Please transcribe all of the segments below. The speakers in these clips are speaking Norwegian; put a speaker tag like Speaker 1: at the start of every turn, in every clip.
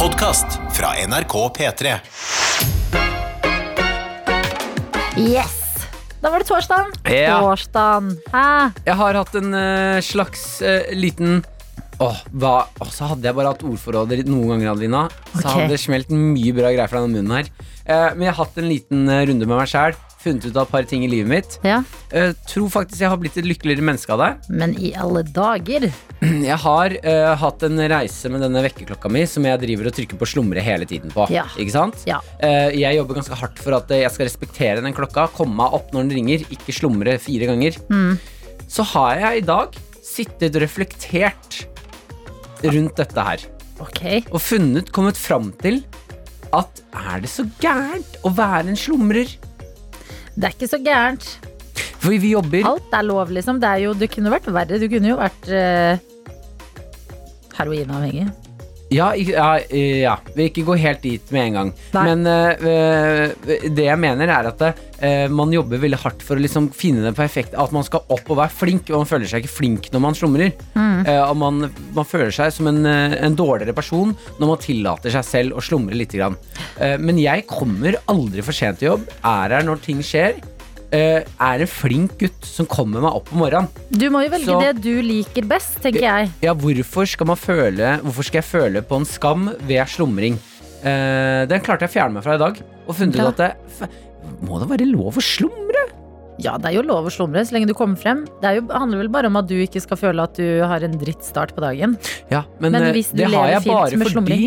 Speaker 1: Podkast fra NRK P3.
Speaker 2: Yes! Da var det torsdagen.
Speaker 3: Ja.
Speaker 2: Torsdagen. Hæ?
Speaker 3: Jeg har hatt en eh, slags eh, liten Åh, hva åh, Så hadde jeg bare hatt ordforråder noen ganger, Adelina. Så
Speaker 2: Ok.
Speaker 3: hadde det smelt mye bra greier fra den munnen her. Eh, men jeg har hatt en liten eh, runde med meg sjæl. Funnet ut av et par ting i livet mitt.
Speaker 2: Ja,
Speaker 3: Eh, tror faktisk jeg har blitt et lykkeligere menneske av det.
Speaker 2: men i alle dager.
Speaker 3: Jeg har eh, hatt en reise med denne vekkerklokka mi som jeg driver og trykker på slumre hele tiden på.
Speaker 2: Ja.
Speaker 3: Ikke sant?
Speaker 2: Ja.
Speaker 3: Eh, jeg jobber ganske hardt for at eh, jeg skal respektere den klokka, komme meg opp når den ringer, ikke slumre fire ganger.
Speaker 2: Mm.
Speaker 3: Så har jeg i dag sittet og reflektert rundt dette her,
Speaker 2: Ok.
Speaker 3: og funnet, kommet fram til at er det så gærent å være en slumrer?
Speaker 2: Det er ikke så gærent.
Speaker 3: For vi jobber
Speaker 2: Alt er lov, liksom. Det, er jo, det kunne vært verre. Du kunne jo vært eh, heroinavhengig.
Speaker 3: Ja, ik- ja, eh, ja. Vi ikke gå helt dit med en gang.
Speaker 2: Nei.
Speaker 3: Men eh, eh, det jeg mener, er at eh, man jobber veldig hardt for å liksom finne den perfekte At man skal opp og være flink, og man føler seg ikke flink når man slumrer. Eh, og man, man føler seg som en, eh, en dårligere person når man tillater seg selv å slumre lite grann. Eh, men jeg kommer aldri for sent til jobb, er her når ting skjer. eh, er en flink gutt som kommer meg opp om morgenen.
Speaker 2: Du må jo velge
Speaker 3: Så-
Speaker 2: det du liker best, tenker jeg.
Speaker 3: Ja, hvorfor skal man føle Hvorfor skal jeg føle på en skam ved slumring? Eh, den klarte jeg å fjerne meg fra i dag. Og funnet ut
Speaker 2: Bra.
Speaker 3: at det, f Må det være lov å slumre?
Speaker 2: Ja, det er jo lov å slumre så lenge du kommer frem. Det er jo, handler vel bare om at du ikke skal føle at du har en drittstart på dagen.
Speaker 3: Ja, men,
Speaker 2: Men
Speaker 3: eh,
Speaker 2: hvis du
Speaker 3: det har
Speaker 2: lever
Speaker 3: jeg
Speaker 2: fint
Speaker 3: bare
Speaker 2: med
Speaker 3: fordi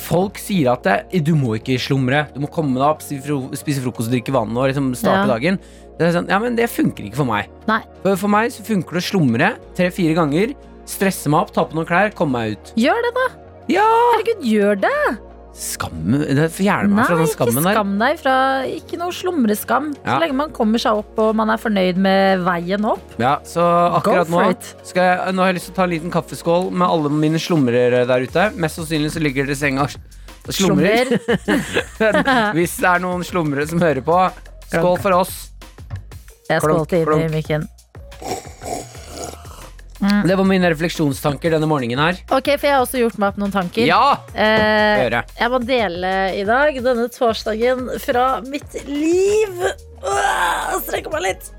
Speaker 3: folk sier at det, du må ikke slumre. Du må komme deg opp, si fro- spise frokost, drikke vann og liksom starte
Speaker 2: Ja.
Speaker 3: dagen. Det er sånn, ja, men det funker ikke for meg.
Speaker 2: Nei.
Speaker 3: For, for meg så funker det å slumre tre-fire ganger. Stresse meg opp, ta på noen klær, komme meg ut.
Speaker 2: Gjør det, da!
Speaker 3: Ja!
Speaker 2: Herregud, gjør det!
Speaker 3: Skam det Fjerne meg fra
Speaker 2: Nei,
Speaker 3: den skammen
Speaker 2: ikke
Speaker 3: der.
Speaker 2: skam deg fra Ikke noe slumreskam. Så
Speaker 3: Ja.
Speaker 2: lenge man kommer seg opp og man er fornøyd med veien opp.
Speaker 3: Ja, så
Speaker 2: Go
Speaker 3: akkurat
Speaker 2: for
Speaker 3: nå
Speaker 2: it.
Speaker 3: skal jeg, Nå har jeg lyst til å ta en liten kaffeskål med alle mine slumrere der ute. Mest sannsynlig så ligger dere i senga og s- slumrer. Hvis det er noen slumrere som hører på, skål for oss.
Speaker 2: Jeg
Speaker 3: Klunk,
Speaker 2: skålte inn i
Speaker 3: klunk.
Speaker 2: mikken.
Speaker 3: Det var mine refleksjonstanker denne morgenen her.
Speaker 2: Ok, for jeg har også gjort meg opp noen tanker.
Speaker 3: Ja!
Speaker 2: Eh,
Speaker 3: Gjøre.
Speaker 2: jeg må dele i dag, denne torsdagen, fra mitt liv. Åh, Strekke meg litt.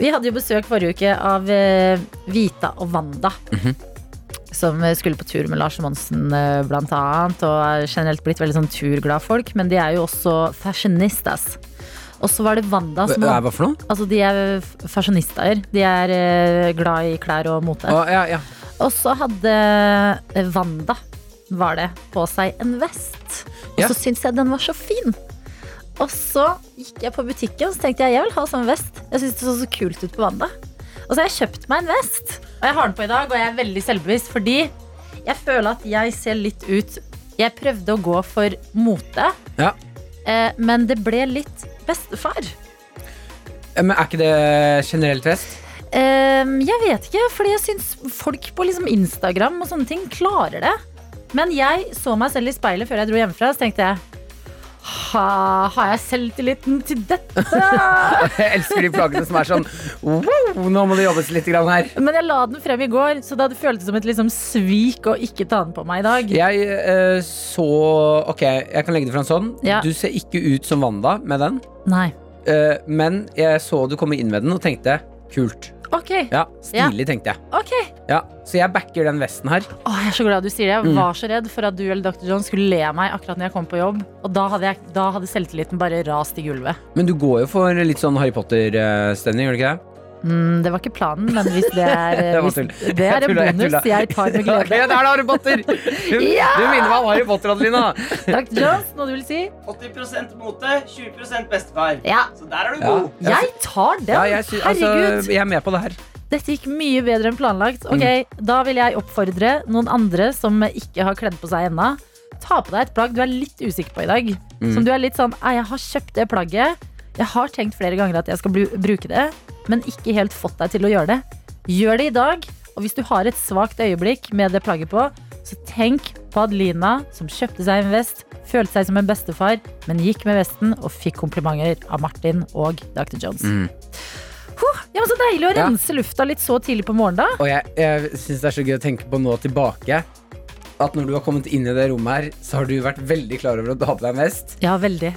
Speaker 2: Vi hadde jo besøk forrige uke av eh, Vita og Wanda.
Speaker 3: Mhm.
Speaker 2: Som eh, skulle på tur med Lars Monsen, eh, blant annet. Og er generelt blitt veldig sånn turglad folk. Men de er jo også fashionistas. Og så var det Wanda som
Speaker 3: Hva er det for noe?
Speaker 2: Altså, de er f- fashionistaer. De er eh, glad i klær og mote.
Speaker 3: Å, ja, ja.
Speaker 2: Og så hadde eh, Wanda var det, på seg en vest. Og
Speaker 3: Ja.
Speaker 2: så syntes jeg den var så fin. Og så gikk jeg på butikken så tenkte jeg, jeg vil ha sånn vest. Jeg synes det så så kult ut på Wanda. Og så har jeg kjøpt meg en vest. Og jeg har den på i dag, og jeg er veldig selvbevisst fordi jeg føler at jeg ser litt ut Jeg prøvde å gå for mote,
Speaker 3: ja.
Speaker 2: eh, men det ble litt bestefar.
Speaker 3: Eh, Men er ikke det generell test?
Speaker 2: Ehm, jeg vet ikke, fordi jeg syns folk på liksom Instagram og sånne ting klarer det. Men jeg så meg selv i speilet før jeg dro hjemmefra, så tenkte jeg ha, Har jeg selvtilliten til dette?
Speaker 3: Jeg elsker de flaggene som er sånn wow, nå må det jobbes litt grann her.
Speaker 2: Men jeg la den frem i går, så det hadde føltes som et liksom svik å ikke ta den på meg i dag.
Speaker 3: Jeg eh, så Ok, jeg kan legge det fra en sånn.
Speaker 2: Ja.
Speaker 3: Du ser ikke ut som Wanda med den.
Speaker 2: Nei.
Speaker 3: Eh, men jeg så du komme inn med den og tenkte kult.
Speaker 2: Ok.
Speaker 3: Ja, Stilig, tenkte jeg.
Speaker 2: ok
Speaker 3: Ja, så jeg backer den vesten her.
Speaker 2: Åh, Jeg er så glad du sier det. Jeg var så redd for at du eller Dr. John skulle le av meg akkurat når jeg kom på jobb. Og da hadde, jeg, da hadde selvtilliten bare rast i gulvet.
Speaker 3: Men du går jo for litt sånn Harry Potter-stemning, gjør du ikke det?
Speaker 2: Mm, det var ikke planen, men hvis det er, eh,
Speaker 3: Det var
Speaker 2: hvis,
Speaker 3: tull.
Speaker 2: det
Speaker 3: Jeg
Speaker 2: er en
Speaker 3: tulla, jeg
Speaker 2: bonus
Speaker 3: tulla.
Speaker 2: jeg tar med glede.
Speaker 3: Ja, det er det, Harry Potter! Du,
Speaker 2: Ja!
Speaker 3: du minner meg om Harry Potter, Adelina.
Speaker 2: Dr. Jones, noe du vil si?
Speaker 4: 80 mote, 20 bestefar.
Speaker 2: Ja.
Speaker 4: Så der er du
Speaker 3: Ja.
Speaker 4: god.
Speaker 2: Jeg tar den!
Speaker 3: Ja, jeg, sy- altså,
Speaker 2: Herregud!
Speaker 3: jeg er med på det her.
Speaker 2: Dette gikk mye bedre enn planlagt. Ok, Da vil jeg oppfordre noen andre som ikke har kledd på seg ennå, ta på deg et plagg du er litt usikker på i dag. Som du er litt sånn «Ei, Jeg har kjøpt det plagget. Jeg har tenkt flere ganger at jeg skal blu- bruke det, men ikke helt fått deg til å gjøre det. Gjør det i dag. Og hvis du har et svakt øyeblikk med det plagget på, så tenk på Adelina som kjøpte seg en vest, følte seg som en bestefar, men gikk med vesten og fikk komplimenter av Martin og Dr. Jones. Huh, ja, men så deilig å
Speaker 3: Ja.
Speaker 2: rense lufta litt så tidlig på morgenen, da.
Speaker 3: Og jeg, jeg syns det er så gøy å tenke på nå tilbake. at når du har kommet inn i det rommet her, så har du vært veldig klar over at du har på deg en vest.
Speaker 2: Ja, veldig.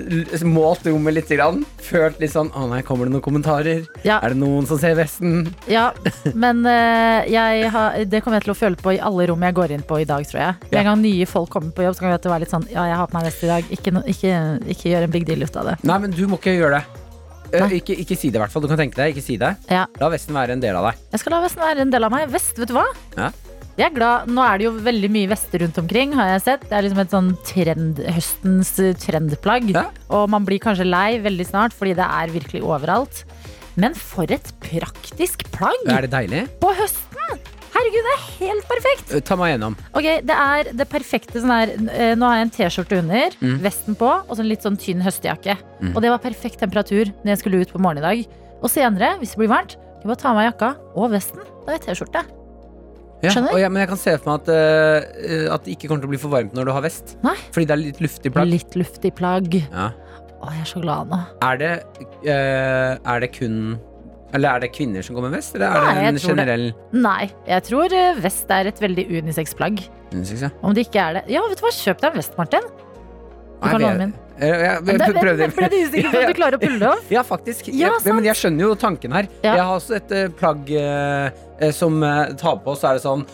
Speaker 3: L- Målt rommet litt, grann, følt litt sånn Å nei, kommer det noen kommentarer?
Speaker 2: Ja.
Speaker 3: Er det noen som ser vesten?
Speaker 2: Ja, men eh, jeg har, det kommer jeg til å føle på i alle rom jeg går inn på i dag, tror jeg. Med
Speaker 3: Ja.
Speaker 2: en gang nye folk kommer på jobb, så kan jeg være litt sånn Ja, jeg har på meg vest i dag. Ikke, no- ikke, ikke gjør en big deal ut av det.
Speaker 3: Nei, men du må ikke gjøre det. Eh,
Speaker 2: Nei.
Speaker 3: Ikke, ikke si det, i hvert fall. Du kan tenke deg. Ikke si det.
Speaker 2: Ja.
Speaker 3: La vesten være en del av deg.
Speaker 2: Jeg skal la vesten være en del av meg. Vest, vet du hva?
Speaker 3: Ja.
Speaker 2: Jeg er glad. Nå er det jo veldig mye vester rundt omkring, har jeg sett. Det er liksom et sånn trend, høstens eh, trendplagg.
Speaker 3: Ja.
Speaker 2: Og man blir kanskje lei veldig snart, fordi det er virkelig overalt. Men for et praktisk plagg
Speaker 3: Er det deilig?
Speaker 2: på høsten! Herregud, det er helt perfekt!
Speaker 3: Eh, Ta meg gjennom.
Speaker 2: Ok, Det er det perfekte sånn her eh, Nå har jeg en T-skjorte under, vesten på og sånn litt sånn tynn høstjakke. Og det var perfekt temperatur når jeg skulle ut på morgenen i dag. Og senere, hvis det blir varmt, kan jeg bare ta av meg jakka og vesten. Da har jeg T-skjorte.
Speaker 3: Ja,
Speaker 2: Skjønner.
Speaker 3: og jeg, men jeg kan se for meg at, eh, eh, at det ikke kommer til å bli for varmt når du har vest.
Speaker 2: Nei.
Speaker 3: Fordi det er litt luftig plagg.
Speaker 2: Litt luftig plagg.
Speaker 3: Ja.
Speaker 2: Å, jeg er så glad nå.
Speaker 3: Er, det, eh, er det kun Eller er det kvinner som går med vest, eller
Speaker 2: Nei,
Speaker 3: er det en
Speaker 2: jeg tror det.
Speaker 3: generell
Speaker 2: Nei, jeg tror eh, vest er et veldig unisex plagg.
Speaker 3: Unisex, ja.
Speaker 2: Om det ikke er det Ja, vet du hva, kjøp deg en vest, Martin. Du
Speaker 3: Nei,
Speaker 2: kan
Speaker 3: vi-
Speaker 2: låne min.
Speaker 3: Eh, jeg- jeg
Speaker 2: Der ble-
Speaker 3: prøvde-
Speaker 2: ble du usikker på om du klarer å pulle det opp?
Speaker 3: Ja, faktisk.
Speaker 2: Ja,
Speaker 3: jeg, men jeg skjønner jo tanken her.
Speaker 2: Ja.
Speaker 3: Jeg har også et eh, plagg eh, eh, som eh, tar på, så er det sånn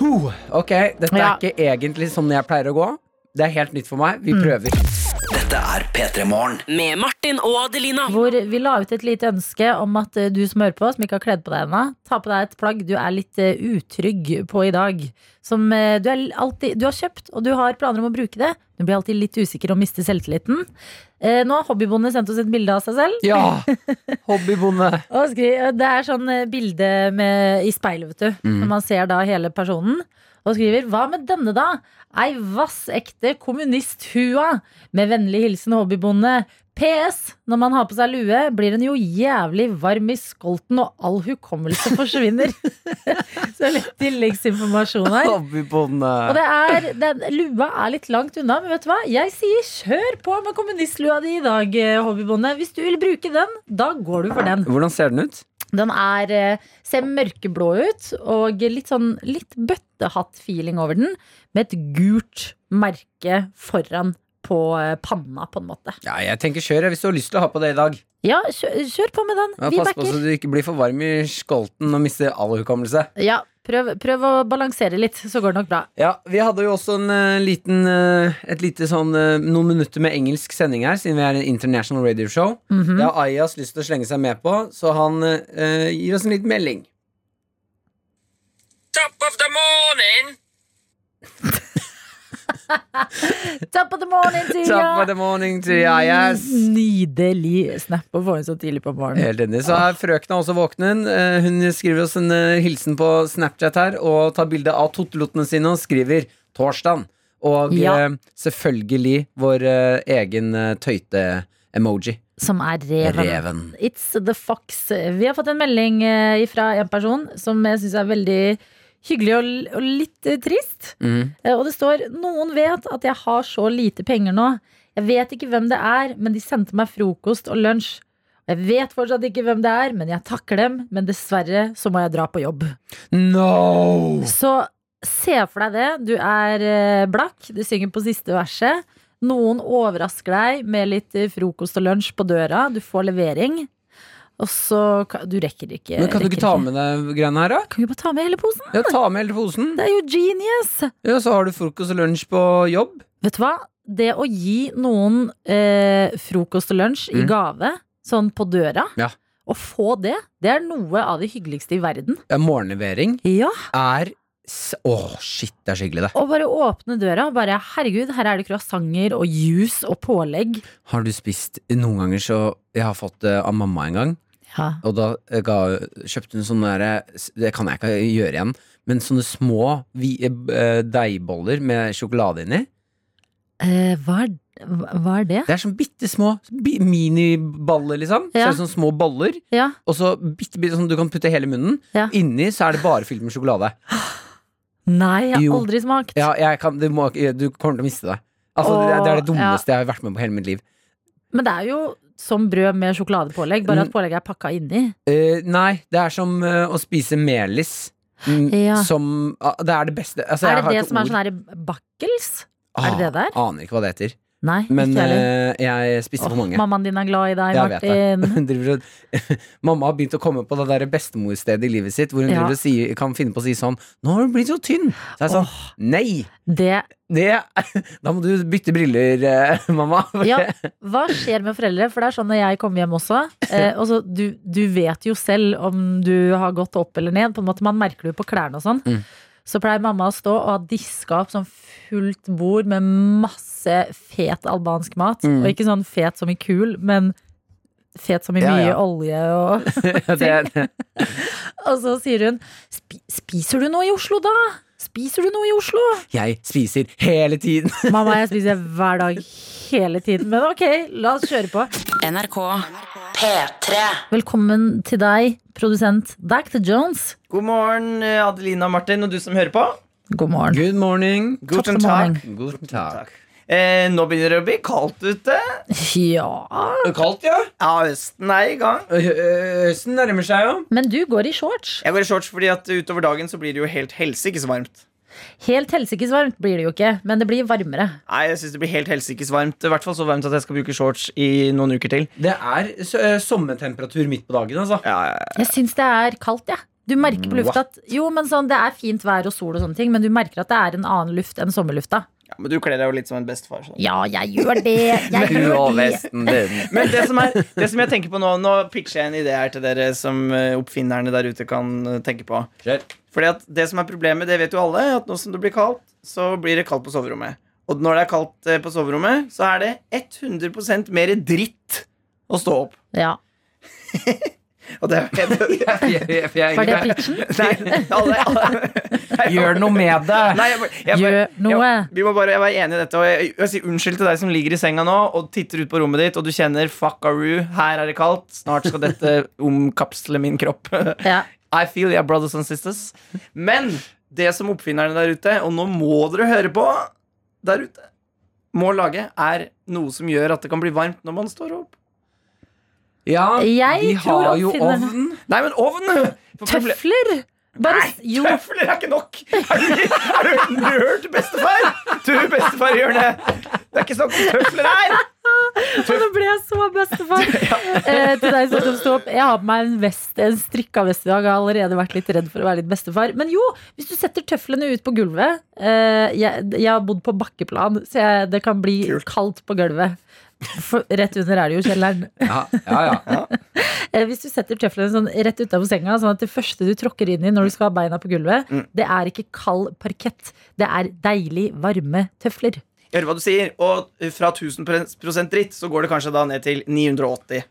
Speaker 3: «Huh, Ok, dette
Speaker 2: Ja.
Speaker 3: er ikke egentlig sånn jeg pleier å gå. Det er helt nytt for meg.
Speaker 2: Mm.
Speaker 3: Vi prøver.
Speaker 5: Med Martin og Adelina.
Speaker 2: Hvor vi la ut et lite ønske om at eh, du som hører på, som ikke har kledd på deg ennå, ta på deg et plagg du er litt eh, utrygg på i dag. Som eh, du, er alltid, du har kjøpt, og du har planer om å bruke det. Du blir alltid litt usikker og mister selvtilliten. Eh, Nå har Hobbybonde sendt oss et bilde av seg selv.
Speaker 3: Ja! Hobbybonde.
Speaker 2: Og skri, det er sånn eh, bilde med, i speilet, vet du. Når man ser da hele personen. Og skriver 'Hva med denne, da?' Ei vassekte kommunisthua. Med vennlig hilsen hobbybonde. PS. Når man har på seg lue, blir en jo jævlig varm i skolten, og all hukommelse forsvinner. Så litt tilleggsinformasjon her. Og
Speaker 3: Hobbybonde.
Speaker 2: det er, den, lua er litt langt unna, men vet du hva? Jeg sier kjør på med kommunistlua di i dag, eh, hobbybonde. Hvis du vil bruke den, da går du for den.
Speaker 3: Hvordan ser den ut?
Speaker 2: Den er, eh, ser mørkeblå ut, og litt sånn litt bøttehatt-feeling over den, med et gult merke foran på eh, panna, på en måte.
Speaker 3: Ja, jeg tenker kjør jeg, hvis du har lyst til å ha på det i dag.
Speaker 2: Ja, kjør, kjør på med den.
Speaker 3: Ja,
Speaker 2: Vi
Speaker 3: pass på så
Speaker 2: backer.
Speaker 3: du ikke blir for varm i skolten og mister all hukommelse.
Speaker 2: Ja, prøv, prøv å balansere litt, så går det nok bra.
Speaker 3: Ja, Vi hadde jo også en eh, liten eh, et lite sånn eh, noen minutter med engelsk sending her, siden vi er en international radio show.
Speaker 2: Mhm.
Speaker 3: Det har Ayas lyst til å slenge seg med på, så han eh, gir oss en liten melding.
Speaker 6: Top of the morning.
Speaker 2: Top of the morning to
Speaker 3: Top of
Speaker 2: you!
Speaker 3: the morning to Ayas.
Speaker 2: Nydelig snap å få inn så tidlig på morgenen.
Speaker 3: Helt enig. Så er frøkna også våknen. Eh, Hun skriver oss en eh, hilsen på Snapchat her og tar bilde av tottelotene sine og skriver 'torsdagen'. Og
Speaker 2: Ja.
Speaker 3: eh, selvfølgelig vår eh, egen eh, tøyte-emoji.
Speaker 2: Som er reven.
Speaker 3: Reven.
Speaker 2: It's the fox. Vi har fått en melding eh, fra en person som jeg syns er veldig hyggelig og, l- og litt eh, trist.
Speaker 3: Mhm.
Speaker 2: Eh, Og det står 'Noen vet at jeg har så lite penger nå'. 'Jeg vet ikke hvem det er, men de sendte meg frokost og lunsj'. 'Jeg vet fortsatt ikke hvem det er, men jeg takker dem', 'men dessverre så må jeg dra på jobb'.
Speaker 3: No!
Speaker 2: Så se for deg det. Du er eh, blakk, du synger på siste verset. Noen overrasker deg med litt eh, frokost og lunsj på døra. Du får levering. Og så ka- Du rekker ikke.
Speaker 3: Men kan du
Speaker 2: rekker
Speaker 3: ikke ta med deg greiene her, da?
Speaker 2: Kan du bare ta med hele posen?
Speaker 3: Ja, ta med hele posen.
Speaker 2: Det er jo genius!
Speaker 3: Ja, så har du frokost og lunsj på jobb.
Speaker 2: Vet du hva? Det å gi noen eh, frokost og lunsj i
Speaker 3: Mm.
Speaker 2: gave, sånn på døra,
Speaker 3: Ja.
Speaker 2: og få det, det er noe av det hyggeligste i verden.
Speaker 3: Ja, morgenlevering
Speaker 2: Ja.
Speaker 3: er s- Åh, shit, det er så hyggelig, det.
Speaker 2: Og bare åpne døra og bare Herregud, her er det croissanter og juice og pålegg.
Speaker 3: Har du spist Noen ganger så Jeg har fått det av mamma en gang,
Speaker 2: Ja.
Speaker 3: og da eh, ga, kjøpte hun sånne derre Det kan jeg ikke gjøre igjen, men sånne små vi, eh, deigboller med sjokolade inni.
Speaker 2: Eh, hva, er, hva hva er det?
Speaker 3: Det er sånn bitte små bi, miniballer, liksom.
Speaker 2: Ja.
Speaker 3: Så er det sånne små boller,
Speaker 2: Ja,
Speaker 3: og så bitte, bitte sånn du kan putte i hele munnen.
Speaker 2: Ja.
Speaker 3: Inni så er det bare fylt med sjokolade.
Speaker 2: Nei, jeg har
Speaker 3: Jo.
Speaker 2: aldri smakt.
Speaker 3: Ja, jeg kan, du, må, ikke- du kommer til å miste det. Altså, det, det er det
Speaker 2: Åh, ja.
Speaker 3: dummeste jeg har vært med på hele mitt liv.
Speaker 2: Men det er jo som brød med
Speaker 3: Mm.
Speaker 2: sjokoladepålegg, bare at pålegget er pakka inni.
Speaker 3: Eh, nei, det er som eh, å spise melis. mm,
Speaker 2: Ja.
Speaker 3: som ah, Det er det beste altså, jeg
Speaker 2: Er det
Speaker 3: har
Speaker 2: det
Speaker 3: ikke
Speaker 2: som er
Speaker 3: ord.
Speaker 2: sånn her bakkels? er det det der?
Speaker 3: Ah, aner ikke hva det heter.
Speaker 2: Nei,
Speaker 3: Men
Speaker 2: ikke heller.
Speaker 3: eh, jeg spiste
Speaker 2: Åh,
Speaker 3: for mange.
Speaker 2: Mammaen din er glad i deg,
Speaker 3: Jeg vet
Speaker 2: Martin.
Speaker 3: Hun driver og, mamma har begynt å komme på det der bestemorstedet i livet sitt, hvor hun
Speaker 2: Ja.
Speaker 3: driver og sier, kan finne på å si sånn 'Nå har du blitt så tynn!' Så jeg er sånn Nei!
Speaker 2: Det,
Speaker 3: Det, da må du bytte briller, eh, mamma. for
Speaker 2: ja,
Speaker 3: det-
Speaker 2: hva skjer med foreldre? For det er sånn når jeg kommer hjem også. Eh, og så du, du vet jo selv om du har gått opp eller ned. På en måte Man merker det jo på klærne og sånn.
Speaker 3: Mm.
Speaker 2: Så pleier mamma å stå og ha diska opp sånn fullt bord med masse fet albansk mat.
Speaker 3: Mm.
Speaker 2: Og ikke sånn fet som i kul, men fet som i
Speaker 3: Ja,
Speaker 2: mye
Speaker 3: ja.
Speaker 2: olje og
Speaker 3: det, det.
Speaker 2: Og så sier hun "Spi- Spiser du noe i Oslo da? Spiser du noe i Oslo?
Speaker 3: Jeg spiser hele tiden.
Speaker 2: Mamma, jeg spiser hver dag hele tiden. Men ok, la oss kjøre på.
Speaker 5: NRK P3
Speaker 2: Velkommen til deg, produsent Dacta Jones.
Speaker 4: God morgen, eh, Adelina og Martin, og du som hører på.
Speaker 2: God morgen.
Speaker 3: Good morning.
Speaker 4: Guten
Speaker 2: Takk for
Speaker 4: Tag.
Speaker 3: Guten takk.
Speaker 4: Eh, nå begynner det å bli kaldt ute.
Speaker 2: Ja
Speaker 4: Kaldt, ja? Ja, høsten er i gang.
Speaker 3: Høsten nærmer seg jo.
Speaker 2: Men du går i shorts.
Speaker 4: Jeg går i shorts fordi at utover dagen så blir det jo helt helsikes varmt.
Speaker 2: Helt helsikes varmt blir det jo ikke, men det blir varmere.
Speaker 4: Nei, jeg synes det blir helt helsikes varmt. I hvert fall så varmt at jeg skal bruke shorts i noen uker til.
Speaker 3: Det er s- eh, sommertemperatur midt på dagen, altså.
Speaker 4: Ja, ja, ja.
Speaker 2: Jeg syns det er kaldt, jeg. Ja. Du merker på lufta at Jo, men sånn, det er fint vær og sol og sånne ting, men du merker at det er en annen luft enn sommerlufta.
Speaker 4: ja, Men du kler deg jo litt som en bestefar. sånn. Så.
Speaker 2: Ja, jeg gjør det. Jeg gjør det.
Speaker 3: din.
Speaker 4: Men det som, er, det som jeg tenker på nå Nå pitcher jeg en idé her til dere som eh, oppfinnerne der ute kan eh, tenke på.
Speaker 3: Kjør.
Speaker 4: Fordi at det som er problemet, det vet jo alle, at nå som det blir kaldt, så blir det kaldt på soverommet. Og når det er kaldt eh, på soverommet, så er det 100 mer dritt å stå opp.
Speaker 2: Ja.
Speaker 4: Og det, det,
Speaker 2: Var det pitchen?
Speaker 4: nei, alle, alle,
Speaker 3: Gjør noe med det.
Speaker 4: nei, jeg, bare- jeg, bare-
Speaker 2: Gjør noe.
Speaker 4: Jeg, vi må bare jeg være enige i dette. Og jeg, jeg sier unnskyld til deg som ligger i senga nå og titter ut på rommet ditt, og du kjenner fuckaroo, her er det kaldt, snart skal dette omkapsle min kropp.
Speaker 2: Ja.
Speaker 4: I feel yeah, brothers and sisters. Men det som oppfinnerne der ute, og nå må dere høre på der ute, må lage, er noe som gjør at det kan bli varmt når man står opp.
Speaker 3: Ja,
Speaker 2: Jeg
Speaker 3: vi
Speaker 2: tror
Speaker 3: har jo
Speaker 2: oppfinnerne-
Speaker 3: ovn.
Speaker 4: Nei, men ovn! For proble-
Speaker 2: Tøfler! Bare s- Jo.
Speaker 4: Tøfler er ikke nok! Er du, er du nerd, bestefar? Du, bestefar, gjør det! Det er ikke snakk om tøfler her!
Speaker 2: Nå ble jeg så bestefar. eh, til deg som sto opp. Jeg har på meg en vest, en strikka vest i dag. Jeg har allerede vært litt redd for å være litt bestefar. Men jo, hvis du setter tøflene ut på gulvet eh, jeg, jeg har bodd på bakkeplan, så jeg, det kan bli kaldt på gulvet. For, rett under er det jo kjelleren.
Speaker 3: Ja, ja, ja.
Speaker 2: Eh, hvis du setter tøflene sånn rett utenfor senga, sånn at det første du tråkker inn i når du skal ha beina på gulvet,
Speaker 3: Mm.
Speaker 2: det er ikke kald parkett. Det er deilig, varme tøfler.
Speaker 4: Jeg hører hva du sier, og fra 1000 dritt så går det kanskje da ned til 980.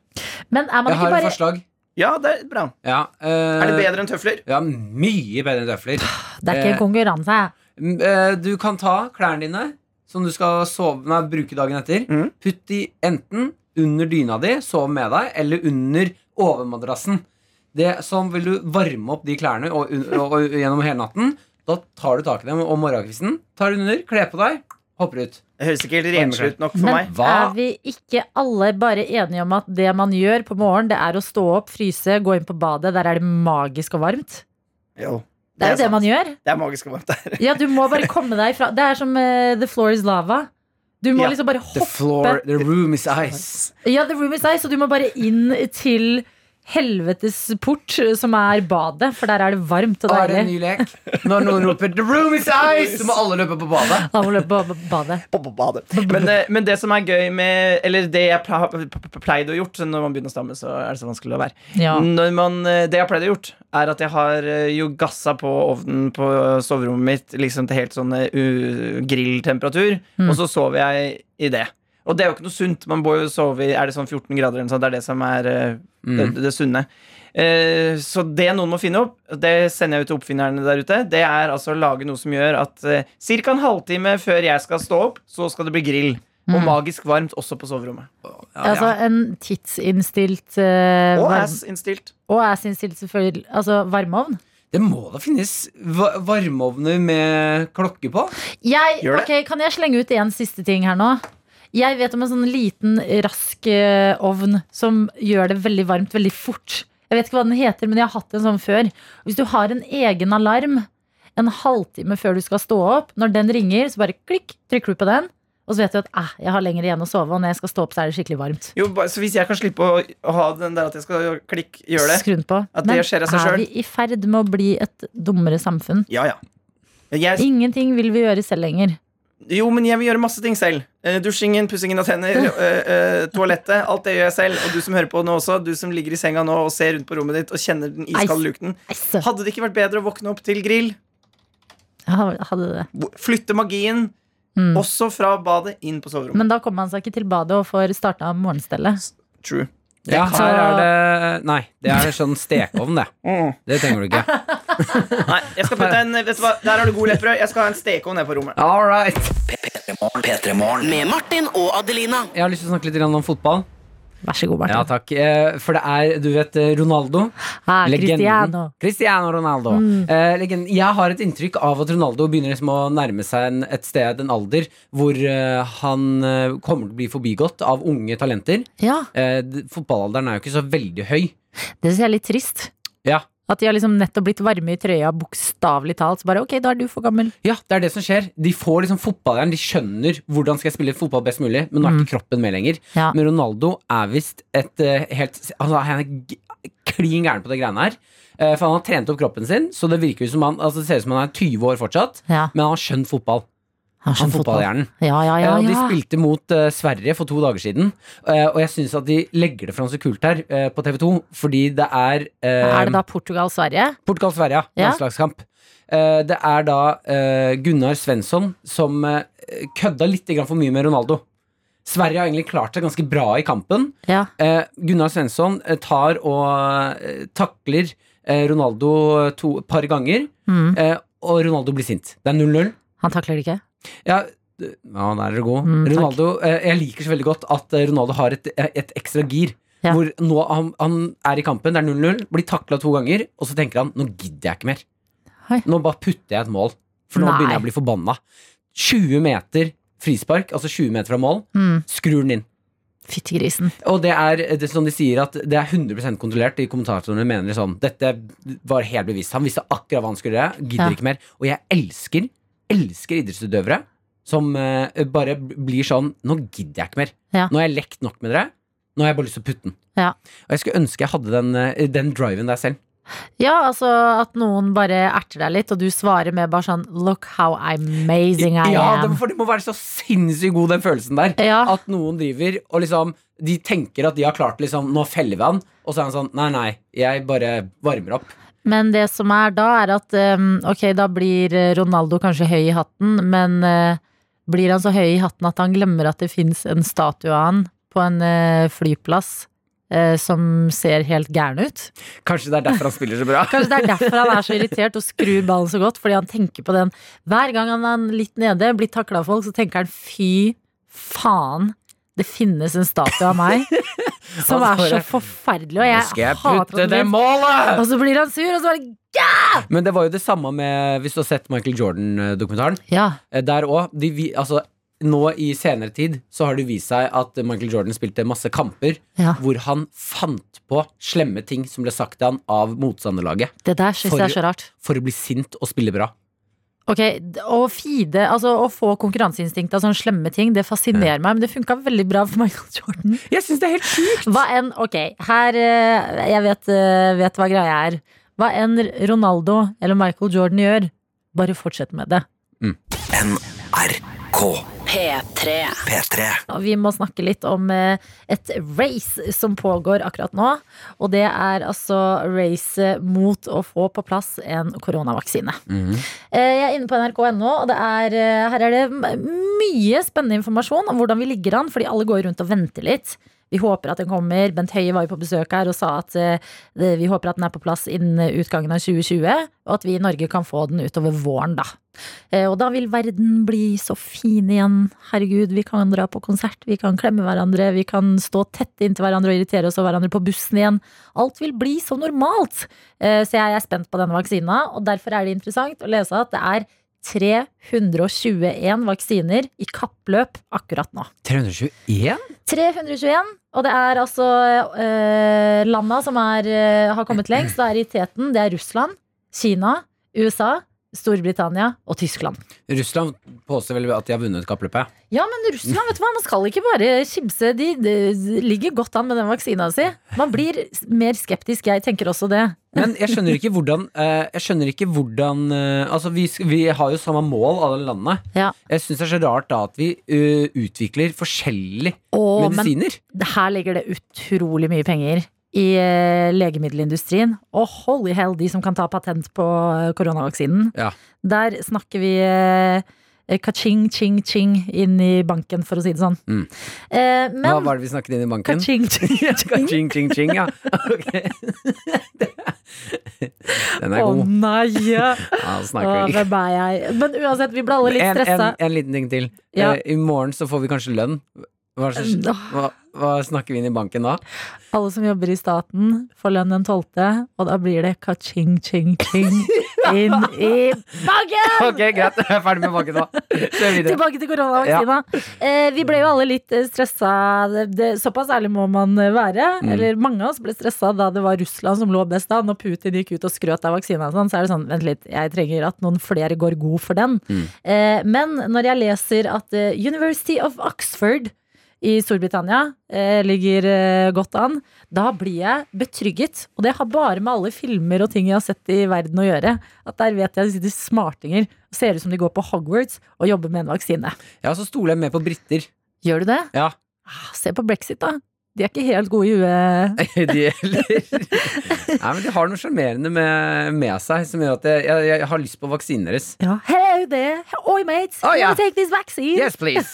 Speaker 2: Men er man
Speaker 3: Jeg
Speaker 2: ikke
Speaker 3: har et
Speaker 2: bare
Speaker 3: forslag.
Speaker 4: Ja, det er bra.
Speaker 3: Ja, eh,
Speaker 4: Er det bedre enn tøfler?
Speaker 3: Ja, mye bedre enn tøfler.
Speaker 2: Det er ikke
Speaker 3: Eh.
Speaker 2: en konkurranse.
Speaker 3: Mm, eh, Du kan ta klærne dine, som du skal sove, nei, bruke dagen etter.
Speaker 4: Mhm.
Speaker 3: Putt de enten under dyna di, sov med deg, eller under overmadrassen. Det, sånn vil du varme opp de klærne og, un- og, og, gjennom hele natten. Da tar du tak i dem om morgenkvisten, tar den under, kler på deg, hopper ut.
Speaker 4: Det høres ikke helt renslig ut nok for meg.
Speaker 3: Hva?
Speaker 2: er vi ikke alle bare enige om at det man gjør på morgenen, det er å stå opp, fryse, gå inn på badet, der er det magisk og varmt?
Speaker 4: Jo,
Speaker 2: Det er jo det
Speaker 4: sant.
Speaker 2: man gjør.
Speaker 4: Det er magisk varmt der.
Speaker 2: Ja, du må bare komme deg fra Det er som eh, The Floor is Lava. Du må
Speaker 4: Ja,
Speaker 2: liksom bare
Speaker 3: The
Speaker 2: hoppe
Speaker 3: floor, the room is ice.
Speaker 2: Ja, The Room is Ice, og du må bare inn til helvetes port, eh, som er badet, for der er det varmt og
Speaker 3: Da er det en
Speaker 2: deilig.
Speaker 3: ny lek. Når noen roper 'The room is ice', så må alle løpe på badet.
Speaker 2: Da må du løpe på badet.
Speaker 4: På- på badet. Men, eh, men det som er gøy med Eller det jeg pla- p- p- pleide å gjort så Når man begynner å stamme, så er det så vanskelig å la være.
Speaker 2: Ja.
Speaker 4: Når man, eh, det jeg pleide å gjort, er at jeg har eh, jo gassa på ovnen på soverommet mitt liksom til helt sånn eh, u- grilltemperatur,
Speaker 2: Mm.
Speaker 4: og så sover jeg i det. Og det er jo ikke noe sunt. Man må jo sove i Er det sånn 14 grader eller noe sånt? Det er det som er eh,
Speaker 2: Mm.
Speaker 4: det, det sunne. Eh, så det noen må finne opp, det sender jeg ut til oppfinnerne der ute, det er altså å lage noe som gjør at uh, ca. en halvtime før jeg skal stå opp, så skal det bli grill.
Speaker 2: Mm.
Speaker 4: Og magisk varmt også på soverommet.
Speaker 3: Ja,
Speaker 2: Altså
Speaker 3: ja.
Speaker 2: en tidsinnstilt eh,
Speaker 4: Og
Speaker 2: varm-
Speaker 4: ass-innstilt.
Speaker 2: og ass-innstilt, selvfølgelig. Altså varmeovn.
Speaker 3: Det må da finnes va- varmeovner med klokke på?
Speaker 2: Jeg,
Speaker 4: Gjør det.
Speaker 2: ok, kan jeg slenge ut en siste ting her nå? Jeg vet om en sånn liten, rask eh, ovn som gjør det veldig varmt veldig fort. Jeg vet ikke hva den heter, men jeg har hatt en sånn før. Hvis du har en egen alarm en halvtime før du skal stå opp, når den ringer, så bare klikk, trykker du på den. Og så vet du at eh, jeg har lenger igjen å sove, og når jeg skal stå opp, så er det skikkelig varmt.
Speaker 4: Jo, ba- så Hvis jeg kan slippe å å ha den der at jeg skal klikke, gjør det.
Speaker 2: Skru den på.
Speaker 4: At det
Speaker 2: Men
Speaker 4: skjer av seg
Speaker 2: er
Speaker 4: selv.
Speaker 2: vi i ferd med å bli et dummere samfunn?
Speaker 4: Ja, ja. Men Jeg,
Speaker 2: Ingenting vil vi gjøre selv lenger.
Speaker 4: jo, men jeg vil gjøre masse ting selv. Eh, dusjingen, pussingen av tenner, eh, eh, toalettet. Alt det gjør jeg selv. Og du som hører på nå også, du som ligger i senga nå og ser rundt på rommet ditt og kjenner den iskalde lukten.
Speaker 2: Nei, sø-
Speaker 4: Hadde det ikke vært bedre å våkne opp til grill?
Speaker 2: Ja, Hadde det.
Speaker 4: Hvor- Flytte magien
Speaker 2: Mm.
Speaker 4: også fra badet inn på soverommet.
Speaker 2: Men da kommer man seg ikke til badet og får starta morgenstellet.
Speaker 4: True.
Speaker 3: Ja,
Speaker 2: kan-
Speaker 3: her er det Nei, det er sånn stekeovn, det. Det trenger du ikke.
Speaker 4: Nei, jeg skal putte en, vet du hva, Der har du god lettbrød. Jeg skal ha en stekeovn ned på rommet.
Speaker 3: All right.
Speaker 5: Med Martin og Adelina.
Speaker 3: Jeg har lyst til å snakke litt grann om fotball.
Speaker 2: Vær så god,
Speaker 3: Ja,
Speaker 2: Martin.
Speaker 3: takk. Eh, For det er, du vet, eh, Ronaldo.
Speaker 2: Ah,
Speaker 3: Legenden.
Speaker 2: Cristiano.
Speaker 3: Cristiano Ronaldo. Eh, legenden. Jeg har et inntrykk av at Ronaldo begynner liksom å nærme seg en, et sted, en alder, hvor eh, han eh, kommer til å bli forbigått av unge talenter.
Speaker 2: Ja,
Speaker 3: Eh, d- fotballalderen er jo ikke så veldig høy.
Speaker 2: det syns jeg er litt trist.
Speaker 3: Ja.
Speaker 2: At de har liksom nettopp blitt varme i trøya, bokstavelig talt. Så bare ok, da er du for gammel.
Speaker 3: Ja, det er det som skjer. De får liksom fotballeren, de skjønner hvordan skal jeg spille fotball best mulig, men nå er ikke kroppen med lenger.
Speaker 2: Ja.
Speaker 3: Men Ronaldo er visst et eh, helt Altså, han er g- klin gæren på det greiene her. Eh, for han har trent opp kroppen sin, så det virker jo som han Altså det ser ut som han er 20 år fortsatt,
Speaker 2: Ja,
Speaker 3: men han har skjønt fotball.
Speaker 2: har
Speaker 3: Han
Speaker 2: skjønt
Speaker 3: fotballhjernen.
Speaker 2: Ja, ja,
Speaker 3: Eh,
Speaker 2: ja,
Speaker 3: og de
Speaker 2: ja.
Speaker 3: spilte mot eh, Sverige for to dager siden, eh, og jeg syns at de legger det fram så kult her eh, på TV2, fordi det er eh,
Speaker 2: Er det da Portugal-Sverige?
Speaker 3: Portugal-Sverige, ja.
Speaker 2: Ja.
Speaker 3: landslagskamp. Eh, det er da eh, Gunnar Svensson som eh, kødda litt grann for mye med Ronaldo. Sverige har egentlig klart seg ganske bra i kampen.
Speaker 2: Ja.
Speaker 3: Eh, Gunnar Svensson eh, tar og eh, takler eh, Ronaldo to et par ganger,
Speaker 2: Mm.
Speaker 3: eh, og Ronaldo blir sint. Det er 0-0.
Speaker 2: Han takler det ikke?
Speaker 3: Ja, d- ja, der er du god.
Speaker 2: Mm, takk.
Speaker 3: Ronaldo, eh, jeg liker så veldig godt at eh, Ronaldo har et, et ekstra gir.
Speaker 2: Ja.
Speaker 3: Hvor nå han, han er i kampen, det er 0-0, blir takla to ganger, og så tenker han nå gidder jeg ikke mer.
Speaker 2: Oi.
Speaker 3: Nå bare putter jeg et mål, for nå
Speaker 2: Nei.
Speaker 3: begynner jeg å bli forbanna. 20 meter frispark, altså 20 meter fra mål,
Speaker 2: Mm.
Speaker 3: skrur den inn.
Speaker 2: Fyttegrisen.
Speaker 3: Og det er eh, det, som de sier, at det er 100 kontrollert. De kommentatorene mener sånn Dette var helt bevisst. Han visste akkurat hva han skulle gjøre. Gidder
Speaker 2: Ja.
Speaker 3: ikke mer. Og jeg elsker, elsker idrettsutøvere som eh, bare b- blir sånn Nå gidder jeg ikke mer.
Speaker 2: Ja.
Speaker 3: Nå har jeg lekt nok med dere. Nå har jeg bare lyst til å putte den.
Speaker 2: Ja.
Speaker 3: Og jeg skulle ønske jeg hadde den, eh, den driven der selv.
Speaker 2: Ja, altså at noen bare erter deg litt, og du svarer med bare sånn Look how amazing I
Speaker 3: ja, det,
Speaker 2: am.
Speaker 3: for det må være så sinnssykt god, den følelsen der.
Speaker 2: Ja.
Speaker 3: At noen driver og liksom De tenker at de har klart liksom Nå feller vi han. Og så er han sånn Nei, nei, jeg bare varmer opp.
Speaker 2: Men det som er da, er at um, ok, da blir eh, Ronaldo kanskje høy i hatten, men eh, blir han så høy i hatten at han glemmer at det fins en statue av han på en eh, flyplass eh, som ser helt gæren ut?
Speaker 3: Kanskje det er derfor han spiller så bra.
Speaker 2: Kanskje det er derfor han er så irritert og skrur ballen så godt, fordi han tenker på den. Hver gang han er litt nede, blir takla av folk, så tenker han fy faen, det finnes en statue av meg som
Speaker 3: Han
Speaker 2: er så
Speaker 3: bare,
Speaker 2: forferdelig, og jeg, hater at den blir-
Speaker 3: målet!
Speaker 2: Og så blir han sur, og så bare
Speaker 3: Men det var jo det samme med Hvis du har sett Michael Jordan-dokumentaren.
Speaker 2: Ja.
Speaker 3: Eh, Der òg. De, vi- altså, nå i senere tid så har det vist seg at Michael Jordan spilte masse kamper
Speaker 2: ja.
Speaker 3: hvor han fant på slemme ting som ble sagt til han av motstanderlaget,
Speaker 2: Det der syns
Speaker 3: For-
Speaker 2: jeg er så rart.
Speaker 3: for å bli sint og spille bra.
Speaker 2: Ok, d- Å feede, altså å få konkurranseinstinkt av sånne slemme ting, det fascinerer meg, men det funka veldig bra for Michael Jordan.
Speaker 3: Jeg syns det er helt sjukt!
Speaker 2: Hva enn, ok, her eh, Jeg vet, eh, vet hva greia er. Hva enn Ronaldo eller Michael Jordan gjør, bare fortsett med det.
Speaker 5: P3.
Speaker 2: Og Vi må snakke litt om eh, et race som pågår akkurat nå. Og det er altså racet mot å få på plass en koronavaksine. Eh, Jeg er inne på nrk.no, og det er, eh, her er det m- mye spennende informasjon om hvordan vi ligger an, fordi alle går rundt og venter litt. Vi håper at den kommer. Bent Høie var jo på besøk her og sa at eh, det- vi håper at den er på plass innen utgangen av 2020, og at vi i Norge kan få den utover våren, da. Eh, Og da vil verden bli så fin igjen. Herregud, vi kan dra på konsert, vi kan klemme hverandre, vi kan stå tett inntil hverandre og irritere oss over hverandre på bussen igjen. Alt vil bli så normalt. Eh, Så jeg er spent på denne vaksina, og derfor er det interessant å lese at det er 321 vaksiner i kappløp akkurat nå.
Speaker 3: 321?
Speaker 2: 321, og det er altså eh, landa som er, eh, har kommet lengst. Det er i teten. Det er Russland, Kina, USA, Storbritannia og Tyskland.
Speaker 3: Russland påstår vel at de har vunnet kappløpet.
Speaker 2: Ja, men Russland, vet du hva, man skal ikke bare kimse. De, de ligger godt an med den vaksina si. Man blir s- mer skeptisk, jeg tenker også det.
Speaker 3: Men jeg skjønner ikke hvordan, eh, jeg skjønner ikke hvordan eh, Altså, vi, sk- vi har jo samme mål, alle landene.
Speaker 2: Ja.
Speaker 3: Jeg syns det er så rart da at vi eh, utvikler forskjellige
Speaker 2: Å, men
Speaker 3: medisiner.
Speaker 2: her ligger det utrolig mye penger i eh, legemiddelindustrien. Og holy hell, de som kan ta patent på eh, koronavaksinen.
Speaker 3: Ja.
Speaker 2: Der snakker vi eh, ka-ching, ching, ching inn i banken, for å si det sånn.
Speaker 3: Mm.
Speaker 2: Eh,
Speaker 3: Hva
Speaker 2: men
Speaker 3: var det vi snakket inn i banken?
Speaker 2: ka-ching, ching, ching.
Speaker 3: Ching, ching, ching, ja. Ok. Den er
Speaker 2: Å
Speaker 3: god.
Speaker 2: nei! Ja.
Speaker 3: Ja,
Speaker 2: Å,
Speaker 3: snakker vi.
Speaker 2: hvem er jeg? Men uansett, vi ble alle litt
Speaker 3: En, en,
Speaker 2: stressa.
Speaker 3: en liten ting til.
Speaker 2: Ja.
Speaker 3: Eh, I morgen så får vi kanskje lønn. Hva, slags-
Speaker 2: Åh.
Speaker 3: hva, hva snakker vi inn i banken da?
Speaker 2: Alle som jobber i staten, får lønn den tolvte, og da blir det ka-ching, ching, ching inn i banken!
Speaker 3: Ok, greit. Jeg er ferdig med banken nå. Kjør videre.
Speaker 2: Tilbake til koronavaksina. Eh, vi ble jo alle litt eh, stressa. Det, det, såpass ærlig må man eh, være. Eller mange av oss ble stressa da det var Russland som lå best an, og Putin gikk ut og skrøt av vaksina. og Sånn, så er det sånn, vent litt, jeg trenger at noen flere går god for den. Eh, men når jeg leser at eh, University of Oxford i Storbritannia eh, ligger eh, godt an. Da blir jeg betrygget. Og det har bare med alle filmer og ting jeg har sett i verden å gjøre. At der vet jeg de sitter smartinger og ser ut som de går på Hogwarts og jobber med en vaksine.
Speaker 3: Ja, så stoler jeg mer på briter.
Speaker 2: Gjør du det?
Speaker 3: Ja.
Speaker 2: Ah, Se på brexit, da. De er ikke helt gode i huet.
Speaker 3: De eller Nei, men de har noe sjarmerende med, med seg som gjør at jeg, jeg, jeg har lyst på vaksinen deres.
Speaker 2: Ja. Hello there! Oi, mates!
Speaker 3: Oh, ja.
Speaker 2: Can you take this vaccine?
Speaker 3: Yes, please!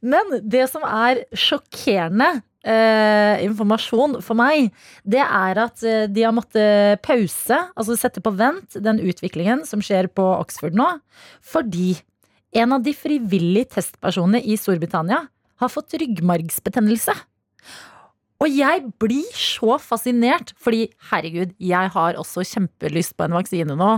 Speaker 2: Men det som er sjokkerende eh, informasjon for meg, det er at eh, de har måttet pause, altså sette på vent, den utviklingen som skjer på Oxford nå, fordi en av de frivillige testpersonene i Storbritannia har fått ryggmargsbetennelse. Og jeg blir så fascinert, fordi herregud, jeg har også kjempelyst på en vaksine nå.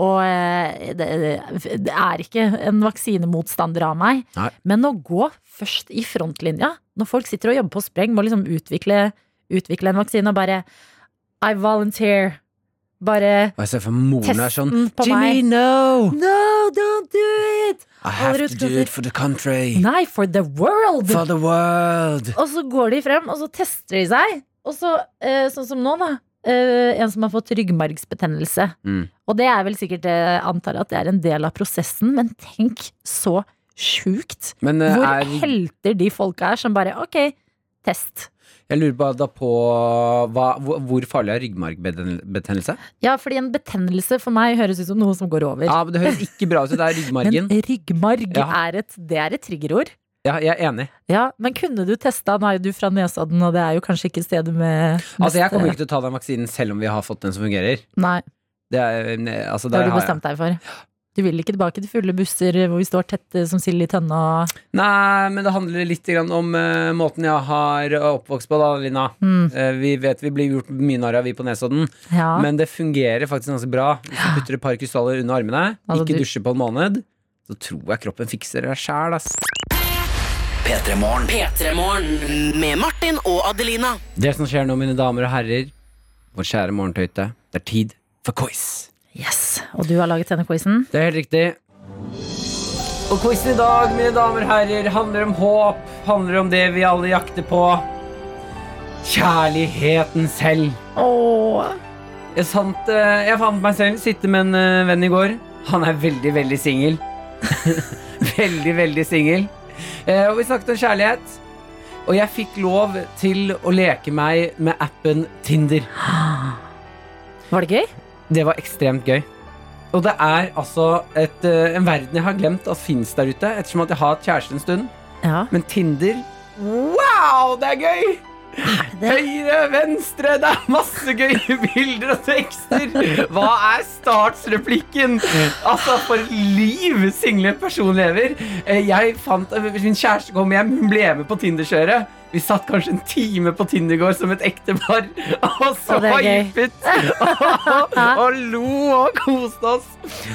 Speaker 2: Og eh, det, det- det er ikke en vaksinemotstander av meg. Men å gå først i frontlinja, når folk sitter og jobber på spreng med å liksom utvikle, utvikle en vaksine og bare I volunteer. Bare
Speaker 3: Og jeg ser for meg moren er sånn
Speaker 2: Testen på
Speaker 3: Jimmy,
Speaker 2: meg.
Speaker 3: no!
Speaker 2: No, don't do it!
Speaker 3: I have to do it for the country.
Speaker 2: Nei, for the world!
Speaker 3: For the world!
Speaker 2: Og så går de frem, og så tester de seg. Og så, eh, sånn som nå, da. Eh, en som har fått ryggmargsbetennelse.
Speaker 3: Mm.
Speaker 2: Og det er vel sikkert eh, antar at det er en del av prosessen, men tenk så sjukt
Speaker 3: Men eh,
Speaker 2: hvor
Speaker 3: er,
Speaker 2: helter de folka er som bare OK, test.
Speaker 3: jeg lurer bare da på hva, hvor, hvor farlig er ryggmargbetennelse?
Speaker 2: Ja, fordi en betennelse for meg høres ut som noe som går over.
Speaker 3: Ja, men Det høres ikke bra ut. Det er
Speaker 2: men eh,
Speaker 3: ryggmargen.
Speaker 2: ryggmarg
Speaker 3: Ja.
Speaker 2: er et, det er et triggerord.
Speaker 3: Ja, jeg er enig.
Speaker 2: Ja, Men kunne du testa? Nå er jo du fra Nesodden, og det er jo kanskje ikke stedet med
Speaker 3: Altså, Jeg kommer
Speaker 2: beste-
Speaker 3: ikke til å ta den vaksinen selv om vi har fått den som fungerer.
Speaker 2: Nei,
Speaker 3: Det er, ne- altså,
Speaker 2: det
Speaker 3: der
Speaker 2: har du
Speaker 3: har jeg-
Speaker 2: bestemt deg for. Du vil ikke tilbake til fulle busser hvor vi står tett eh, som sild i tønne og
Speaker 3: Nei, men det handler litt grann om eh, måten jeg har oppvokst på, da, Lina.
Speaker 2: mm,
Speaker 3: Eh, vi vet vi blir gjort mye narr av, vi på Nesodden,
Speaker 2: Ja.
Speaker 3: men det fungerer faktisk ganske bra. Hvis du putter et par krystaller under armene,
Speaker 2: Altså,
Speaker 3: ikke
Speaker 2: du-
Speaker 3: dusjer på en måned, så tror jeg kroppen fikser det sjæl, ass.
Speaker 5: P3-morgen. Med Martin og Adelina.
Speaker 3: Det som skjer nå, mine damer og herrer, vår kjære morgentøyte, det er tid for quiz.
Speaker 2: Yes! Og du har laget denne quizen?
Speaker 3: Det er helt riktig. Og quizen i dag, mine damer og herrer, handler om håp. Handler om det vi alle jakter på. Kjærligheten selv.
Speaker 2: Åh.
Speaker 3: Jeg, sant, eh, jeg fant meg selv sitte med en eh, venn i går. Han er veldig, veldig singel. veldig, veldig singel. Eh, Og vi snakket om kjærlighet. Og jeg fikk lov til å leke meg med appen Tinder.
Speaker 2: Var det gøy?
Speaker 3: Det var ekstremt gøy. Og det er altså et, eh, en verden jeg har glemt at fins der ute, ettersom at jeg har hatt kjæreste en stund.
Speaker 2: Ja.
Speaker 3: Men Tinder Wow, det er gøy!
Speaker 4: Høyre, venstre, det er masse gøye bilder og tekster. Hva er startsreplikken? Altså, for et liv single person lever. Eh, Jeg fant, eh, Min kjæreste kom hjem, hun ble med på Tinder-kjøret. Vi satt kanskje en time på Tinder i går som et ektepar og
Speaker 2: Å,
Speaker 4: så
Speaker 2: det er gøy.
Speaker 4: hypet og, og lo og koste oss.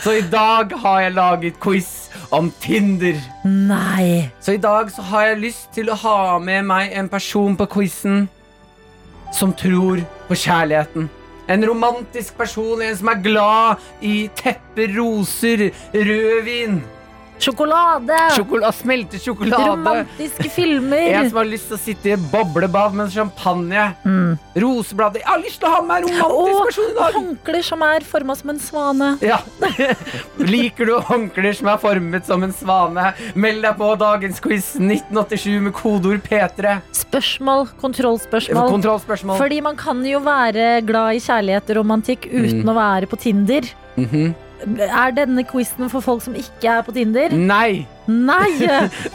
Speaker 4: Så i dag har jeg laget quiz om Tinder.
Speaker 2: Nei.
Speaker 3: Så i dag så har jeg lyst til å ha med meg en person på quizen som tror på kjærligheten. En romantisk person, en som er glad i tepper, roser, rødvin,
Speaker 2: Sjokolade!
Speaker 3: sjokolade, smeltet sjokolade.
Speaker 2: Romantiske
Speaker 3: En
Speaker 2: filmer.
Speaker 3: som har lyst til å sitte i et boblebad med champagne. Roseblader. Jeg har lyst til å ha med en romantisk
Speaker 2: Og
Speaker 3: person i dag!
Speaker 2: håndklær som er forma som en svane.
Speaker 3: Ja. Liker du håndklær som er formet som en svane? Meld deg på dagens quiz 1987 med kodeord P3.
Speaker 2: Spørsmål, kontrollspørsmål.
Speaker 3: Kontrollspørsmål.
Speaker 2: Fordi man kan jo være glad i kjærlighet og romantikk uten å være på Tinder.
Speaker 3: Mhm.
Speaker 2: Er denne quizen for folk som ikke er på Tinder?
Speaker 3: Nei!
Speaker 2: Nei!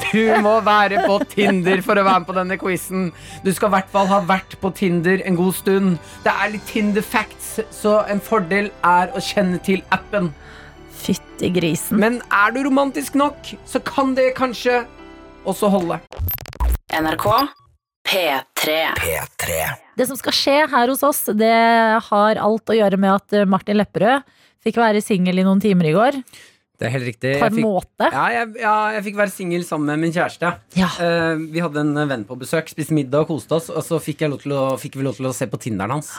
Speaker 3: Du må være på Tinder for å være med på denne quizen. Du skal i hvert fall ha vært på Tinder en god stund. Det er litt Tinder facts, så en fordel er å kjenne til appen.
Speaker 2: Fytti grisen.
Speaker 3: Men er du romantisk nok, så kan det kanskje også holde.
Speaker 5: NRK P3.
Speaker 2: Det som skal skje her hos oss, det har alt å gjøre med at eh, Martin Lepperød fikk være singel i noen timer i går.
Speaker 3: Det er helt riktig.
Speaker 2: På en måte.
Speaker 3: Ja, jeg, ja, jeg fikk være singel sammen med min kjæreste.
Speaker 2: Ja.
Speaker 3: Eh, vi hadde en venn på besøk, spiste middag og koste oss, og så fikk, jeg lov til å, fikk vi lov til å se på Tinderen hans.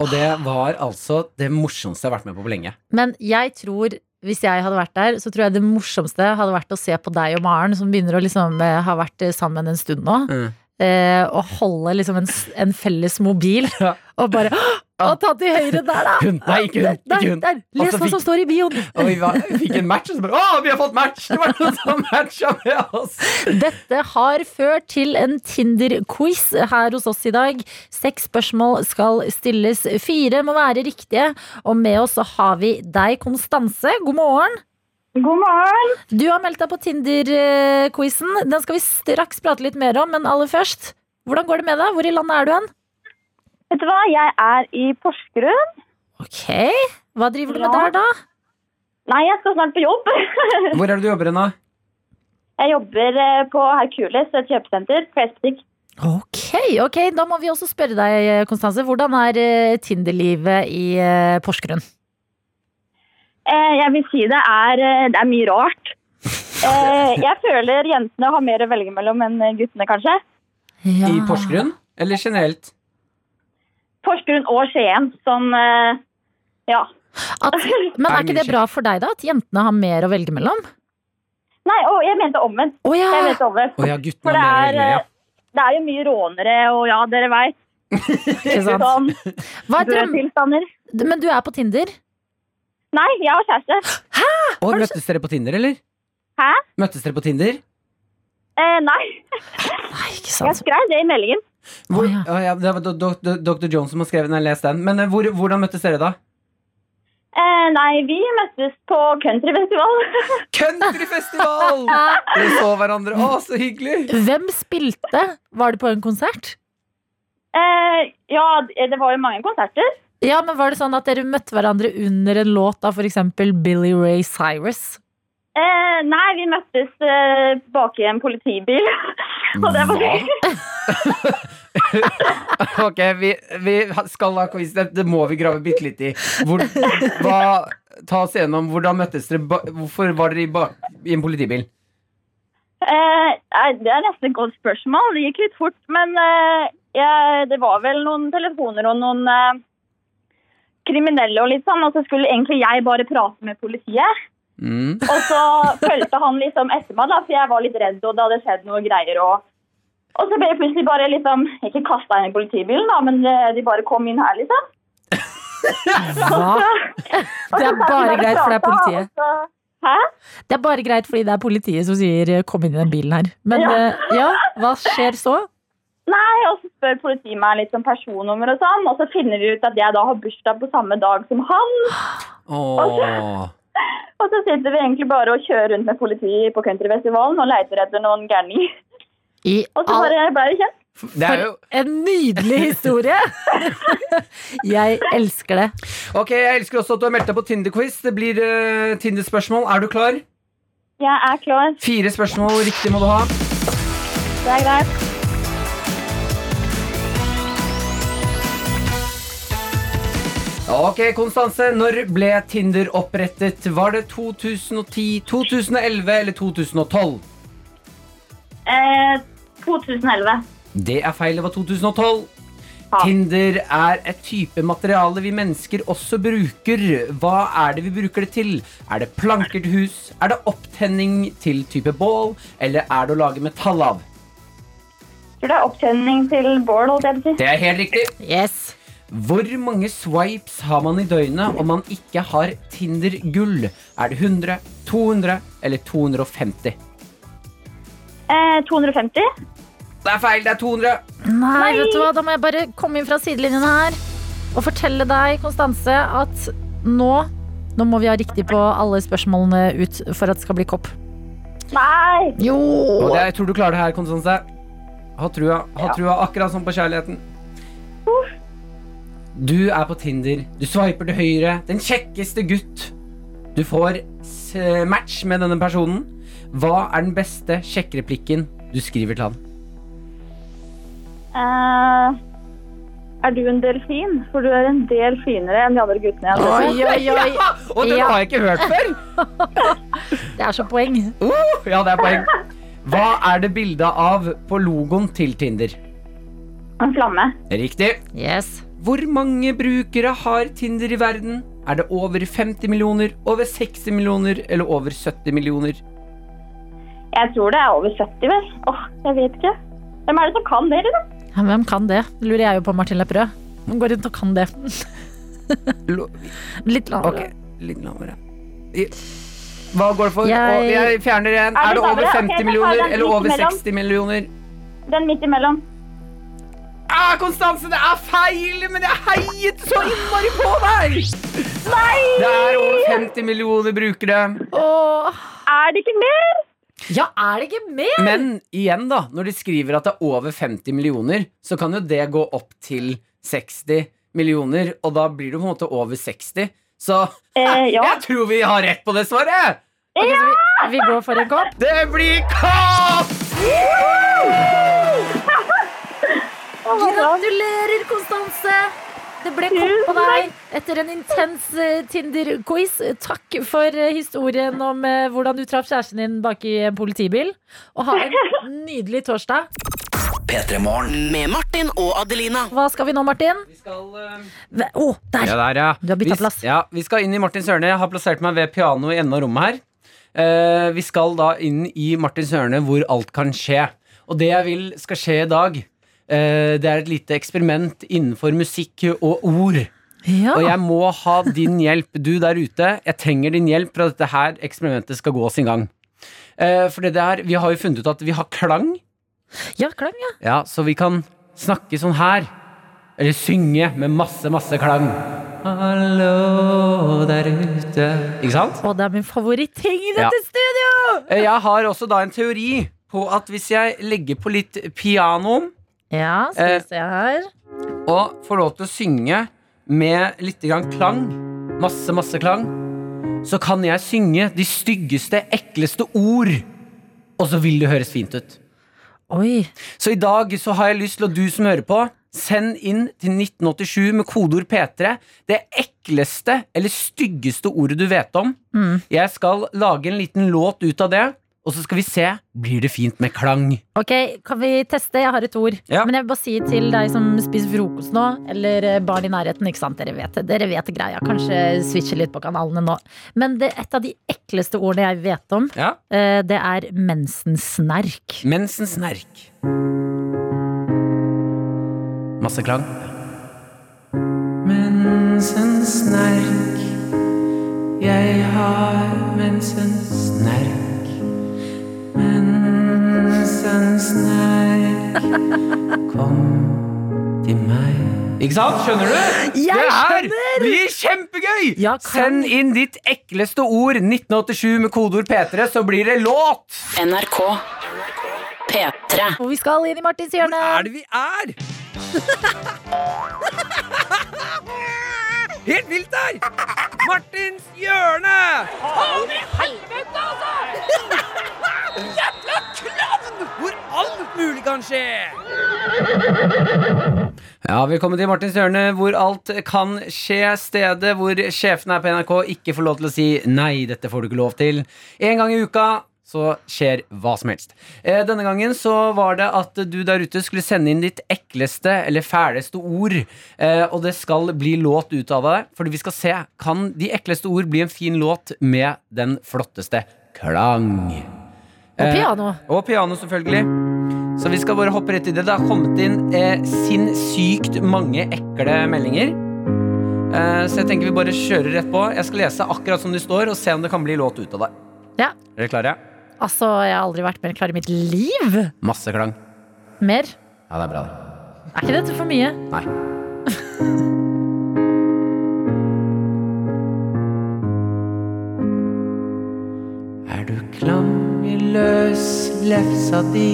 Speaker 3: Og det var altså det morsomste jeg har vært med på på lenge.
Speaker 2: Men jeg tror, hvis jeg hadde vært der, så tror jeg det morsomste hadde vært å se på deg og Maren, som begynner å liksom eh, ha vært eh, sammen en stund nå.
Speaker 3: Mm.
Speaker 2: Eh, og holde liksom en, s- en felles mobil
Speaker 3: Ja.
Speaker 2: og bare Å, ta til høyre der, da!
Speaker 3: Hun, nei, ikke hun,
Speaker 2: Der,
Speaker 3: ikke hun. Altså,
Speaker 2: der! Les
Speaker 3: Og så
Speaker 2: hva som
Speaker 3: fikk-
Speaker 2: står i bioen!
Speaker 3: Og vi, var, vi fikk en match, og så bare Å, vi har fått match! Det var noen som matcha med oss!
Speaker 2: Dette har ført til en Tinder-quiz her hos oss i dag. Seks spørsmål skal stilles. Fire må være riktige. Og med oss så har vi deg, Konstanse. God morgen.
Speaker 7: God morgen.
Speaker 2: Du har meldt deg på Tinder-quizen. Den skal vi straks prate litt mer om, men aller først. Hvordan går det med deg? Hvor i landet er du hen?
Speaker 7: Vet du hva, jeg er i Porsgrunn.
Speaker 2: Ok. Hva driver du med
Speaker 7: Bra.
Speaker 2: der, da?
Speaker 7: Nei, jeg skal snart på jobb.
Speaker 3: Hvor er det du jobber hen, da?
Speaker 7: Jeg jobber eh, på Hercules, et kjøpesenter. Klesbutikk.
Speaker 2: Ok, ok. Da må vi også spørre deg, Konstanse. Hvordan er eh, Tinder-livet i eh, Porsgrunn?
Speaker 7: Eh, Jeg vil si det er, eh, det er mye rart. Eh, Jeg føler jentene har mer å velge mellom enn guttene, kanskje.
Speaker 3: I Porsgrunn? Eller generelt?
Speaker 7: Porsgrunn og Skien, sånn eh, Ja.
Speaker 2: At, men
Speaker 3: Det
Speaker 2: er
Speaker 3: er
Speaker 2: ikke
Speaker 3: mye
Speaker 2: det bra for deg, da? At jentene har mer å velge mellom?
Speaker 7: Nei, å, jeg mente omvendt.
Speaker 2: Å ja!
Speaker 7: Jeg mente omvendt.
Speaker 3: Å ja, guttene
Speaker 7: For
Speaker 3: har
Speaker 7: det
Speaker 3: mer å
Speaker 7: er,
Speaker 3: velge med, ja.
Speaker 7: eh, det er jo mye rånere og ja, dere veit.
Speaker 2: Ikke sant?
Speaker 7: Sånn
Speaker 2: Hva er drøm...
Speaker 7: brødtilstander.
Speaker 2: Men du er på Tinder?
Speaker 7: Nei, jeg har kjæreste.
Speaker 3: Og møttes dere på Tinder, eller?
Speaker 7: Hæ?
Speaker 3: Møttes dere på Tinder?
Speaker 7: Eh, Nei,
Speaker 2: Nei, ikke
Speaker 7: jeg
Speaker 2: sant.
Speaker 7: skrev det i meldingen.
Speaker 3: Hvor,
Speaker 2: Å, ja.
Speaker 3: Å, ja, det var do- do- do- Dr. Jones som har skrevet den, jeg har lest den. Men eh, hvor, hvordan møttes dere, da?
Speaker 7: Eh, nei, vi møttes på countryfestival.
Speaker 3: Countryfestival! Dere så hverandre. Å, så hyggelig!
Speaker 2: Hvem spilte? Var det på en konsert?
Speaker 7: eh, ja, det var jo mange konserter.
Speaker 2: Ja, men var det sånn at dere møtte hverandre under en låt av f.eks. Billy Ray Cyrus?
Speaker 7: Eh, nei, vi møttes eh, bak i en politibil. Og det var
Speaker 3: Ok, vi, vi skal ha quiz. Det, det må vi grave bitte litt i. Hvor, hva, ta oss gjennom. Hvordan møttes dere? Ba, hvorfor var dere i, ba, i en politibil?
Speaker 7: eh, nei, Det er nesten et godt spørsmål. Det gikk litt fort. Men eh, jeg, det var vel noen telefoner og noen eh, kriminelle og litt sånn. Og så skulle egentlig jeg bare prate med politiet.
Speaker 3: Mm.
Speaker 7: Og så fulgte han liksom etter meg, da, for jeg var litt redd, og det hadde skjedd noe greier. Og, og så ble jeg plutselig bare liksom Ikke kasta inn i politibilen, da, men eh, de bare kom inn her, liksom.
Speaker 2: Hva?
Speaker 7: Og
Speaker 2: Det
Speaker 7: så
Speaker 2: er
Speaker 7: satt vi
Speaker 2: bare
Speaker 7: der og
Speaker 2: greit, for det er
Speaker 7: pratet,
Speaker 2: politiet.
Speaker 7: og så- Hæ?
Speaker 2: Det er bare greit fordi det er politiet som sier eh, 'kom inn i den bilen her'. Men
Speaker 7: Ja.
Speaker 2: eh, ja, hva skjer så?
Speaker 7: Nei, og så spør politiet meg litt om personnummer og sånn, og så finner de ut at jeg da har bursdag på samme dag som han.
Speaker 3: Åh.
Speaker 7: Og så sitter vi egentlig bare og kjører rundt med politiet på countryfestivalen og leter etter noen gærninger.
Speaker 2: I
Speaker 7: Og så
Speaker 2: all
Speaker 7: bare ble vi kjent.
Speaker 4: Det er jo
Speaker 2: En nydelig historie! jeg elsker det.
Speaker 3: Ok, Jeg elsker også at du har meldt deg på Tinder-quiz. Det blir eh, Tinder-spørsmål. Er du klar?
Speaker 7: Jeg er klar.
Speaker 3: Fire spørsmål riktig må du ha.
Speaker 7: Det er greit.
Speaker 3: Ok, Konstanse. Når ble Tinder opprettet? Var det 2010, 2011 eller 2012?
Speaker 7: Eh, 2011.
Speaker 3: Det er feil. Det var 2012.
Speaker 7: Ja.
Speaker 3: Tinder er et type materiale vi mennesker også bruker. Hva er det vi bruker det til? Er det planker til hus? Er det opptenning til type bål? Eller er det å lage metall av?
Speaker 7: Tror det er opptjening til bål, holdt jeg på å si.
Speaker 3: Det er helt riktig.
Speaker 2: Yes.
Speaker 3: Hvor mange swipes har man i døgnet om man ikke har Tinder-gull? Er det 100, 200 eller 250?
Speaker 7: Eh, 250.
Speaker 3: Det er feil, det er 200.
Speaker 2: Nei, vet du hva, da må jeg bare komme inn fra sidelinjen her og fortelle deg, Konstanse, at nå nå må vi ha riktig på alle spørsmålene ut for at det skal bli kopp.
Speaker 7: Nei!
Speaker 2: Jo!
Speaker 3: Og det, jeg tror du klarer det her, Konstanse. Ha trua, ha trua, akkurat som på kjærligheten. Du er på Tinder, du swiper til høyre, den kjekkeste gutt. Du får s- match med denne personen. Hva er den beste sjekkereplikken du skriver til han?
Speaker 7: Eh, er du en delfin? For du er en del finere enn de andre guttene jeg har sett.
Speaker 2: Oi, oi, oi.
Speaker 3: Og den
Speaker 2: Ja.
Speaker 3: har jeg ikke hørt før!
Speaker 2: Det er så poeng.
Speaker 3: Uh, ja, det er poeng. Hva er det bilde av på logoen til Tinder?
Speaker 7: En flamme.
Speaker 3: Riktig.
Speaker 2: Yes.
Speaker 3: Hvor mange brukere har Tinder i verden? Er det over 50 millioner, over 60 millioner eller over 70 millioner?
Speaker 7: Jeg tror det er over 70, vel? Åh, jeg vet ikke. Hvem er det som kan det, liksom?
Speaker 2: Ja, men Hvem kan det? Lurer jeg jo på Martin Lepperød. Han går rundt og kan det.
Speaker 3: Lo-
Speaker 2: Litt
Speaker 3: Ok,
Speaker 2: lavere.
Speaker 3: litt lavere. I- Hva går det for?
Speaker 2: Jeg-
Speaker 3: Å, jeg fjerner en.
Speaker 7: Er
Speaker 3: Er
Speaker 7: det
Speaker 3: det over
Speaker 7: lavere?
Speaker 3: 50
Speaker 7: Ok, da tar jeg
Speaker 3: millioner
Speaker 7: den
Speaker 3: eller
Speaker 7: midt
Speaker 3: over
Speaker 7: imellom.
Speaker 3: 60 millioner?
Speaker 7: Den midt imellom.
Speaker 3: Ah, Konstanse, det er feil, men jeg heiet så innmari på deg! Det er over 50 millioner brukere.
Speaker 2: Åh.
Speaker 7: Er det ikke mer?
Speaker 2: Ja, er det ikke mer?
Speaker 3: Men igjen, da. Når de skriver at det er over 50 millioner, så kan jo det gå opp til 60 millioner, og da blir det på en måte over 60. Så
Speaker 7: Eh, ja.
Speaker 3: jeg tror vi har rett på det svaret!
Speaker 2: Ok, så vi, vi går for en kopp.
Speaker 3: Det blir kaos!
Speaker 2: Gratulerer, Konstanse! Det ble kopp på deg etter en intens eh, Tinder-quiz. Takk for eh, historien om eh, hvordan du traff kjæresten din bak i en politibil. Og ha en nydelig torsdag.
Speaker 8: Med Martin og Adelina.
Speaker 2: Hva skal vi nå, Martin?
Speaker 3: Vi skal, eh,
Speaker 2: Ve- Å, der!
Speaker 3: Ja, der, ja.
Speaker 2: Du har byttet
Speaker 3: Vi-
Speaker 2: plass.
Speaker 3: Ja, vi skal inn i Martin Sørne. Jeg har plassert meg ved pianoet i enden av rommet her. Eh, vi skal da inn i Martin Sørne, hvor alt kan skje. Og det jeg vil skal skje i dag, eh, det er et lite eksperiment innenfor musikk og ord. Og
Speaker 2: Ja.
Speaker 3: jeg må ha din hjelp, du der ute. Jeg trenger din hjelp for at dette her eksperimentet skal gå sin gang. Eh, for det der, vi har jo funnet ut at vi har klang,
Speaker 2: ja, klang, ja.
Speaker 3: ja, så vi kan snakke sånn her. Eller synge med masse, masse klang. Hallo der ute. Ikke sant?
Speaker 2: Å, det er min favoritting i dette
Speaker 3: Ja.
Speaker 2: studio!
Speaker 3: Eh, Jeg har også da en teori på at hvis jeg legger på litt piano
Speaker 2: Ja, skal
Speaker 3: Eh.
Speaker 2: vi se her.
Speaker 3: og får lov til å synge med litt grann klang, masse, masse klang, så kan jeg synge de styggeste, ekleste ord, og så vil det høres fint ut.
Speaker 2: Oi.
Speaker 3: Så i dag så har jeg lyst til at du som hører på, send inn til 1987 med kodeord P3 det ekleste eller styggeste ordet du vet om.
Speaker 2: Mm.
Speaker 3: Jeg skal lage en liten låt ut av det, og så skal vi se, blir det fint med klang?
Speaker 2: Ok, kan vi teste? Jeg har et ord.
Speaker 3: Ja.
Speaker 2: Men jeg vil bare si til deg som spiser frokost nå, eller eh, barn i nærheten, ikke sant? Dere vet, dere vet greia. Kanskje switche litt på kanalene nå. Men det, et av de ekleste ordene jeg vet om,
Speaker 3: Ja.
Speaker 2: eh, det er mensensnerk.
Speaker 3: Mensensnerk. Masse klang. Mensensnerk. Jeg har mensensnerk. Mensensnerk. Kom til meg. Ikke sant? Skjønner du?
Speaker 2: Jeg
Speaker 3: det her
Speaker 2: skjønner!
Speaker 3: blir kjempegøy!
Speaker 2: Ja, kan-
Speaker 3: Send inn ditt ekleste ord 1987 med kodeord P3, så blir det låt!
Speaker 5: NRK P3. P3.
Speaker 2: Og vi skal inn i Martins hjørne.
Speaker 3: Hvor er det vi er? Helt vilt her! Martins hjørne! Hvor alt mulig kan skje! Ja, Velkommen til Martins hjørne, hvor alt kan skje. Stedet hvor sjefene her på NRK ikke får lov til å si 'nei, dette får du ikke lov til'. En gang i uka så skjer hva som helst. Eh, denne gangen så var det at du der ute skulle sende inn ditt ekleste eller fæleste ord. Eh, og det skal bli låt ut av deg, fordi vi skal se kan de ekleste ord bli en fin låt med den flotteste klang. Eh.
Speaker 2: Og piano.
Speaker 3: Og piano, selvfølgelig. Så vi skal bare hoppe rett i det. Det har kommet inn eh, sinnssykt mange ekle meldinger. Eh, så jeg tenker vi bare kjører rett på. Jeg skal lese akkurat som de står, og se om det kan bli låt ut av det.
Speaker 2: Ja.
Speaker 3: Er dere klare?
Speaker 2: Altså, jeg har aldri vært mer klar i mitt liv.
Speaker 3: Masse klang.
Speaker 2: Mer?
Speaker 3: Ja, det er bra, det.
Speaker 2: Er ikke dette for mye?
Speaker 3: Nei. er du klam i løs lefsa di?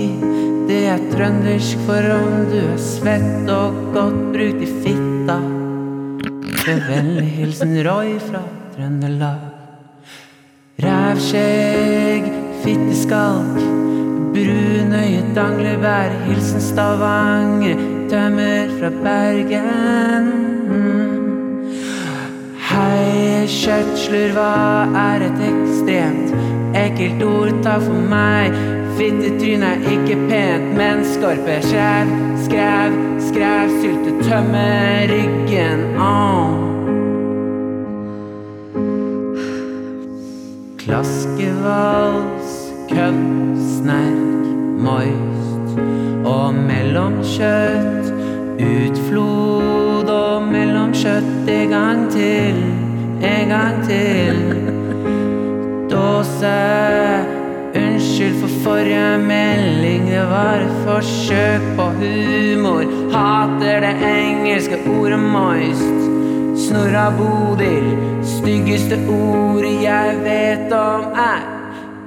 Speaker 3: Det er trøndersk for om du er svett og godt brut i fitta. Med vennlig hilsen Roy fra Trøndelag. Rævskjegg, fitteskalk, brunøye danglebær, hilsen Stavanger, tømmer fra Bergen. Hei, kjøtsler, hva er et ekstremt ekkelt ord, ta for meg. Fittetryn er ikke pent, men skorpe skjær, skræv, skræv, sylte, tømme ryggen. Åh. Klaskevals, kødd, snerk, moist og mellomkjøtt. Utflod og mellomkjøtt en gang til, en gang til. Dåse, unnskyld for forrige melding, det var et forsøk på humor. Hater det engelske ordet moist. Snorra Bodil, styggeste ordet jeg vet om er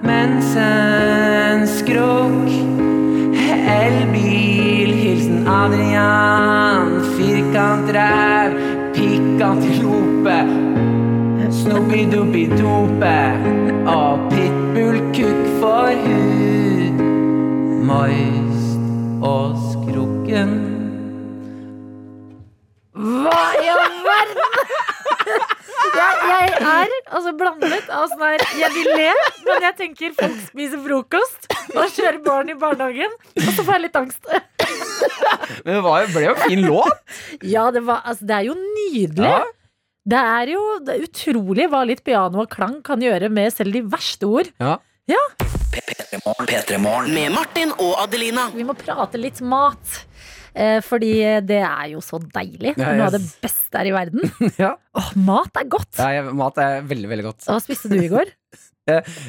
Speaker 3: mensenskrukk. Elbil, hilsen Adrian. Firkantræv, pikkantilope. Snobbidubidope og pitbullkukk for hud. Moist og skrukken.
Speaker 2: Hva i all verden?! Jeg, jeg er altså blandet av sånn her Jeg vil le, men jeg tenker folk spiser frokost og kjører barn i barnehagen. Og så får jeg litt angst.
Speaker 3: Men det var jo- ble jo en fin låt.
Speaker 2: Ja, det, var, altså, det er jo nydelig.
Speaker 3: Ja.
Speaker 2: Det er jo det er utrolig hva litt piano og klang kan gjøre med selv de verste ord.
Speaker 3: Ja.
Speaker 8: Med Martin og Adelina.
Speaker 2: Vi må prate litt mat. Eh, fordi det er jo så deilig. Det
Speaker 3: Ja,
Speaker 2: er noe av det
Speaker 3: yes.
Speaker 2: beste her i verden.
Speaker 3: Ja.
Speaker 2: Åh, mat er godt!
Speaker 3: Ja, jeg, mat er veldig, veldig godt.
Speaker 2: Hva spiste du i går?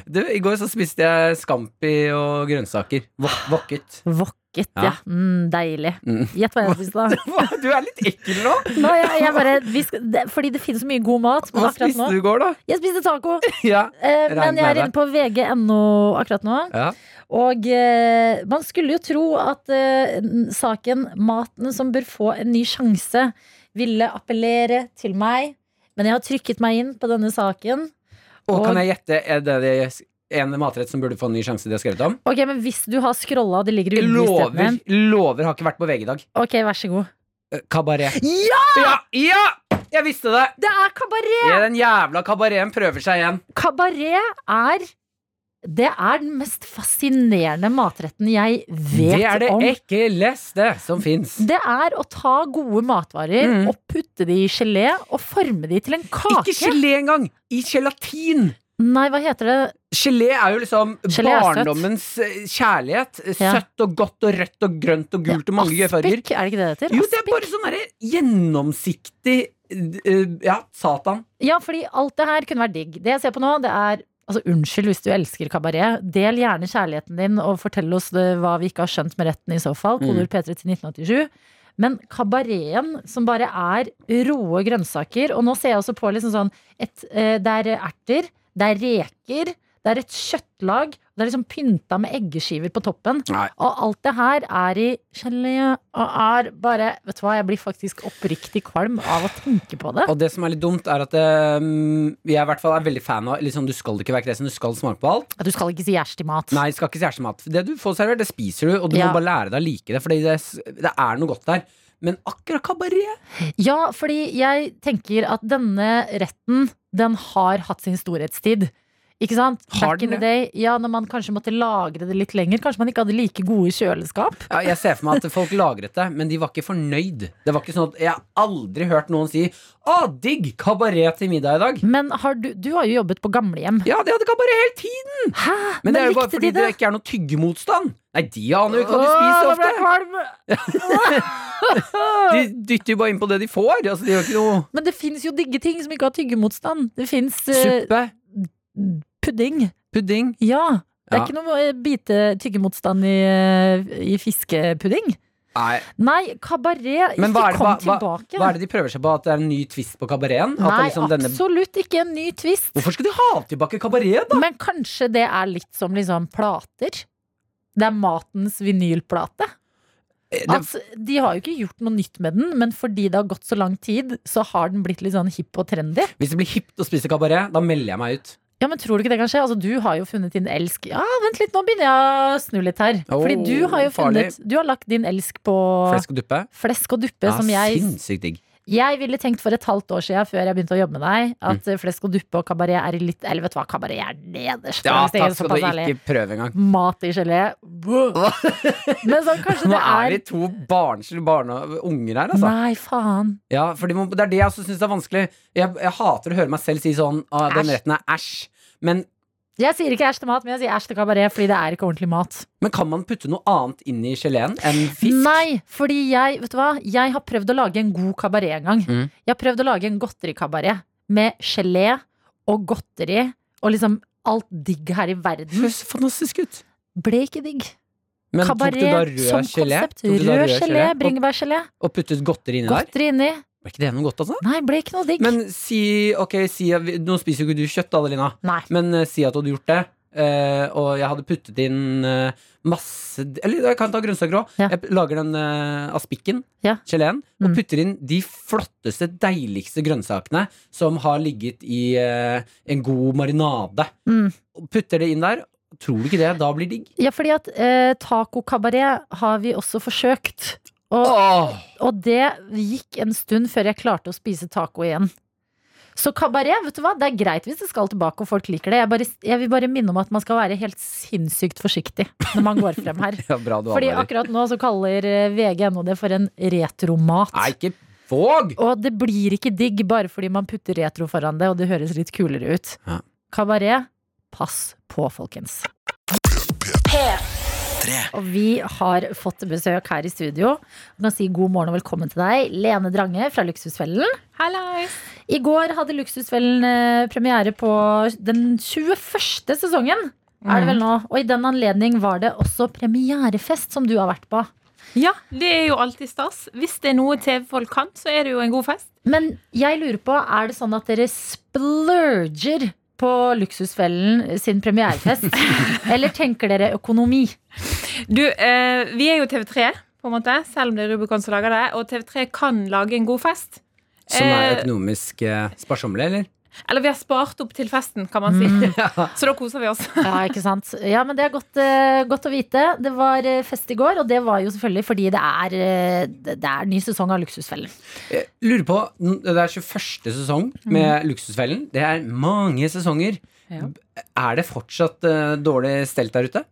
Speaker 3: Du, I går så spiste jeg scampi og grønnsaker. Vok- Vokket.
Speaker 2: Vokket, ja.
Speaker 3: Ja.
Speaker 2: Mm, deilig.
Speaker 3: Mm.
Speaker 2: Gjett hva jeg spiste, da.
Speaker 3: Hva, Du er litt ekkel nå!
Speaker 2: Nå, jeg, jeg bare, vi skal, det, fordi det finnes så mye god mat. Men
Speaker 3: Hva
Speaker 2: akkurat
Speaker 3: spiste
Speaker 2: nå
Speaker 3: du i går, da?
Speaker 2: Jeg spiste taco,
Speaker 3: Ja.
Speaker 2: eh, men
Speaker 3: Regner
Speaker 2: jeg er
Speaker 3: det.
Speaker 2: inne på vg.no akkurat nå.
Speaker 3: Ja.
Speaker 2: Og eh, man skulle jo tro at eh, n- saken 'Maten som bør få en ny sjanse' ville appellere til meg. Men jeg har trykket meg inn på denne saken.
Speaker 3: Og
Speaker 2: Og-
Speaker 3: kan jeg gjette er det, det er en matrett som burde få en ny sjanse? Det har skrevet om.
Speaker 2: Ok, Men hvis du har scrolla, det ligger i
Speaker 3: Jeg
Speaker 2: underlisten
Speaker 3: Lover,
Speaker 2: min.
Speaker 3: lover har ikke vært på VG i dag.
Speaker 2: Ok, vær så god.
Speaker 3: Eh, Kabaret.
Speaker 2: Ja!
Speaker 3: Ja! Ja! Jeg visste det!
Speaker 2: Det er kabaret!
Speaker 3: Ja, Den jævla kabareten prøver seg igjen.
Speaker 2: Kabaret er Det er den mest fascinerende matretten jeg vet
Speaker 3: Det er det
Speaker 2: om.
Speaker 3: ekleste som fins.
Speaker 2: Det er å ta gode matvarer
Speaker 3: Mm.
Speaker 2: og putte de i gelé og forme de til en kake.
Speaker 3: Ikke gelé engang! I gelatin!
Speaker 2: Nei, hva heter det?
Speaker 3: Gelé er jo liksom
Speaker 2: Gelé er søtt.
Speaker 3: barndommens eh, kjærlighet.
Speaker 2: Ja.
Speaker 3: Søtt og godt og rødt og grønt og gult og mange gøye farger.
Speaker 2: Aspik, er det ikke det det heter?
Speaker 3: Jo, det er
Speaker 2: Aspik.
Speaker 3: bare sånn derre gjennomsiktig eh, Ja, Satan.
Speaker 2: Ja, fordi alt det her kunne vært digg. Det jeg ser på nå, det er Altså, Unnskyld hvis du elsker kabaret. Del gjerne kjærligheten din og fortell oss det, hva vi ikke har skjønt med retten i så fall. Kodord P3 til 1987. Men kabareten som bare er råe grønnsaker Og nå ser jeg også på liksom sånn et, eh, Det er erter, det er reker, Det er et kjøttlag. Det er liksom pynta med eggeskiver på toppen.
Speaker 3: Nei.
Speaker 2: Og alt det her er i gelé og er bare Vet du hva, jeg blir faktisk oppriktig kvalm av å tenke på det.
Speaker 3: Og det som er litt dumt, er at eh, jeg i hvert fall er veldig fan av liksom, Du skal ikke være kresen, du skal smake på alt.
Speaker 2: Du skal ikke si gjerst til mat.
Speaker 3: Nei, det skal ikke si ærsemat. Det du får servert, det spiser du, og du
Speaker 2: Ja.
Speaker 3: må bare lære deg å like det, Fordi det, s- det er noe godt der. Men akkurat kabaret
Speaker 2: Ja, fordi jeg tenker at denne retten, den har hatt sin storhetstid. Ikke sant?
Speaker 3: Har
Speaker 2: Back in
Speaker 3: den
Speaker 2: the day, ja, Når man kanskje måtte lagre det litt lenger. Kanskje man ikke hadde like gode kjøleskap.
Speaker 3: ja, Jeg ser for meg at folk lagret det, men de var ikke fornøyd. Det var ikke sånn at Jeg har aldri hørt noen si 'Å, digg! Kabaret til middag i dag'.
Speaker 2: Men har du, du har jo jobbet på gamlehjem.
Speaker 3: Ja, de hadde kabaret hele tiden!
Speaker 2: Hæ?
Speaker 3: Men, det er jo bare
Speaker 2: likte
Speaker 3: fordi
Speaker 2: de
Speaker 3: det?
Speaker 2: det?
Speaker 3: ikke er noe tyggemotstand. Nei, de aner jo ikke hva de spiser
Speaker 2: Åh, da ble jeg
Speaker 3: ofte.
Speaker 2: kvalm!
Speaker 3: De dytter jo bare inn på det de får. Altså, de har ikke noe
Speaker 2: Men det fins jo digge ting som ikke har tyggemotstand. Det fins
Speaker 3: suppe,
Speaker 2: pudding.
Speaker 3: pudding.
Speaker 2: Ja. Det er
Speaker 3: Ja.
Speaker 2: ikke noe eh, bite tyggemotstand i, eh, i fiskepudding.
Speaker 3: Nei,
Speaker 2: Nei, kabaret. Ikke
Speaker 3: Men hva er det-
Speaker 2: kom
Speaker 3: hva- hva-
Speaker 2: tilbake.
Speaker 3: Hva er det de prøver seg på? At det er en ny twist på kabareten? At det
Speaker 2: Nei,
Speaker 3: liksom denne...
Speaker 2: absolutt ikke en ny twist.
Speaker 3: Hvorfor skal de ha tilbake kabaret, da?
Speaker 2: Men kanskje det er litt som liksom plater. Det er matens vinylplate.
Speaker 3: Det,
Speaker 2: Altså, de har jo ikke gjort noe nytt med den, men fordi det har gått så lang tid, så har den blitt litt sånn hipp og trendy.
Speaker 3: hvis det blir hipt å spise kabaret, da melder jeg meg ut.
Speaker 2: Ja, men tror du ikke det kan skje? Altså, du har jo funnet din elsk Ja, vent litt, nå begynner jeg å snu litt her.
Speaker 3: Åh,
Speaker 2: fordi du har jo
Speaker 3: farlig.
Speaker 2: funnet Du har lagt din elsk på
Speaker 3: Flesk og duppe.
Speaker 2: Flesk og duppe,
Speaker 3: Ja,
Speaker 2: som jeg
Speaker 3: Sinnssykt digg.
Speaker 2: Jeg ville tenkt for et halvt år siden, før jeg begynte å jobbe med deg, at
Speaker 3: Mm.
Speaker 2: eh, flesk og duppe og kabaret er i litt Eller vet du hva, kabaret er nederst.
Speaker 3: Ja,
Speaker 2: langs stigen,
Speaker 3: takk skal
Speaker 2: såpass
Speaker 3: du
Speaker 2: ærlig.
Speaker 3: ikke prøve engang.
Speaker 2: Mat i gelé. Men sånn, kanskje det
Speaker 3: Nå er
Speaker 2: er
Speaker 3: vi to barnslige barne unger her, altså.
Speaker 2: Nei, faen.
Speaker 3: Ja, for de må, det er det jeg også syns er vanskelig. Jeg, jeg hater å høre meg selv si sånn ah, Den
Speaker 2: Æsj.
Speaker 3: retten er æsj. Men,
Speaker 2: Jeg sier ikke æsj til mat, men jeg sier æsj til kabaret fordi det er ikke ordentlig mat.
Speaker 3: men kan man putte noe annet inn i geleen enn fisk?
Speaker 2: Nei, fordi jeg, vet du hva? Jeg har prøvd å lage en god kabaret en gang.
Speaker 3: Mm.
Speaker 2: Jeg har prøvd å lage en godterikabaret med gelé og godteri og liksom alt digg her i
Speaker 3: Det
Speaker 2: verden.
Speaker 3: høres fantastisk ut.
Speaker 2: Ble ikke digg.
Speaker 3: Men tok du da
Speaker 2: Kabaret som
Speaker 3: rød gelé?
Speaker 2: konsept.
Speaker 3: Tok du da
Speaker 2: Rød gelé,
Speaker 3: og-
Speaker 2: bringebærgelé.
Speaker 3: og puttet godteri inni der.
Speaker 2: Godteri inni.
Speaker 3: Var ikke det noe godt, altså?
Speaker 2: Nei, ble ikke noe digg.
Speaker 3: Men si Ok, si Nå spiser jo ikke du kjøtt, Adelina,
Speaker 2: Nei.
Speaker 3: men eh, si at du hadde gjort det. eh, og jeg hadde puttet inn eh, masse Eller jeg kan ta grønnsaker òg.
Speaker 2: Ja.
Speaker 3: Jeg lager den eh, aspikken,
Speaker 2: Ja.
Speaker 3: geleen,
Speaker 2: Mm.
Speaker 3: og putter inn de flotteste, deiligste grønnsakene som har ligget i eh, en god marinade.
Speaker 2: Mm.
Speaker 3: Og putter det inn der. Tror du ikke det? Da blir det digg.
Speaker 2: Ja, fordi at eh, tacokabaret har vi også forsøkt. Og,
Speaker 3: Åh!
Speaker 2: og det gikk en stund før jeg klarte å spise taco igjen. Så kabaret, vet du hva, det er greit hvis det skal tilbake og folk liker det. Jeg, bare, jeg vil bare minne om at man skal være helt sinnssykt forsiktig når man går frem her.
Speaker 3: Ja, bra du
Speaker 2: Fordi
Speaker 3: advarer.
Speaker 2: akkurat nå så kaller eh, VG.no det for en retromat.
Speaker 3: Nei, ikke våg!
Speaker 2: Og det blir ikke digg bare fordi man putter retro foran det, og det høres litt kulere ut.
Speaker 3: Ja.
Speaker 2: Kabaret, pass på, folkens. Og vi har fått besøk her i studio. Vi kan si god morgen og velkommen til deg, Lene Drange fra Luksusfellen. I går hadde Luksusfellen eh, premiere på den 21. sesongen. Er det vel nå? Og i den anledning var det også premierefest som du har vært på.
Speaker 9: Ja, det er jo alltid stas. Hvis det er noe TV-folk kan, så er det jo en god fest.
Speaker 2: Men jeg lurer på, er det sånn at dere splurger på Luksusfellen sin premierefest? Eller tenker dere økonomi?
Speaker 9: Du, eh, vi er jo TV3, på en måte, selv om det er Rubicon som lager det. Og TV3 kan lage en god fest.
Speaker 3: Som er
Speaker 9: Eh,
Speaker 3: økonomisk eh, sparsommelig, eller?
Speaker 9: Eller vi har spart opp til festen, kan man si. Så da koser vi oss.
Speaker 2: Ja, ikke sant? Ja, men det er godt, eh, godt å vite. Det var eh, fest i går, og det var jo selvfølgelig fordi det er, eh, det det er ny sesong av Luksusfellen.
Speaker 3: Jeg lurer på, n- Det er 21. sesong med
Speaker 2: Mhm.
Speaker 3: Luksusfellen. Det er mange sesonger.
Speaker 9: Ja.
Speaker 3: Er det fortsatt eh, dårlig stelt der ute?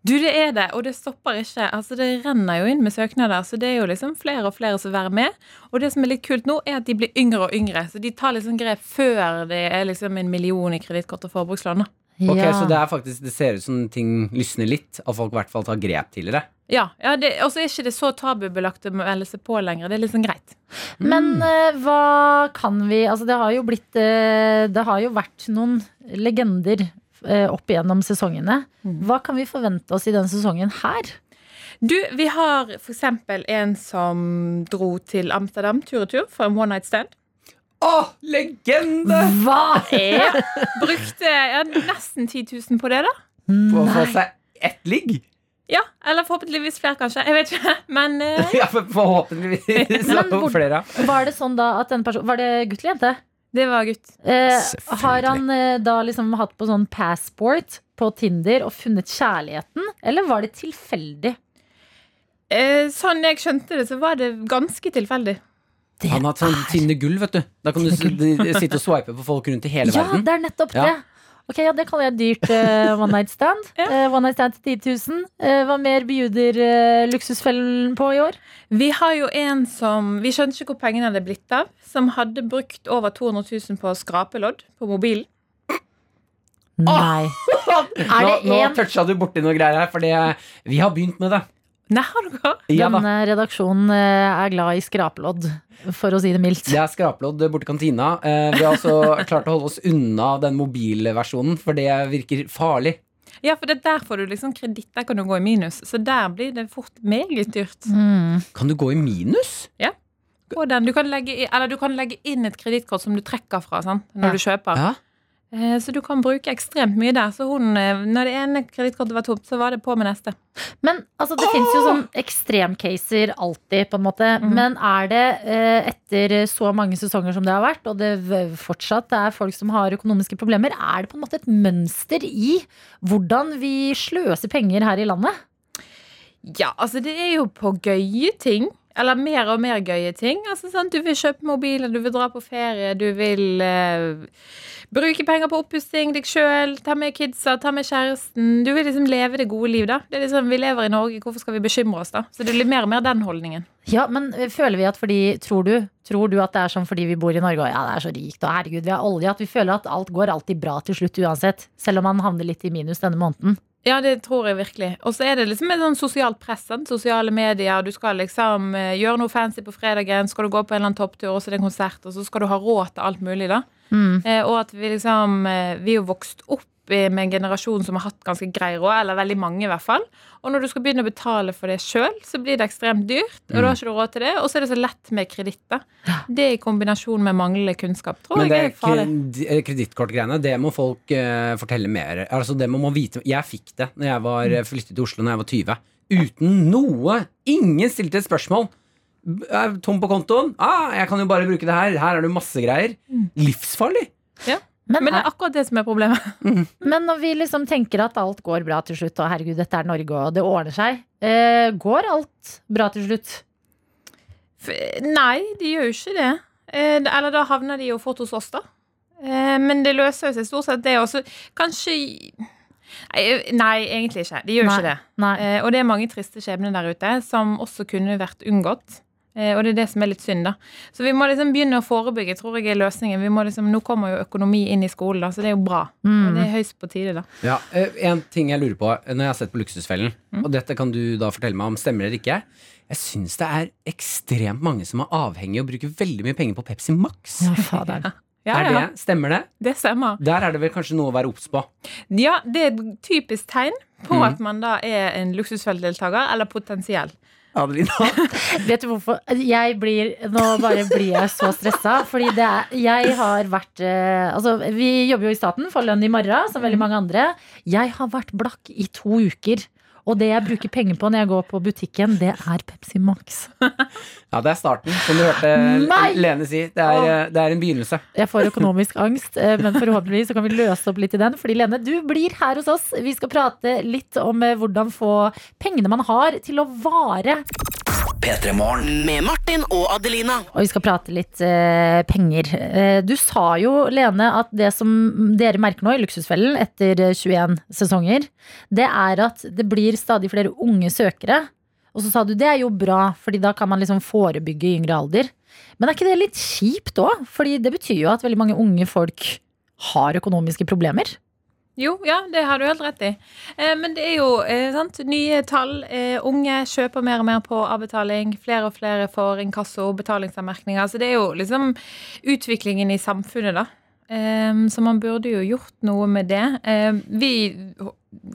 Speaker 9: Du, det er det, og det stopper ikke. Altså, Det renner jo inn med søknader, så det er jo liksom flere og flere som vil være med. Og det som er litt kult nå, er at de blir yngre og yngre. Så de tar liksom grep før det er liksom en million i kredittkort og forbrukslån. da.
Speaker 3: Ok,
Speaker 2: Ja.
Speaker 3: Så det, er faktisk, det ser ut som ting lysner litt, at folk i hvert fall tar grep tidligere.
Speaker 9: Ja, ja det- og så er ikke det så tabubelagt å melde seg på lenger. Det er liksom greit.
Speaker 2: Men eh, hva kan vi Altså, det har jo blitt eh, Det har jo vært noen legender eh, opp igjennom sesongene. Hva kan vi forvente oss i den sesongen her?
Speaker 9: Du, vi har f.eks. en som dro til Amsterdam tur og tur for en one night stand.
Speaker 4: Å, legende!
Speaker 2: Hva er
Speaker 9: Brukte ja, nesten 10 000 på det, da.
Speaker 2: Mm,
Speaker 4: På å få seg ett ligg?
Speaker 9: Ja, Eller forhåpentligvis flere, kanskje. Jeg vet ikke. Men eh,
Speaker 4: Ja, for forhåpentligvis.
Speaker 2: Men hvor-
Speaker 4: Og flere.
Speaker 2: Var det sånn da at denne personen Var det gutt eller jente?
Speaker 9: det var gutt.
Speaker 2: Eh,
Speaker 3: Selvfølgelig.
Speaker 2: har han eh, da liksom hatt på sånn passport på Tinder og funnet kjærligheten, eller var det tilfeldig?
Speaker 9: Eh, sånn jeg skjønte det, så var det ganske tilfeldig.
Speaker 3: Han har hatt sånn tynne gull, vet du. Da kan du s- de- sitte og swipe på folk rundt i hele
Speaker 2: Ja,
Speaker 3: verden.
Speaker 2: det er nettopp
Speaker 3: Ja.
Speaker 2: det. Ok, ja, Det kaller jeg dyrt eh, one night stand.
Speaker 9: Ja.
Speaker 2: Eh, one night stand til 10 000. Eh, hva mer bjuder eh, Luksusfellen på i år?
Speaker 9: Vi har jo en som Vi skjønte ikke hvor pengene hadde blitt av. Som hadde brukt over 200 000 på skrapelodd på mobilen.
Speaker 2: Nei. Er
Speaker 3: Nå,
Speaker 2: det
Speaker 3: nå
Speaker 2: én
Speaker 3: toucha du borti noe greier her, for det, vi har begynt med det.
Speaker 9: Nei, har du hva?
Speaker 3: Ja da.
Speaker 2: Denne redaksjonen eh, er glad i skrapelodd, for å si det mildt.
Speaker 3: Det er skraplodd borti kantina. Eh, Vi har altså klart å holde oss unna den mobilversjonen, for det virker farlig.
Speaker 9: Ja, for det der får du liksom kreditt. Der kan du gå i minus. Så der blir det fort meget dyrt.
Speaker 2: Mm.
Speaker 3: Kan du gå i minus?
Speaker 9: På den. Du, kan legge, i- eller du kan legge inn et kredittkort som du trekker fra sant? når
Speaker 2: Ja.
Speaker 9: du kjøper.
Speaker 3: Ja.
Speaker 9: Eh, Så du kan bruke ekstremt mye der. Så hun, eh, når det ene kredittkortet var tomt, så var det på med neste.
Speaker 2: Men altså, det fins jo sånn ekstremcaser alltid, på en måte.
Speaker 9: Mhm.
Speaker 2: Men er det, eh, etter så mange sesonger som det har vært, og det v- fortsatt er folk som har økonomiske problemer, er det på en måte et mønster i hvordan vi sløser penger her i landet?
Speaker 9: Ja, altså det er jo på gøye ting. Eller mer og mer gøye ting. Altså, sant? Du vil kjøpe mobiler, du vil dra på ferie, du vil eh, bruke penger på oppussing deg sjøl, ta med kidsa, ta med kjæresten. Du vil liksom leve det gode liv, da. Det er liksom, vi lever i Norge, hvorfor skal vi bekymre oss, da? Så det blir mer og mer den holdningen.
Speaker 2: Ja, men eh, føler vi at fordi Tror du, tror du at det er sånn fordi vi bor i Norge og ja, det er så rikt og herregud, vi har olje, at vi føler at alt går alltid bra til slutt uansett? Selv om man havner litt i minus denne måneden.
Speaker 9: Ja, det tror jeg virkelig. Og så er det liksom et sånn sosialt press. Sant? Sosiale medier. Du skal liksom eh, gjøre noe fancy på fredagen, skal du gå på en eller annen topptur, og så er det en konsert, og så skal du ha råd til alt mulig, da.
Speaker 2: Mm.
Speaker 9: Eh, og at vi liksom eh, Vi er jo vokst opp eh, med en generasjon som har hatt ganske grei råd, eller veldig mange i hvert fall. Og når du skal begynne å betale for det sjøl, så blir det ekstremt dyrt, og da har ikke du råd til det. Og så er det så lett med kreditt, da. Det i kombinasjon med manglende kunnskap tror
Speaker 3: Men det
Speaker 9: jeg er farlig.
Speaker 3: kredi- eh, kredittkortgreiene, det må folk eh, fortelle mer Altså det må man vite Jeg fikk det når jeg
Speaker 9: Mm.
Speaker 3: var, eh, flyttet til Oslo når jeg var 20. Uten noe! Ingen stilte et spørsmål! B- er Tom på kontoen? Ah, jeg kan jo bare bruke det her. Her er det jo masse greier.
Speaker 9: Mm.
Speaker 3: Livsfarlig!
Speaker 9: Men det er akkurat det som er problemet.
Speaker 2: Men når vi liksom tenker at alt går bra til slutt, og herregud, dette er Norge, og det ordner seg, eh, går alt bra til slutt?
Speaker 9: F nei, de gjør jo ikke det. Eh, det- eller da havner de jo fort hos oss, da. Eh, men det løser jo seg stort sett, det også. Kanskje Nei, eh, nei, egentlig ikke. De gjør
Speaker 2: Nei.
Speaker 9: ikke det.
Speaker 2: Nei.
Speaker 9: Eh, og det er mange triste skjebner der ute som også kunne vært unngått. Eh, og det er det som er litt synd, da. Så vi må liksom begynne å forebygge, tror jeg er løsningen. Vi må liksom, nå kommer jo økonomi inn i skolen, da, så det er jo bra. Og
Speaker 2: Mm.
Speaker 9: det er høyst på tide, da.
Speaker 3: Ja, eh, En ting jeg lurer på eh, når jeg har sett på Luksusfellen,
Speaker 9: Mm.
Speaker 3: og dette kan du da fortelle meg om stemmer eller ikke. Jeg syns det er ekstremt mange som er avhengige og bruker veldig mye penger på Pepsi Max.
Speaker 2: Ja, fader.
Speaker 9: Eh, Ja,
Speaker 3: er det,
Speaker 9: ja,
Speaker 3: Stemmer det?
Speaker 9: det stemmer.
Speaker 3: Der er det vel kanskje noe å være obs på.
Speaker 9: Ja, det er et typisk tegn på
Speaker 3: Mm.
Speaker 9: at man da er en luksusfeltdeltaker, eller potensiell.
Speaker 3: Adelina?
Speaker 2: Vet du hvorfor? Jeg blir, nå bare blir jeg så stressa. Fordi det er, jeg har vært eh, Altså, vi jobber jo i staten, får lønn i morgen, som
Speaker 9: Mm.
Speaker 2: veldig mange andre. Jeg har vært blakk i to uker. Og det jeg bruker penger på når jeg går på butikken, det er Pepsi Max.
Speaker 3: Ja, det er starten, som du hørte
Speaker 2: Nei!
Speaker 3: Lene si. Det er, eh, det er en begynnelse.
Speaker 2: Jeg får økonomisk angst, eh, men forhåpentligvis så kan vi løse opp litt i den. Fordi Lene, du blir her hos oss. Vi skal prate litt om eh, hvordan få pengene man har, til å vare.
Speaker 8: Med Martin og Adelina.
Speaker 2: Og vi skal prate litt eh, penger. Eh, du sa jo, Lene, at det som dere merker nå i Luksusfellen etter eh, 21 sesonger, det er at det blir stadig flere unge søkere. Og så sa du det er jo bra, fordi da kan man liksom forebygge i yngre alder. Men er ikke det litt kjipt òg? Fordi det betyr jo at veldig mange unge folk har økonomiske problemer.
Speaker 9: Jo, ja, det har du helt rett i. Eh, men det er jo eh, sant? nye tall. Eh, unge kjøper mer og mer på avbetaling. Flere og flere får inkasso og betalingsanmerkninger. Så det er jo liksom utviklingen i samfunnet, da. Eh, så man burde jo gjort noe med det. Eh, vi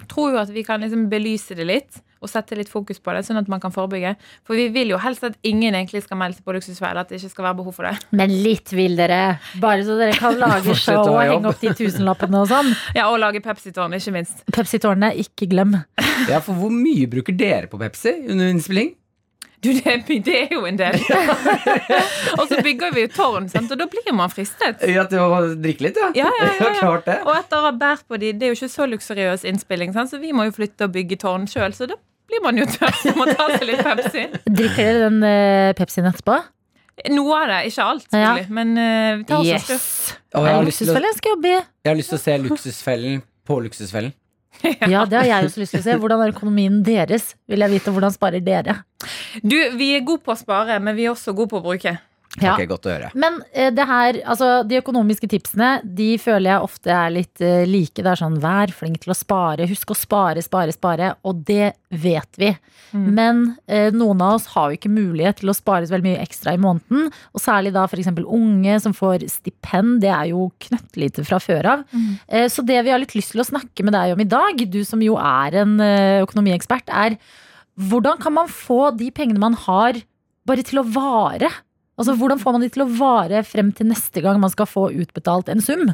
Speaker 9: tror jo at vi kan liksom belyse det litt. Og og sette litt fokus på det, sånn at man kan forebygge. For vi vil jo helst at ingen egentlig skal melde seg på luksusfelle, at det ikke skal være behov for det.
Speaker 2: Men litt vil dere. Bare så dere kan lage
Speaker 3: Fortsett
Speaker 2: show
Speaker 3: å
Speaker 2: og
Speaker 3: ha
Speaker 2: henge
Speaker 3: jobb.
Speaker 2: opp de tusenlappene og sånn.
Speaker 9: Ja, og lage Pepsi-tårn, ikke minst.
Speaker 2: Pepsi-tårnet, ikke glem.
Speaker 3: Ja, for hvor mye bruker dere på Pepsi under innspilling?
Speaker 9: Du, det, er my- det er jo en del. og så bygger vi jo tårn, sant? og da blir man fristet.
Speaker 3: Ja, til å drikke litt, ja.
Speaker 9: Ja, ja, ja, ja.
Speaker 3: klart det.
Speaker 9: Og etter å ha båret på de, det er jo ikke så luksuriøs innspilling, sant? så vi må jo flytte og bygge tårn sjøl. Så da blir man jo tørst og må ta seg litt Pepsi.
Speaker 2: Drikker dere den eh, Pepsien etterpå?
Speaker 9: Noe av det, ikke alt, selvfølgelig. Men eh, vi tar oss en slurk.
Speaker 3: Å,
Speaker 2: Det
Speaker 3: jeg,
Speaker 2: er
Speaker 3: har lyst til å,
Speaker 2: luksusfelle jeg skal jobbe i.
Speaker 3: jeg har lyst til å se Luksusfellen på Luksusfellen.
Speaker 2: Ja, det har jeg også lyst til å se. Hvordan er økonomien deres? Vil jeg vite hvordan sparer dere?
Speaker 9: Du, vi er gode på å spare, men vi er også gode på å bruke.
Speaker 2: Ja.
Speaker 3: Ok, godt å høre.
Speaker 2: Men eh, det her, altså de økonomiske tipsene, de føler jeg ofte er litt eh, like. Det er sånn vær flink til å spare, husk å spare, spare, spare. Og det vet vi.
Speaker 9: Mm.
Speaker 2: Men eh, noen av oss har jo ikke mulighet til å spare så veldig mye ekstra i måneden. Og særlig da f.eks. unge som får stipend, det er jo knøttlite fra før av.
Speaker 9: Mm.
Speaker 2: Eh, så det vi har litt lyst til å snakke med deg om i dag, du som jo er en eh, økonomiekspert, er hvordan kan man få de pengene man har, bare til å vare? Altså, Hvordan får man de til å vare frem til neste gang man skal få utbetalt en sum?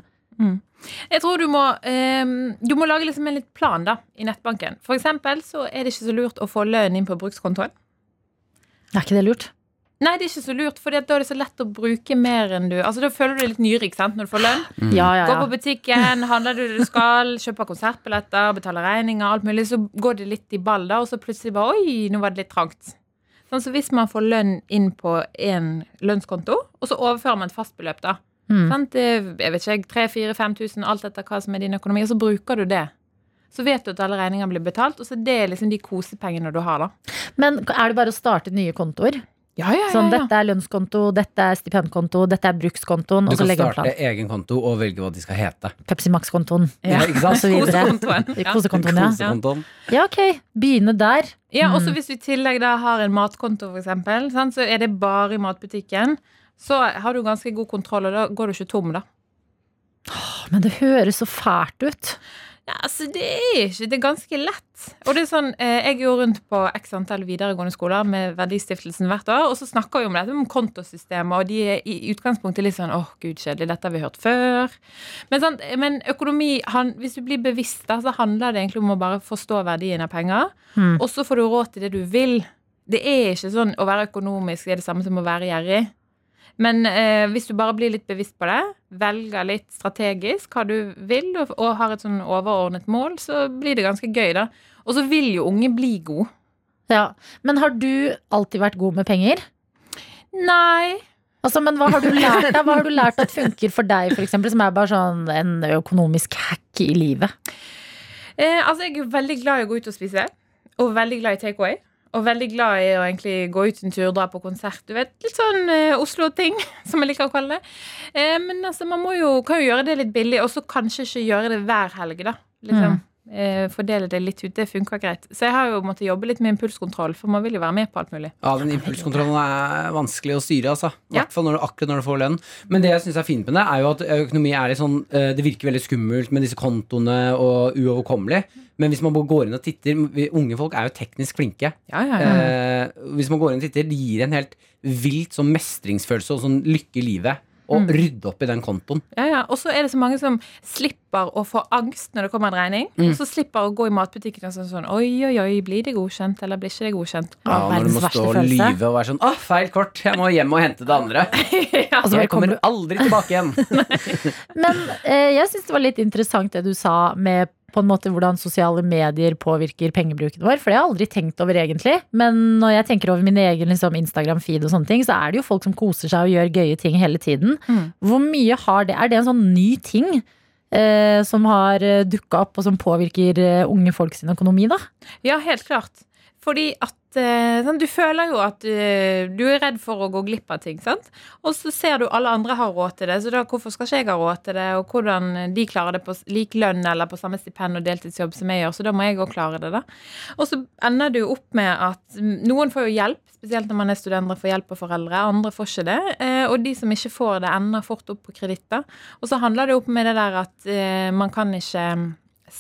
Speaker 9: Jeg tror du må, ehm, du må lage liksom en litt plan da, i nettbanken. For eksempel så er det ikke så lurt å få lønn inn på brukskontoen.
Speaker 2: Er ikke det lurt?
Speaker 9: Nei, det er ikke så lurt, for da er det så lett å bruke mer enn du Altså, Da føler du deg litt nyrik sant, når du får lønn.
Speaker 3: Mm.
Speaker 2: Ja, ja,
Speaker 9: Gå på butikken, handler du det du skal, kjøper konsertbilletter, betaler regninger, alt mulig. Så går det litt i ball, da, og så plutselig bare Oi, nå var det litt trangt. Sånn, så hvis man får lønn inn på en lønnskonto, og så overfører man et fast beløp, da.
Speaker 2: Mm.
Speaker 9: Sant? Det, jeg vet ikke, 3000-5000, alt etter hva som er din økonomi, og så bruker du det. Så vet du at alle regninger blir betalt, og så det er liksom de kosepengene du har, da.
Speaker 2: Men er det bare å starte nye kontoer?
Speaker 9: Ja, ja,
Speaker 2: Sånn, dette er lønnskonto, dette er stipendkonto, dette er brukskontoen.
Speaker 3: Du
Speaker 2: Og så
Speaker 3: kan
Speaker 2: legger man
Speaker 3: starte
Speaker 2: plan.
Speaker 3: egen konto og velge hva de skal hete.
Speaker 2: Pepsi Max-kontoen.
Speaker 9: Ja.
Speaker 3: Ikke sant?
Speaker 2: så videre.
Speaker 9: Kosekontoen. Ja.
Speaker 2: Kosekontoen, ja.
Speaker 3: Kosekontoen.
Speaker 2: Ja, ok. Begynne der.
Speaker 9: Ja, også hvis du i tillegg da har en matkonto, for eksempel, sant, så er det bare i matbutikken. Så har du ganske god kontroll, og da går du ikke tom, da.
Speaker 2: Åh, Men det høres så fælt ut.
Speaker 9: Ja, altså, det er ikke Det er ganske lett. Og det er sånn, eh, Jeg går rundt på x antall videregående skoler med Verdistiftelsen hvert år, og så snakker vi om dette med kontosystemet, og de er i utgangspunktet litt sånn åh, gud, kjedelig, dette har vi hørt før. Men, sant, men økonomi, han, hvis du blir bevisst, da, så handler det egentlig om å bare forstå verdien av penger,
Speaker 2: Mm.
Speaker 9: og så får du råd til det du vil. Det er ikke sånn å være økonomisk det er det samme som å være gjerrig. Men eh, hvis du bare blir litt bevisst på det, velger litt strategisk hva du vil, og, og har et sånn overordnet mål, så blir det ganske gøy, da. Og så vil jo unge bli gode.
Speaker 2: Ja. Men har du alltid vært god med penger?
Speaker 9: Nei.
Speaker 2: Altså, men hva har du lært deg? Hva har du lært at funker for deg, for eksempel, som er bare sånn en økonomisk hack i livet?
Speaker 9: Eh, altså, jeg er jo veldig glad i å gå ut og spise, og veldig glad i takeaway. Og veldig glad i å egentlig gå ut en tur, dra på konsert. Du vet, Litt sånn eh, Oslo-ting, som jeg liker å kalle det. Eh, men altså, man må jo, kan jo gjøre det litt billig, og så kanskje ikke gjøre det hver helg, da. Liksom. Eh, fordele det litt ut. Det funker greit. Så jeg har jo måttet jobbe litt med impulskontroll, for man vil jo være med på alt mulig.
Speaker 3: Ja, den impulskontrollen er vanskelig å styre, altså. I
Speaker 9: Ja.
Speaker 3: hvert fall når du, akkurat når du får lønn. Men det jeg syns er fint med det, er jo at økonomi er litt sånn eh, Det virker veldig skummelt med disse kontoene og uoverkommelig. Men hvis man bare går inn og titter vi- Unge folk er jo teknisk flinke.
Speaker 9: Ja, ja, ja.
Speaker 3: Eh, hvis man går inn og titter, det gir en helt vilt sånn mestringsfølelse og sånn lykke i livet. Å
Speaker 2: Mm.
Speaker 3: rydde opp i den kontoen.
Speaker 9: Ja, ja. Og så er det så mange som slipper å få angst når det kommer en regning. Og så slipper å gå i matbutikken og sånn, sånn Oi, oi, oi, blir det godkjent, eller blir ikke det godkjent?
Speaker 2: Å,
Speaker 3: når du
Speaker 2: verdens
Speaker 3: må
Speaker 2: verste
Speaker 3: stå og
Speaker 2: følelse.
Speaker 3: lyve og være sånn 'Å, feil kort! Jeg må hjem og hente det andre'.
Speaker 9: ja.
Speaker 2: Altså, bare
Speaker 3: jeg kommer
Speaker 2: kommer-
Speaker 3: aldri tilbake igjen.
Speaker 2: Men eh, jeg syns det var litt interessant det du sa med på en måte hvordan sosiale medier påvirker pengebruken vår. For det har jeg aldri tenkt over egentlig. Men når jeg tenker over min egen liksom, Instagram-feed, og sånne ting, så er det jo folk som koser seg og gjør gøye ting hele tiden.
Speaker 9: Mm.
Speaker 2: Hvor mye har det? Er det en sånn ny ting eh, som har dukka opp, og som påvirker eh, unge folk sin økonomi, da?
Speaker 9: Ja, helt klart. Fordi at eh, sånn, Du føler jo at eh, du er redd for å gå glipp av ting. sant? Og så ser du alle andre har råd til det, så da hvorfor skal ikke jeg ha råd til det? Og hvordan de klarer det på s- lik lønn eller på samme stipend og deltidsjobb som jeg gjør, så da må jeg òg klare det, da. Og så ender du opp med at mm, noen får jo hjelp, spesielt når man er studenter, får hjelp av foreldre. Andre får ikke det. eh, Og de som ikke får det, ender fort opp på kreditter. Og så handler det opp med det der at eh, man kan ikke mm,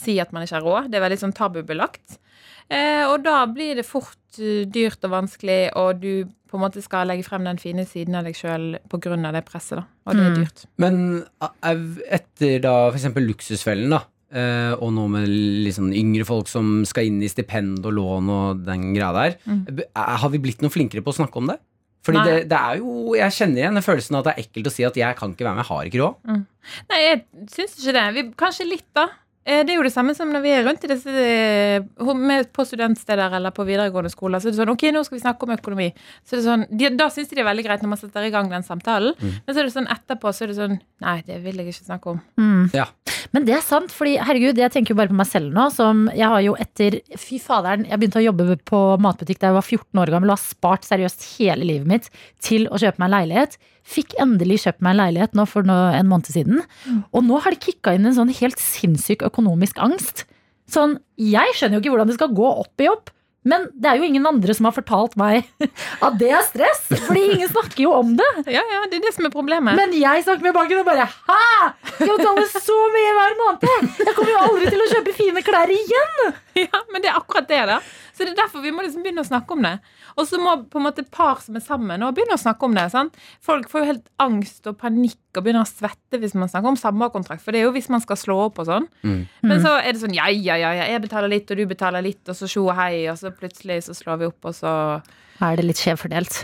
Speaker 9: si at man ikke har råd. Det er veldig sånn tabubelagt. Eh, Eh, og da blir det fort eh, dyrt og vanskelig, og du på en måte skal legge frem den fine siden av deg sjøl pga. det presset, da. Og det er
Speaker 2: Mm.
Speaker 9: dyrt.
Speaker 3: Men au- etter da for eksempel Luksusfellen, da, eh, og nå med liksom yngre folk som skal inn i stipend og lån og den greia der,
Speaker 9: Mm.
Speaker 3: b- er- har vi blitt noe flinkere på å snakke om det? Fordi
Speaker 9: Nei.
Speaker 3: det, det er jo, Jeg kjenner igjen den følelsen at det er ekkelt å si at jeg kan ikke være med, jeg har ikke råd.
Speaker 9: Nei, jeg syns ikke det. Vi, kanskje litt, da. Eh, Det er jo det samme som når vi er rundt i disse, eh, med, på studentsteder eller på videregående skoler. Så er det sånn Ok, nå skal vi snakke om økonomi. Så er det sånn, de, da syns de det er veldig greit når man setter i gang den samtalen. Men så er det sånn etterpå så er det sånn Nei, det vil jeg ikke snakke om.
Speaker 2: Mm.
Speaker 3: Ja.
Speaker 2: Men det er sant, fordi herregud, jeg tenker jo bare på meg selv nå. Som jeg har jo etter Fy faderen, jeg begynte å jobbe på matbutikk da jeg var 14 år gammel og har spart seriøst hele livet mitt til å kjøpe meg en leilighet. Fikk endelig kjøpt meg en leilighet nå for nå, en måned siden. Og nå har det kicka inn en sånn helt sinnssyk økonomisk angst. Sånn, jeg skjønner jo ikke hvordan det skal gå opp i jobb. Men det er jo ingen andre som har fortalt meg at det er stress. Fordi ingen snakker jo om det.
Speaker 9: Ja, ja, det er det som er problemet.
Speaker 2: Men jeg snakker med banken og bare Hæ! Skal jeg betale så mye hver måned? Jeg kommer jo aldri til å kjøpe fine klær igjen!
Speaker 9: Ja, men det er akkurat det, da. Så det er derfor vi må liksom begynne å snakke om det. Og så må på en måte par som er sammen, og begynne å snakke om det. sant? Folk får jo helt angst og panikk og begynner å svette hvis man snakker om samboerkontrakt. For det er jo hvis man skal slå opp og sånn.
Speaker 3: Mm.
Speaker 9: Men så er det sånn ja, ja, ja, ja, jeg betaler litt, og du betaler litt, og så tjo og hei, og så plutselig så slår vi opp, og så
Speaker 2: Er det litt skjevfordelt?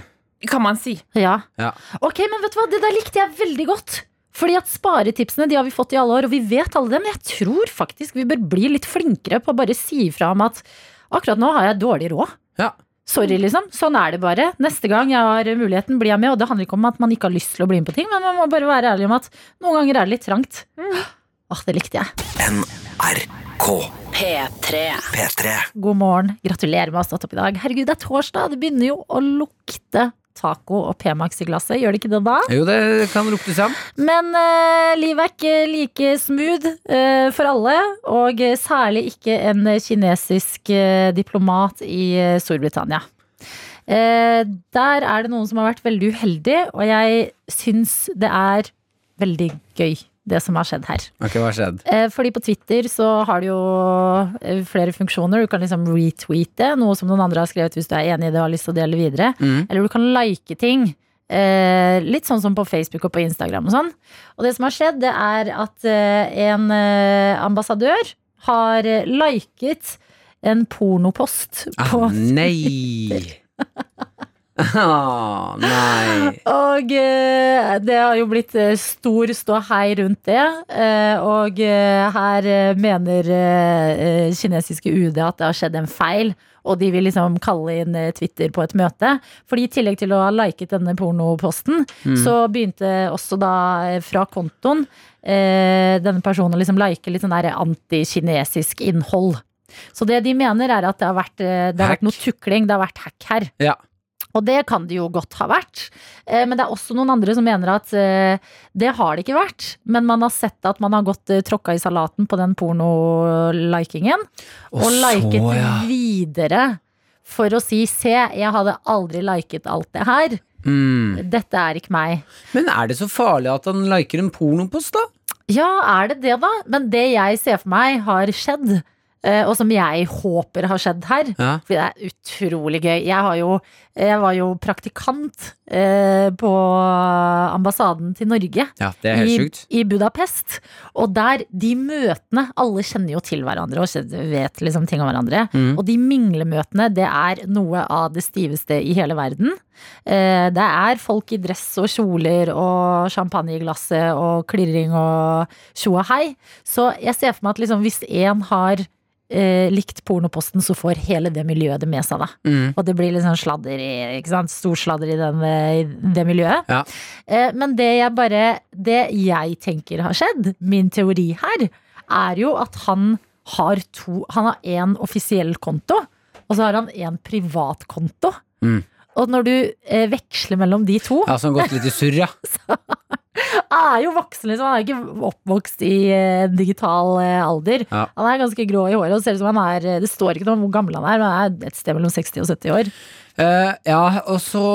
Speaker 9: Kan man si.
Speaker 2: Ja.
Speaker 3: Ja.
Speaker 2: Ok, men vet du hva? Det der likte jeg veldig godt. Fordi at Sparetipsene de har vi fått i alle år, og vi vet alle dem. Jeg tror faktisk vi bør bli litt flinkere på å bare si ifra om at akkurat nå har jeg dårlig råd.
Speaker 3: Ja.
Speaker 2: Sorry, liksom. Sånn er det bare. Neste gang jeg har muligheten, blir jeg med. Og det handler ikke om at man ikke har lyst til å bli med på ting, men man må bare være ærlig om at noen ganger er det litt trangt. Åh, det likte jeg.
Speaker 8: NRK
Speaker 5: P3.
Speaker 8: P3.
Speaker 2: God morgen, gratulerer med å ha stått opp i dag. Herregud, det er torsdag, det begynner jo å lukte taco og P-Max i glasset. Gjør det ikke det da?
Speaker 3: Jo, det kan lukte seg.
Speaker 2: Men eh, livet er ikke like smooth eh, for alle, og eh, særlig ikke en eh, kinesisk eh, diplomat i eh, Storbritannia. Eh, der er det noen som har vært veldig uheldig, og jeg syns det er veldig gøy, det som har skjedd her.
Speaker 3: Ok, hva har skjedd?
Speaker 2: Eh, Fordi på Twitter så har du jo eh, flere funksjoner. Du kan liksom retweete noe som noen andre har skrevet hvis du er enig i det og har lyst til å dele videre.
Speaker 3: Mm.
Speaker 2: Eller du kan like ting. Eh, litt sånn som på Facebook og på Instagram og sånn. Og det som har skjedd, det er at eh, en eh, ambassadør har eh, liket en pornopost på
Speaker 3: Ah, nei! ah, nei.
Speaker 2: Og eh, det har jo blitt eh, stor ståhei rundt det. eh, Og eh, her eh, mener eh, eh, kinesiske UD at det har skjedd en feil. Og de vil liksom kalle inn eh, Twitter på et møte. Fordi i tillegg til å ha liket denne pornoposten, så begynte også da eh, fra kontoen eh, denne personen å liksom like litt sånn der antikinesisk innhold. Så det de mener er at det har vært, eh, det har
Speaker 3: Hack.
Speaker 2: vært noe tukling, det har vært hack her.
Speaker 3: Ja.
Speaker 2: Og det kan det jo godt ha vært. Eh, Men det er også noen andre som mener at eh, det har det ikke vært. Men man har sett at man har gått eh, tråkka i salaten på den porno-likingen.
Speaker 3: Og
Speaker 2: Og, liket
Speaker 3: så, ja.
Speaker 2: videre for å si se, jeg hadde aldri liket alt det her.
Speaker 3: Mm.
Speaker 2: Dette er ikke meg.
Speaker 3: Men er det så farlig at han liker en pornopost, da?
Speaker 2: Ja, er det det, da? Men det jeg ser for meg har skjedd, eh, og som jeg håper har skjedd her,
Speaker 3: Ja.
Speaker 2: Fordi det er utrolig gøy. Jeg, har jo, jeg var jo praktikant eh, på ambassaden til Norge.
Speaker 3: ja det er helt
Speaker 2: i,
Speaker 3: sjukt.
Speaker 2: I Budapest. Og der, de møtene Alle kjenner jo til hverandre og kjenner- vet liksom ting om hverandre.
Speaker 3: Mm.
Speaker 2: Og de minglemøtene, det er noe av det stiveste i hele verden. Eh, Det er folk i dress og kjoler og champagne i glasset og klirring og tjo og hei. Så jeg ser for meg at liksom, hvis én har eh, likt pornoposten, så får hele det miljøet det med seg, da.
Speaker 3: Mm.
Speaker 2: Og det blir litt sånn sladder i, ikke sant? stor sladder i, den, eh, i det miljøet.
Speaker 3: Ja.
Speaker 2: Eh, Men det jeg bare Det jeg tenker har skjedd, min teori her, er jo at han har to Han har én offisiell konto, og så har han én privat konto.
Speaker 3: Mm.
Speaker 2: Og når du eh, veksler mellom de to
Speaker 3: Ja, så han har gått litt i surr, ja.
Speaker 2: Han er jo voksen, liksom. Han er ikke oppvokst i eh, digital eh, alder.
Speaker 3: Ja.
Speaker 2: Han er ganske grå i håret. Og ser ut som han er, det står ikke noe om hvor gammel han er, men han er et sted mellom 60 og 70 år.
Speaker 3: Eh, ja, og så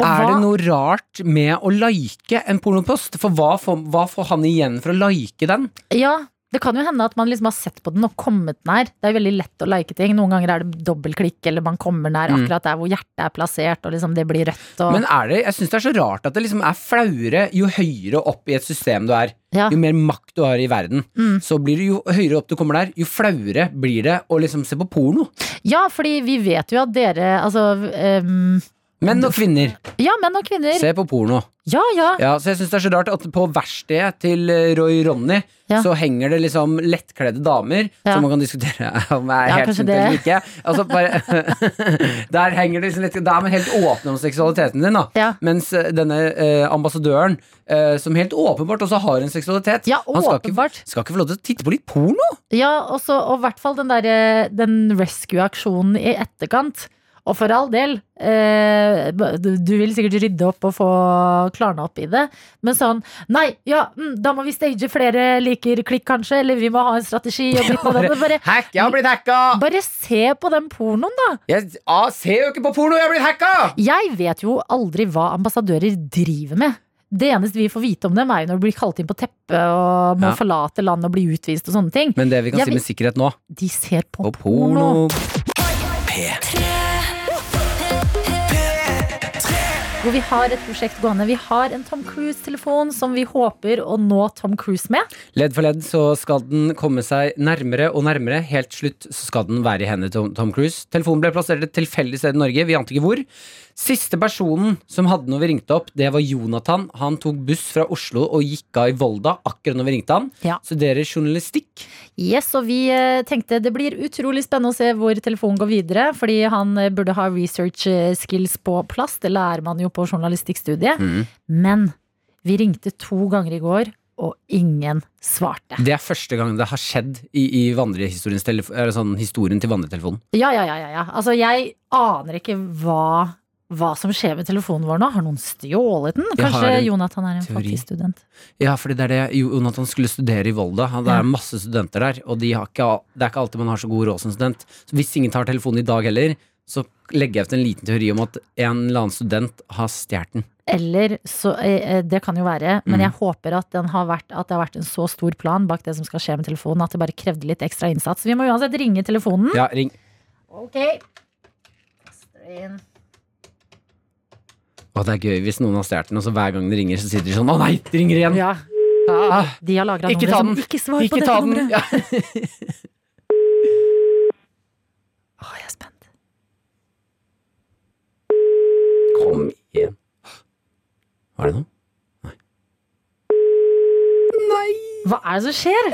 Speaker 2: Og
Speaker 3: er
Speaker 2: hva-
Speaker 3: det noe rart med å like en pornopost. For hva får, hva får han igjen for å like den?
Speaker 2: Ja, Det kan jo hende at man liksom har sett på den og kommet nær. Det er jo veldig lett å like ting. Noen ganger er det dobbeltklikk, eller man kommer nær
Speaker 3: Mm.
Speaker 2: akkurat der hvor hjertet er plassert, og liksom det blir rødt og
Speaker 3: Men er det, jeg syns det er så rart at det liksom er flauere jo høyere opp i et system du er.
Speaker 2: ja.
Speaker 3: Jo mer makt du har i verden,
Speaker 2: Mm.
Speaker 3: så blir det jo høyere opp du kommer der, jo flauere blir det å liksom se på porno.
Speaker 2: ja, fordi vi vet jo at dere, altså ehm,
Speaker 3: Menn og kvinner,
Speaker 2: Ja, menn og kvinner.
Speaker 3: se på porno.
Speaker 2: Ja, ja.
Speaker 3: Ja, så jeg syns det er så rart at på verkstedet til eh, Roy Ronny
Speaker 2: Ja.
Speaker 3: så henger det liksom lettkledde damer
Speaker 2: Ja.
Speaker 3: som man kan diskutere om er
Speaker 2: Ja,
Speaker 3: helt
Speaker 2: kanskje
Speaker 3: sunt eller ikke. Altså bare, der henger det liksom lettkledde Da er man helt åpen om seksualiteten din, da.
Speaker 2: Ja.
Speaker 3: Mens eh, denne eh, ambassadøren, eh, som helt åpenbart også har en seksualitet
Speaker 2: Ja,
Speaker 3: Han skal ikke,
Speaker 2: åpenbart.
Speaker 3: skal ikke få lov til å titte på litt porno!
Speaker 2: Ja, og så- og i hvert fall den, der, eh, den rescue-aksjonen i etterkant. Og for all del, eh, du, du vil sikkert rydde opp og få klarna opp i det. Men sånn Nei, ja, mm, da må vi stage flere liker klikk, kanskje. Eller vi må ha en strategi. Og ditt og datt. bare,
Speaker 3: Hack, jeg har blitt hacka!
Speaker 2: bare se på den pornoen, da.
Speaker 3: Jeg ah, ser jo ikke på porno, jeg har blitt hacka!
Speaker 2: Jeg vet jo aldri hva ambassadører driver med. Det eneste vi får vite om dem, er jo når de blir kalt inn på teppet og må
Speaker 3: Ja.
Speaker 2: forlate landet og bli utvist og sånne ting.
Speaker 3: Men det vi kan
Speaker 2: Jeg
Speaker 3: si
Speaker 2: vil-
Speaker 3: med sikkerhet nå,
Speaker 2: De ser på,
Speaker 3: på
Speaker 2: porno.
Speaker 3: porno
Speaker 2: hvor vi har et prosjekt gående. Vi har en Tom Cruise-telefon som vi håper å nå Tom Cruise med.
Speaker 3: Ledd for ledd så skal den komme seg nærmere og nærmere. Helt til slutt så skal den være i hendene til Tom Cruise. Telefonen ble plassert et tilfeldig sted i Norge. Vi ante ikke hvor. Siste personen som hadde når vi ringte opp, det var Jonathan. Han tok buss fra Oslo og gikk av i Volda akkurat når vi ringte han.
Speaker 2: Ja.
Speaker 3: Studerer journalistikk.
Speaker 2: Yes, og vi eh, tenkte det blir utrolig spennende å se hvor telefonen går videre, fordi han eh, burde ha research eh, skills på plass. Det lærer man jo på journalistikkstudiet. Men vi ringte to ganger i går, og ingen svarte.
Speaker 3: Det er første gang det har skjedd i, i vandrehistoriens telefo- eller sånn, historien til vandretelefonen.
Speaker 2: Ja, ja, ja, ja, ja. Altså, jeg aner ikke hva hva som skjer med telefonen vår nå? Har noen stjålet den?
Speaker 3: Jeg har
Speaker 2: Kanskje
Speaker 3: en
Speaker 2: Jonathan er en
Speaker 3: teori.
Speaker 2: fattig student?
Speaker 3: Ja, fordi det er det Jonathan skulle studere i Volda. Han- Det
Speaker 2: Ja.
Speaker 3: er masse studenter der, og de har ikke, det er ikke alltid man har så god råd som student. Så hvis ingen tar telefonen i dag heller, så legger jeg ut en liten teori om at en eller annen student har stjålet den.
Speaker 2: Eller så eh, eh, Det kan jo være, men
Speaker 3: Mm.
Speaker 2: jeg håper at, den har vært, at det har vært en så stor plan bak det som skal skje med telefonen, at det bare krevde litt ekstra innsats. Vi må uansett ringe telefonen.
Speaker 3: Ja, ring.
Speaker 2: Ok.
Speaker 3: Å, det er gøy hvis noen har stjålet den, og så hver gang det ringer, så sier de sånn Å nei, det ringer igjen!
Speaker 2: Ja,
Speaker 3: Ah,
Speaker 2: de har lagra
Speaker 3: Ikke
Speaker 2: numre
Speaker 3: ta
Speaker 2: som
Speaker 3: den.
Speaker 2: ikke svarer på
Speaker 3: ikke
Speaker 2: dette
Speaker 3: ta den!
Speaker 2: nummeret.
Speaker 3: Ja.
Speaker 2: Å, jeg er spent.
Speaker 3: Kom igjen. Var det noe?
Speaker 2: Hva er det som skjer?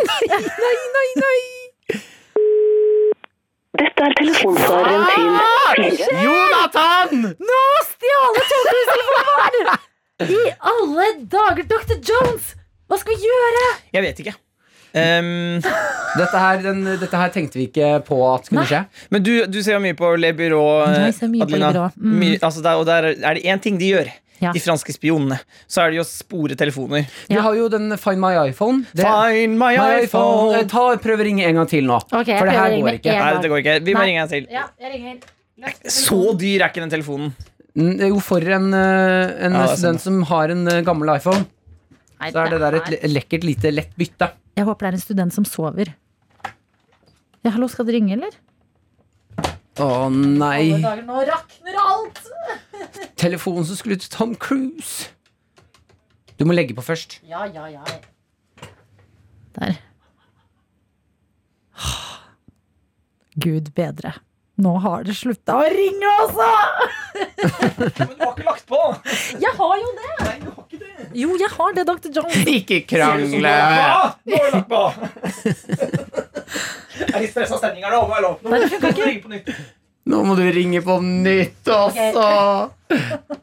Speaker 10: Dette er telefonsvareren til fire.
Speaker 3: Jonathan!
Speaker 2: Nå stjal jeg telefonen vår! I alle dager, Dr. Jones! Hva skal vi gjøre?
Speaker 4: Jeg vet ikke. Ehm,
Speaker 3: Dette her, den, dette her tenkte vi ikke på at skulle
Speaker 2: Nei.
Speaker 3: skje.
Speaker 4: men du, du ser jo mye på Le Byrå,
Speaker 2: Jeg ser mye på Le Bureau. Mm.
Speaker 4: Mye- altså der, og der er det én ting de gjør,
Speaker 2: Ja.
Speaker 4: de franske spionene. Så er det jo å spore telefoner.
Speaker 3: Vi
Speaker 2: Ja.
Speaker 3: har jo den Find my iPhone. Det-
Speaker 4: Find my
Speaker 3: My
Speaker 4: iPhone!
Speaker 3: iPhone. Eh, Ta, prøv å ringe en gang til nå.
Speaker 2: Ok, jeg
Speaker 3: for det
Speaker 2: prøver å
Speaker 3: her
Speaker 2: ringe
Speaker 3: går
Speaker 2: med
Speaker 3: ikke.
Speaker 2: en
Speaker 4: Nei,
Speaker 2: gang.
Speaker 4: dette går ikke. Vi må
Speaker 2: Nei.
Speaker 4: ringe en til.
Speaker 2: Ja, jeg ringer. Løft
Speaker 4: Så dyr er ikke den telefonen.
Speaker 3: Mm, det er Jo, for en, eh, en
Speaker 4: Ja, det er
Speaker 3: student som har en eh, gammel iPhone,
Speaker 2: Nei,
Speaker 3: så er det der et le- lekkert lite lett bytte.
Speaker 2: Jeg håper det er en student som sover. Ja, hallo, skal det ringe, eller?
Speaker 3: Å
Speaker 2: Alle
Speaker 3: nei.
Speaker 2: dager, nå rakner alt!
Speaker 3: Telefonen som skulle til Tom Cruise. Du må legge på først.
Speaker 2: Ja, ja, ja. Der. Gud bedre. Nå har det slutta å ringe, altså!
Speaker 4: Men du har ikke lagt på!
Speaker 2: Jeg har jo det!
Speaker 4: Nei, du har ikke det.
Speaker 2: Jo, jeg har det, Dr. Jones.
Speaker 3: Ikke
Speaker 4: Nå har du lagt på! Jeg er litt stressa stemning her nå. Må jeg lov? Nå må jeg ringe på nytt.
Speaker 3: Nå må du ringe på nytt også!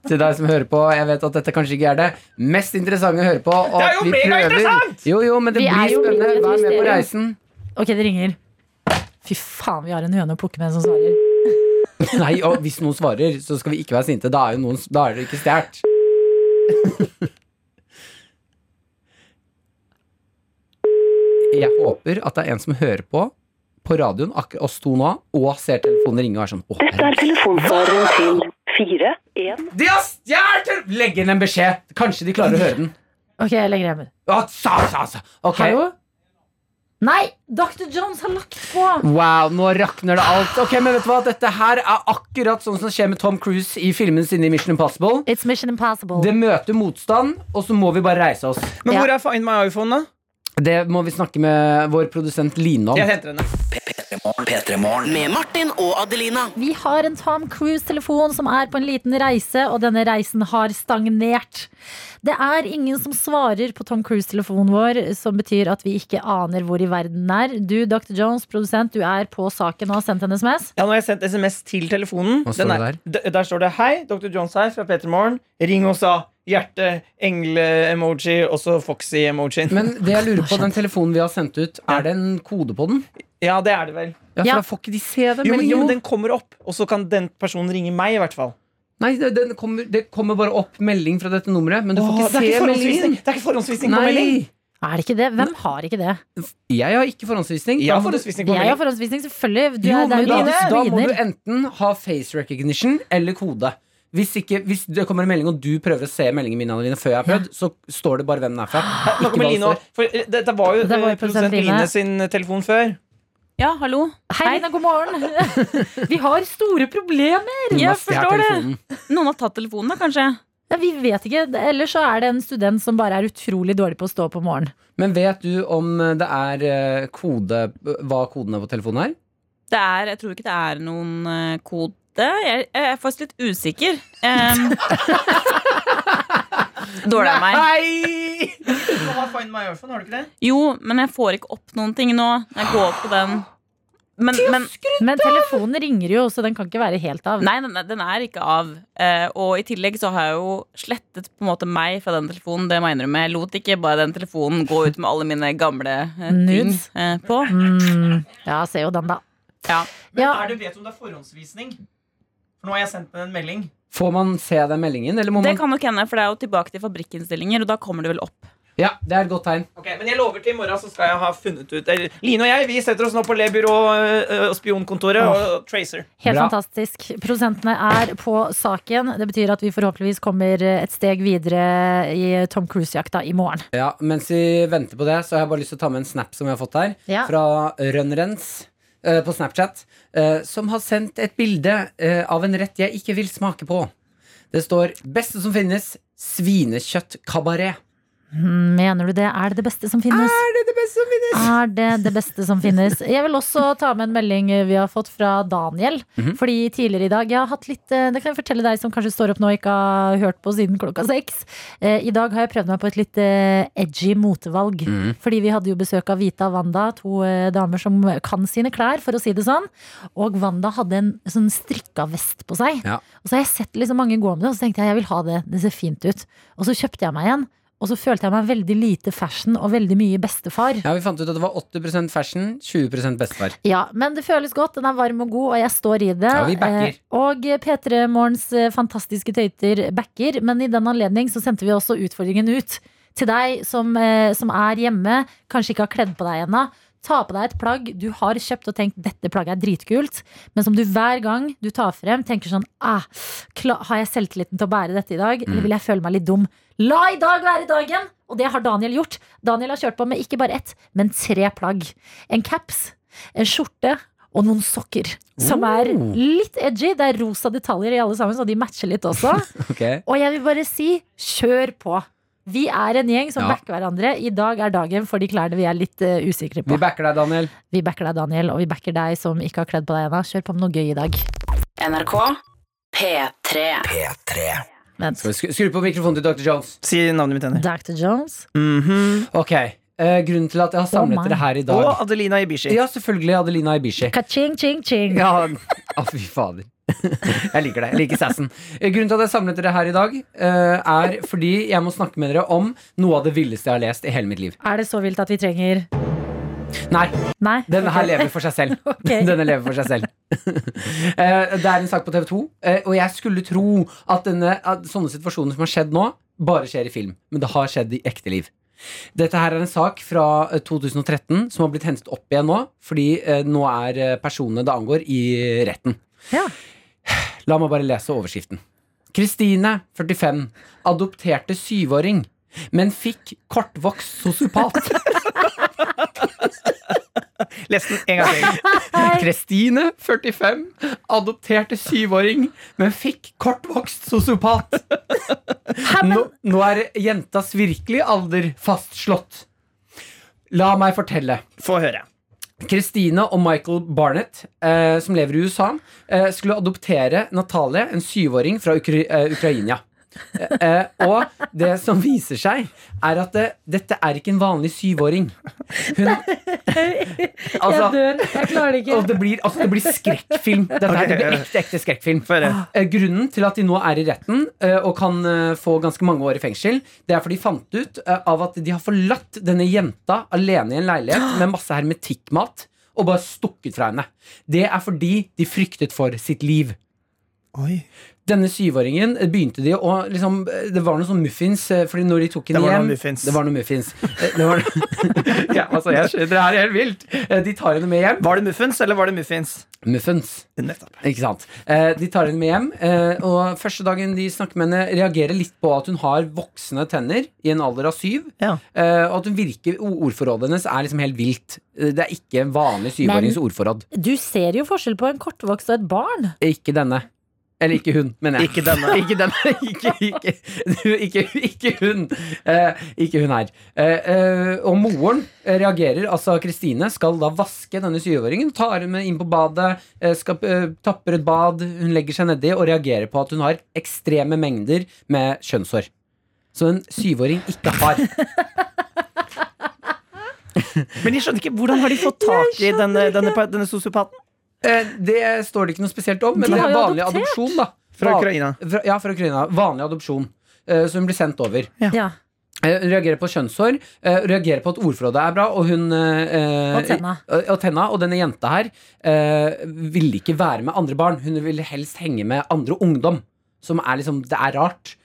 Speaker 3: Til deg som hører på, jeg vet at dette kanskje ikke er det mest interessante å høre på. og
Speaker 4: Det er jo
Speaker 3: vi
Speaker 4: megainteressant!
Speaker 3: prøver- Jo, jo, men det
Speaker 2: Vi er
Speaker 3: blir
Speaker 2: jo
Speaker 3: spennende.
Speaker 2: midt i et
Speaker 3: Vær med på
Speaker 2: mysterium.
Speaker 3: reisen.
Speaker 2: Ok, det ringer. Fy faen, vi har en høne å plukke med som svarer.
Speaker 3: Nei, og hvis noen svarer, så skal vi ikke være sinte. Da er, jo noen, da er det ikke stjålet. Jeg håper at det er en som hører på på radioen, akkurat oss to nå, og ser telefonen ringe og er sånn Å,
Speaker 10: Dette er
Speaker 3: herregud.
Speaker 10: telefonsvareren til fire. En.
Speaker 3: De har stjålet! tele- Legg inn en beskjed! Kanskje de klarer å høre den.
Speaker 2: Ok, jeg legger hjemme.
Speaker 3: Å, sa, sa, sa. Ok.
Speaker 2: Hallo? Nei! Dr. Jones har lagt på!
Speaker 3: Wow, nå rakner det alt. Ok, men vet du hva? Dette her er akkurat sånn som skjer med Tom Cruise i filmen sin i Mission Impossible.
Speaker 2: It's Mission Impossible.
Speaker 3: Det møter motstand, og så må vi bare reise oss.
Speaker 4: Men
Speaker 2: Ja.
Speaker 4: hvor er Find my iPhone, da?
Speaker 3: Det må vi snakke med vår produsent Line om.
Speaker 4: Jeg henter henne.
Speaker 8: P3morgen.
Speaker 5: Med Martin og Adelina.
Speaker 2: Vi har en Tom Cruise-telefon som er på en liten reise, og denne reisen har stagnert. Det er ingen som svarer på Tom Cruise-telefonen vår, som betyr at vi ikke aner hvor i verden den er. Du, Dr. Jones, produsent, du er på saken og har sendt en SMS.
Speaker 4: Ja, nå har jeg sendt SMS til telefonen.
Speaker 3: Hva står
Speaker 4: Den
Speaker 3: det
Speaker 4: er, D- der står det 'Hei, Dr. Johns her fra Peter Morgen. Ring oss av.' Hjerte, engle-emoji, og så Foxy-emojien.
Speaker 3: Men det jeg lurer på, den telefonen vi har sendt ut, er det en kode på den?
Speaker 4: Ja, det er det vel.
Speaker 3: Ja, for
Speaker 2: Ja.
Speaker 3: da får ikke de se den.
Speaker 4: Jo, men,
Speaker 3: meldingen.
Speaker 4: jo, men den kommer opp, og så kan den personen ringe meg, i hvert fall.
Speaker 3: Nei, det, den kommer, det kommer bare opp melding fra dette nummeret, men du får
Speaker 4: Åh,
Speaker 3: ikke
Speaker 4: det, er
Speaker 3: se
Speaker 4: ikke
Speaker 3: meldingen.
Speaker 4: forhåndsvisning. det er ikke forhåndsvisning på melding!
Speaker 3: Nei,
Speaker 2: Er det ikke det? Hvem har ikke det?
Speaker 3: jeg har ikke forhåndsvisning.
Speaker 4: Jeg
Speaker 3: Da
Speaker 4: har
Speaker 3: må du-
Speaker 4: forhåndsvisning
Speaker 2: Jeg
Speaker 4: på
Speaker 2: har
Speaker 4: melding.
Speaker 2: forhåndsvisning, selvfølgelig. Du,
Speaker 3: Jo,
Speaker 2: er- det er
Speaker 3: men
Speaker 2: jo
Speaker 3: da,
Speaker 2: dine
Speaker 3: da må du
Speaker 2: ruiner.
Speaker 3: enten ha face recognition eller kode. Hvis, ikke, hvis det kommer en melding og du prøver å se meldingen min Adeline, før jeg har prøvd, så står det bare hvem den er fra.
Speaker 4: Nå
Speaker 3: hva
Speaker 4: kommer Line
Speaker 3: det
Speaker 4: også, for eh, Dette var jo
Speaker 2: Det var jo
Speaker 4: eh, produsent
Speaker 2: produsent Line.
Speaker 4: Line sin telefon før.
Speaker 11: Ja, hallo?
Speaker 2: Hei, Lina, god morgen. Vi har store problemer.
Speaker 3: står. Jonas,
Speaker 11: Jeg
Speaker 3: de har
Speaker 11: forstår det.
Speaker 3: telefonen.
Speaker 11: Noen har tatt telefonen, da, kanskje?
Speaker 2: Ja, vi vet ikke. Ellers så er det en student som bare er utrolig dårlig på å stå opp om morgenen.
Speaker 3: Men vet du om det er eh, kode hva koden er på telefonen her?
Speaker 11: Det er, jeg tror ikke det er noen eh, kode. Jeg, jeg er faktisk litt usikker. Em, Dårlig av meg.
Speaker 3: Nei!
Speaker 4: Du har Find My iPhone, har du ikke det?
Speaker 11: Jo, men jeg får ikke opp noen ting nå. Jeg går på den. Men, men
Speaker 2: Men telefonen ringer jo, så den kan ikke være helt av.
Speaker 11: nei, den, den er ikke av. Eh, og i tillegg så har jeg jo slettet på en måte meg fra den telefonen. Det må jeg innrømme. Jeg lot ikke bare den telefonen gå ut med alle mine gamle eh, ting
Speaker 2: Nudes.
Speaker 11: eh, på.
Speaker 2: Mm, ja, se jo den, da.
Speaker 11: Ja.
Speaker 4: Men
Speaker 2: Ja.
Speaker 4: er det vet du om det er forhåndsvisning? For nå har jeg sendt henne en melding.
Speaker 3: Får man se den meldingen, eller må
Speaker 11: Det
Speaker 3: man
Speaker 11: kan nok hende, for det er jo tilbake til fabrikkinnstillinger, og da kommer det vel opp.
Speaker 3: Ja, det er et godt tegn.
Speaker 4: Ok, Men jeg lover til i morgen så skal jeg ha funnet ut eller, Line og jeg vi setter oss nå på Lebyrå og spionkontoret og Tracer.
Speaker 2: Helt
Speaker 3: Bra.
Speaker 2: fantastisk. Produsentene er på saken. Det betyr at vi forhåpentligvis kommer et steg videre i Tom Cruise-jakta i morgen.
Speaker 3: Ja, Mens vi venter på det, så har jeg bare lyst til å ta med en snap som vi har fått her.
Speaker 2: Ja.
Speaker 3: Fra Rønrens eh, på Snapchat. eh, som har sendt et bilde eh, av en rett jeg ikke vil smake på. Det står 'Beste som finnes svinekjøttkabaret'.
Speaker 2: Mener du det? Er det det beste som finnes?
Speaker 3: Er det det beste som finnes?
Speaker 2: Er det det beste som finnes? Jeg vil også ta med en melding vi har fått fra Daniel.
Speaker 3: Mhm.
Speaker 2: Fordi tidligere i dag Jeg har hatt litt eh, Det kan jeg fortelle deg som kanskje står opp nå og ikke har hørt på siden klokka seks. Eh, I dag har jeg prøvd meg på et litt eh, edgy motevalg.
Speaker 3: Mhm.
Speaker 2: Fordi vi hadde jo besøk av Vita og Wanda, to eh, damer som kan sine klær, for å si det sånn. Og Wanda hadde en sånn strikka vest på seg.
Speaker 3: Ja.
Speaker 2: Og så har jeg sett liksom mange gå med det, og så tenkte jeg jeg vil ha det. Det ser fint ut. Og så kjøpte jeg meg en. Og så følte jeg meg veldig lite fashion og veldig mye bestefar.
Speaker 3: Ja, Vi fant ut at det var 80 fashion, 20 bestefar.
Speaker 2: Ja, men det føles godt. Den er varm og god, og jeg står i det.
Speaker 3: Ja, vi backer.
Speaker 2: Eh, Og P3 Morgens eh, fantastiske tøyter backer, men i den anledning så sendte vi også utfordringen ut til deg som, eh, som er hjemme, kanskje ikke har kledd på deg ennå. Ta på deg et plagg du har kjøpt og tenkt dette plagget er dritkult, men som du hver gang du tar frem, tenker sånn ah, kla- Har jeg selvtilliten til å bære dette i dag,
Speaker 3: Mm.
Speaker 2: eller vil jeg føle meg litt dum? La i dag være dagen! Og det har Daniel gjort. Daniel har kjørt på med ikke bare ett, men tre plagg. En caps, en skjorte og noen sokker. Som er
Speaker 3: Oh.
Speaker 2: litt edgy. Det er rosa detaljer i alle sammen, så de matcher litt også.
Speaker 3: Ok.
Speaker 2: Og jeg vil bare si kjør på. Vi er en gjeng som
Speaker 3: Ja.
Speaker 2: backer hverandre. I dag er dagen for de klærne vi er litt eh, usikre
Speaker 3: Vi
Speaker 2: på.
Speaker 3: backer deg, Daniel.
Speaker 2: Vi backer deg, Daniel, og vi backer deg som ikke har kledd på deg ennå. Kjør på med noe gøy i dag.
Speaker 5: NRK P3.
Speaker 8: P3.
Speaker 2: Vent.
Speaker 3: Skal vi skru, skru på mikrofonen til Dr. Jones.
Speaker 4: Si navnet mitt henne.
Speaker 2: Dr. Jones.
Speaker 3: Ok, eh, Grunnen til at jeg har samlet
Speaker 2: Oh my.
Speaker 3: dere her i dag
Speaker 4: Og Adelina Ibishi.
Speaker 3: Ja, selvfølgelig Adelina Ibishi.
Speaker 2: Ka-ching, ching, ching.
Speaker 3: Ja, å, fy fader. Jeg liker det. Jeg liker sassen. Eh, Grunnen til at jeg samlet dere her i dag, eh, er fordi jeg må snakke med dere om noe av det villeste jeg har lest i hele mitt liv.
Speaker 2: Er det så vilt at vi trenger
Speaker 3: Nei,
Speaker 2: Nei?
Speaker 3: denne
Speaker 2: Ok.
Speaker 3: her lever for seg selv.
Speaker 2: Ok.
Speaker 3: Denne lever for seg selv. Eh, Det er en sak på TV 2, eh, og jeg skulle tro at, denne, at sånne situasjoner som har skjedd nå, bare skjer i film. Men det har skjedd i ekte liv. Dette her er en sak fra eh, 2013 som har blitt hentet opp igjen nå, fordi eh, nå er eh, personene det angår, i retten.
Speaker 2: Ja.
Speaker 3: La meg bare lese overskriften. Kristine, 45, adopterte syvåring, men fikk kortvokst sosiopat.
Speaker 4: Les den en gang til. Kristine, 45, adopterte syvåring, men fikk kortvokst sosiopat. Nå, nå er jentas virkelig alder fastslått. La meg fortelle. Få høre. Kristine og Michael Barnett, eh, som lever i USA, eh, skulle adoptere Natalie, en syvåring fra Ukra eh, Ukraina. Eh, eh, og det som viser seg, er at det, dette er ikke en vanlig syvåring. Hun Altså,
Speaker 3: Altså-
Speaker 2: Jeg dør. Jeg klarer det ikke.
Speaker 3: Og det blir, altså, det blir skrekkfilm. Dette her, det blir ekte, ekte skrekkfilm. Eh, Grunnen til at de nå er i retten eh, og kan eh, få ganske mange år i fengsel, det er fordi de fant ut eh, av at de har forlatt denne jenta alene i en leilighet med masse hermetikkmat og bare stukket fra henne. Det er fordi de fryktet for sitt liv. Denne syvåringen eh, begynte de å liksom, eh, Det var noen sånn muffins, eh, Fordi når de tok henne
Speaker 4: Det var
Speaker 3: hjem
Speaker 4: noen muffins.
Speaker 3: Det var noen muffins. Eh, Det var
Speaker 4: ja, altså, jeg, skjønner, det her er helt vilt.
Speaker 3: Eh, De tar henne med hjem.
Speaker 4: Var det muffins, eller var det muffins?
Speaker 3: Muffins. Ikke sant. Eh, de tar henne med hjem, eh, og første dagen de snakker med henne, reagerer litt på at hun har voksne tenner i en alder av syv. Eh, og at hun virker o- Ordforrådet hennes er liksom helt vilt. Eh, Det er ikke en vanlig syvårings
Speaker 2: Men-
Speaker 3: ordforråd.
Speaker 2: Du ser jo forskjell på en kortvokst og et barn.
Speaker 3: Ikke denne. Eller ikke hun, mener jeg.
Speaker 4: Ikke denne.
Speaker 3: ikke, denne. Ikke, ikke, ikke, ikke hun. Eh, ikke hun her. Eh, eh, og moren reagerer. Altså Kristine skal da vaske denne syvåringen. Tar henne med inn på badet, eh, skal, eh, tapper et bad. Hun legger seg nedi og reagerer på at hun har ekstreme mengder med kjønnshår. Som en syvåring ikke har.
Speaker 4: Men jeg skjønner ikke, hvordan har de fått tak i denne, denne, denne sosiopaten?
Speaker 3: Eh, det står det ikke noe spesielt om, men
Speaker 4: De
Speaker 3: det
Speaker 4: har
Speaker 3: er
Speaker 4: jo
Speaker 3: vanlig
Speaker 4: adoptert.
Speaker 3: adopsjon. da
Speaker 4: Fra
Speaker 3: Van-
Speaker 4: Ukraina.
Speaker 3: Fra, ja, fra Ukraina. Vanlig adopsjon. eh, så hun blir sendt over. Eh, Hun reagerer på kjønnshår, eh, reagerer på at ordforrådet er bra, og hun eh,
Speaker 2: Og tenna.
Speaker 3: Og, og tenna. Og denne jenta her eh, ville ikke være med andre barn. Hun ville helst henge med andre ungdom. Som er liksom Det er rart.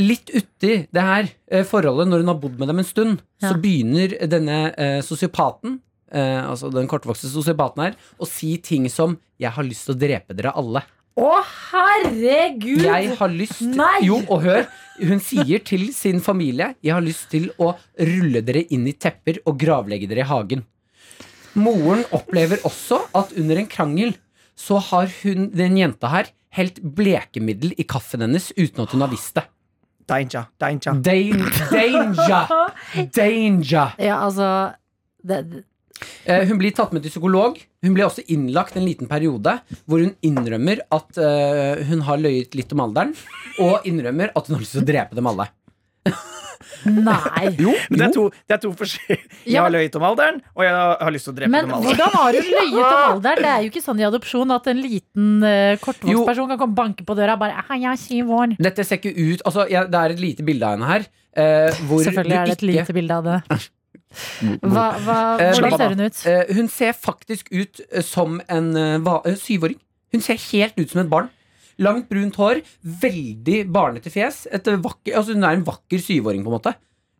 Speaker 3: Litt uti det her eh, forholdet, når hun har bodd med dem en stund, så begynner denne eh, sosiopaten, eh, altså den kortvokste sosiopaten her, å si ting som 'Jeg har lyst til å drepe dere alle'.
Speaker 2: Å, herregud!
Speaker 3: Jeg har lyst
Speaker 2: Nei!
Speaker 3: Jo, og hør. Hun sier til sin familie Jeg har lyst til å rulle dere inn i tepper og gravlegge dere i hagen. Moren opplever også at under en krangel så har hun, den jenta her, helt blekemiddel i kaffen hennes uten at hun har visst det.
Speaker 4: Danger. Danger.
Speaker 3: Danger. Danger.
Speaker 2: Ja, altså det,
Speaker 3: Eh, Hun blir tatt med til psykolog. Hun blir også innlagt en liten periode hvor hun innrømmer at eh, hun har løyet litt om alderen, og innrømmer at hun har lyst til å drepe dem alle.
Speaker 2: Nei.
Speaker 3: Jo,
Speaker 4: Men det er to, det er to forskjellige Jeg har løyet om alderen, og jeg har lyst til å drepe
Speaker 2: Men
Speaker 4: dem alle.
Speaker 2: hvordan har hun løyet om alderen? Det er jo ikke sånn i adopsjon at en liten eh, kortvokst
Speaker 3: Jo.
Speaker 2: person kan komme og banke på døra og bare «Ah, jeg er syv år.
Speaker 3: Dette ser ikke ut altså, jeg, Det er et lite bilde av henne her. eh, hvor
Speaker 2: Selvfølgelig
Speaker 3: du
Speaker 2: er det et
Speaker 3: ikke-
Speaker 2: lite bilde av det. Hva, hva, hvordan ser hun ut?
Speaker 3: Eh, hun ser faktisk ut eh, som en eh, va- eh, syvåring. Hun ser helt ut som et barn. Langt brunt hår, veldig barnete fjes. Et eh, vakker, altså hun er en vakker syvåring, på en måte.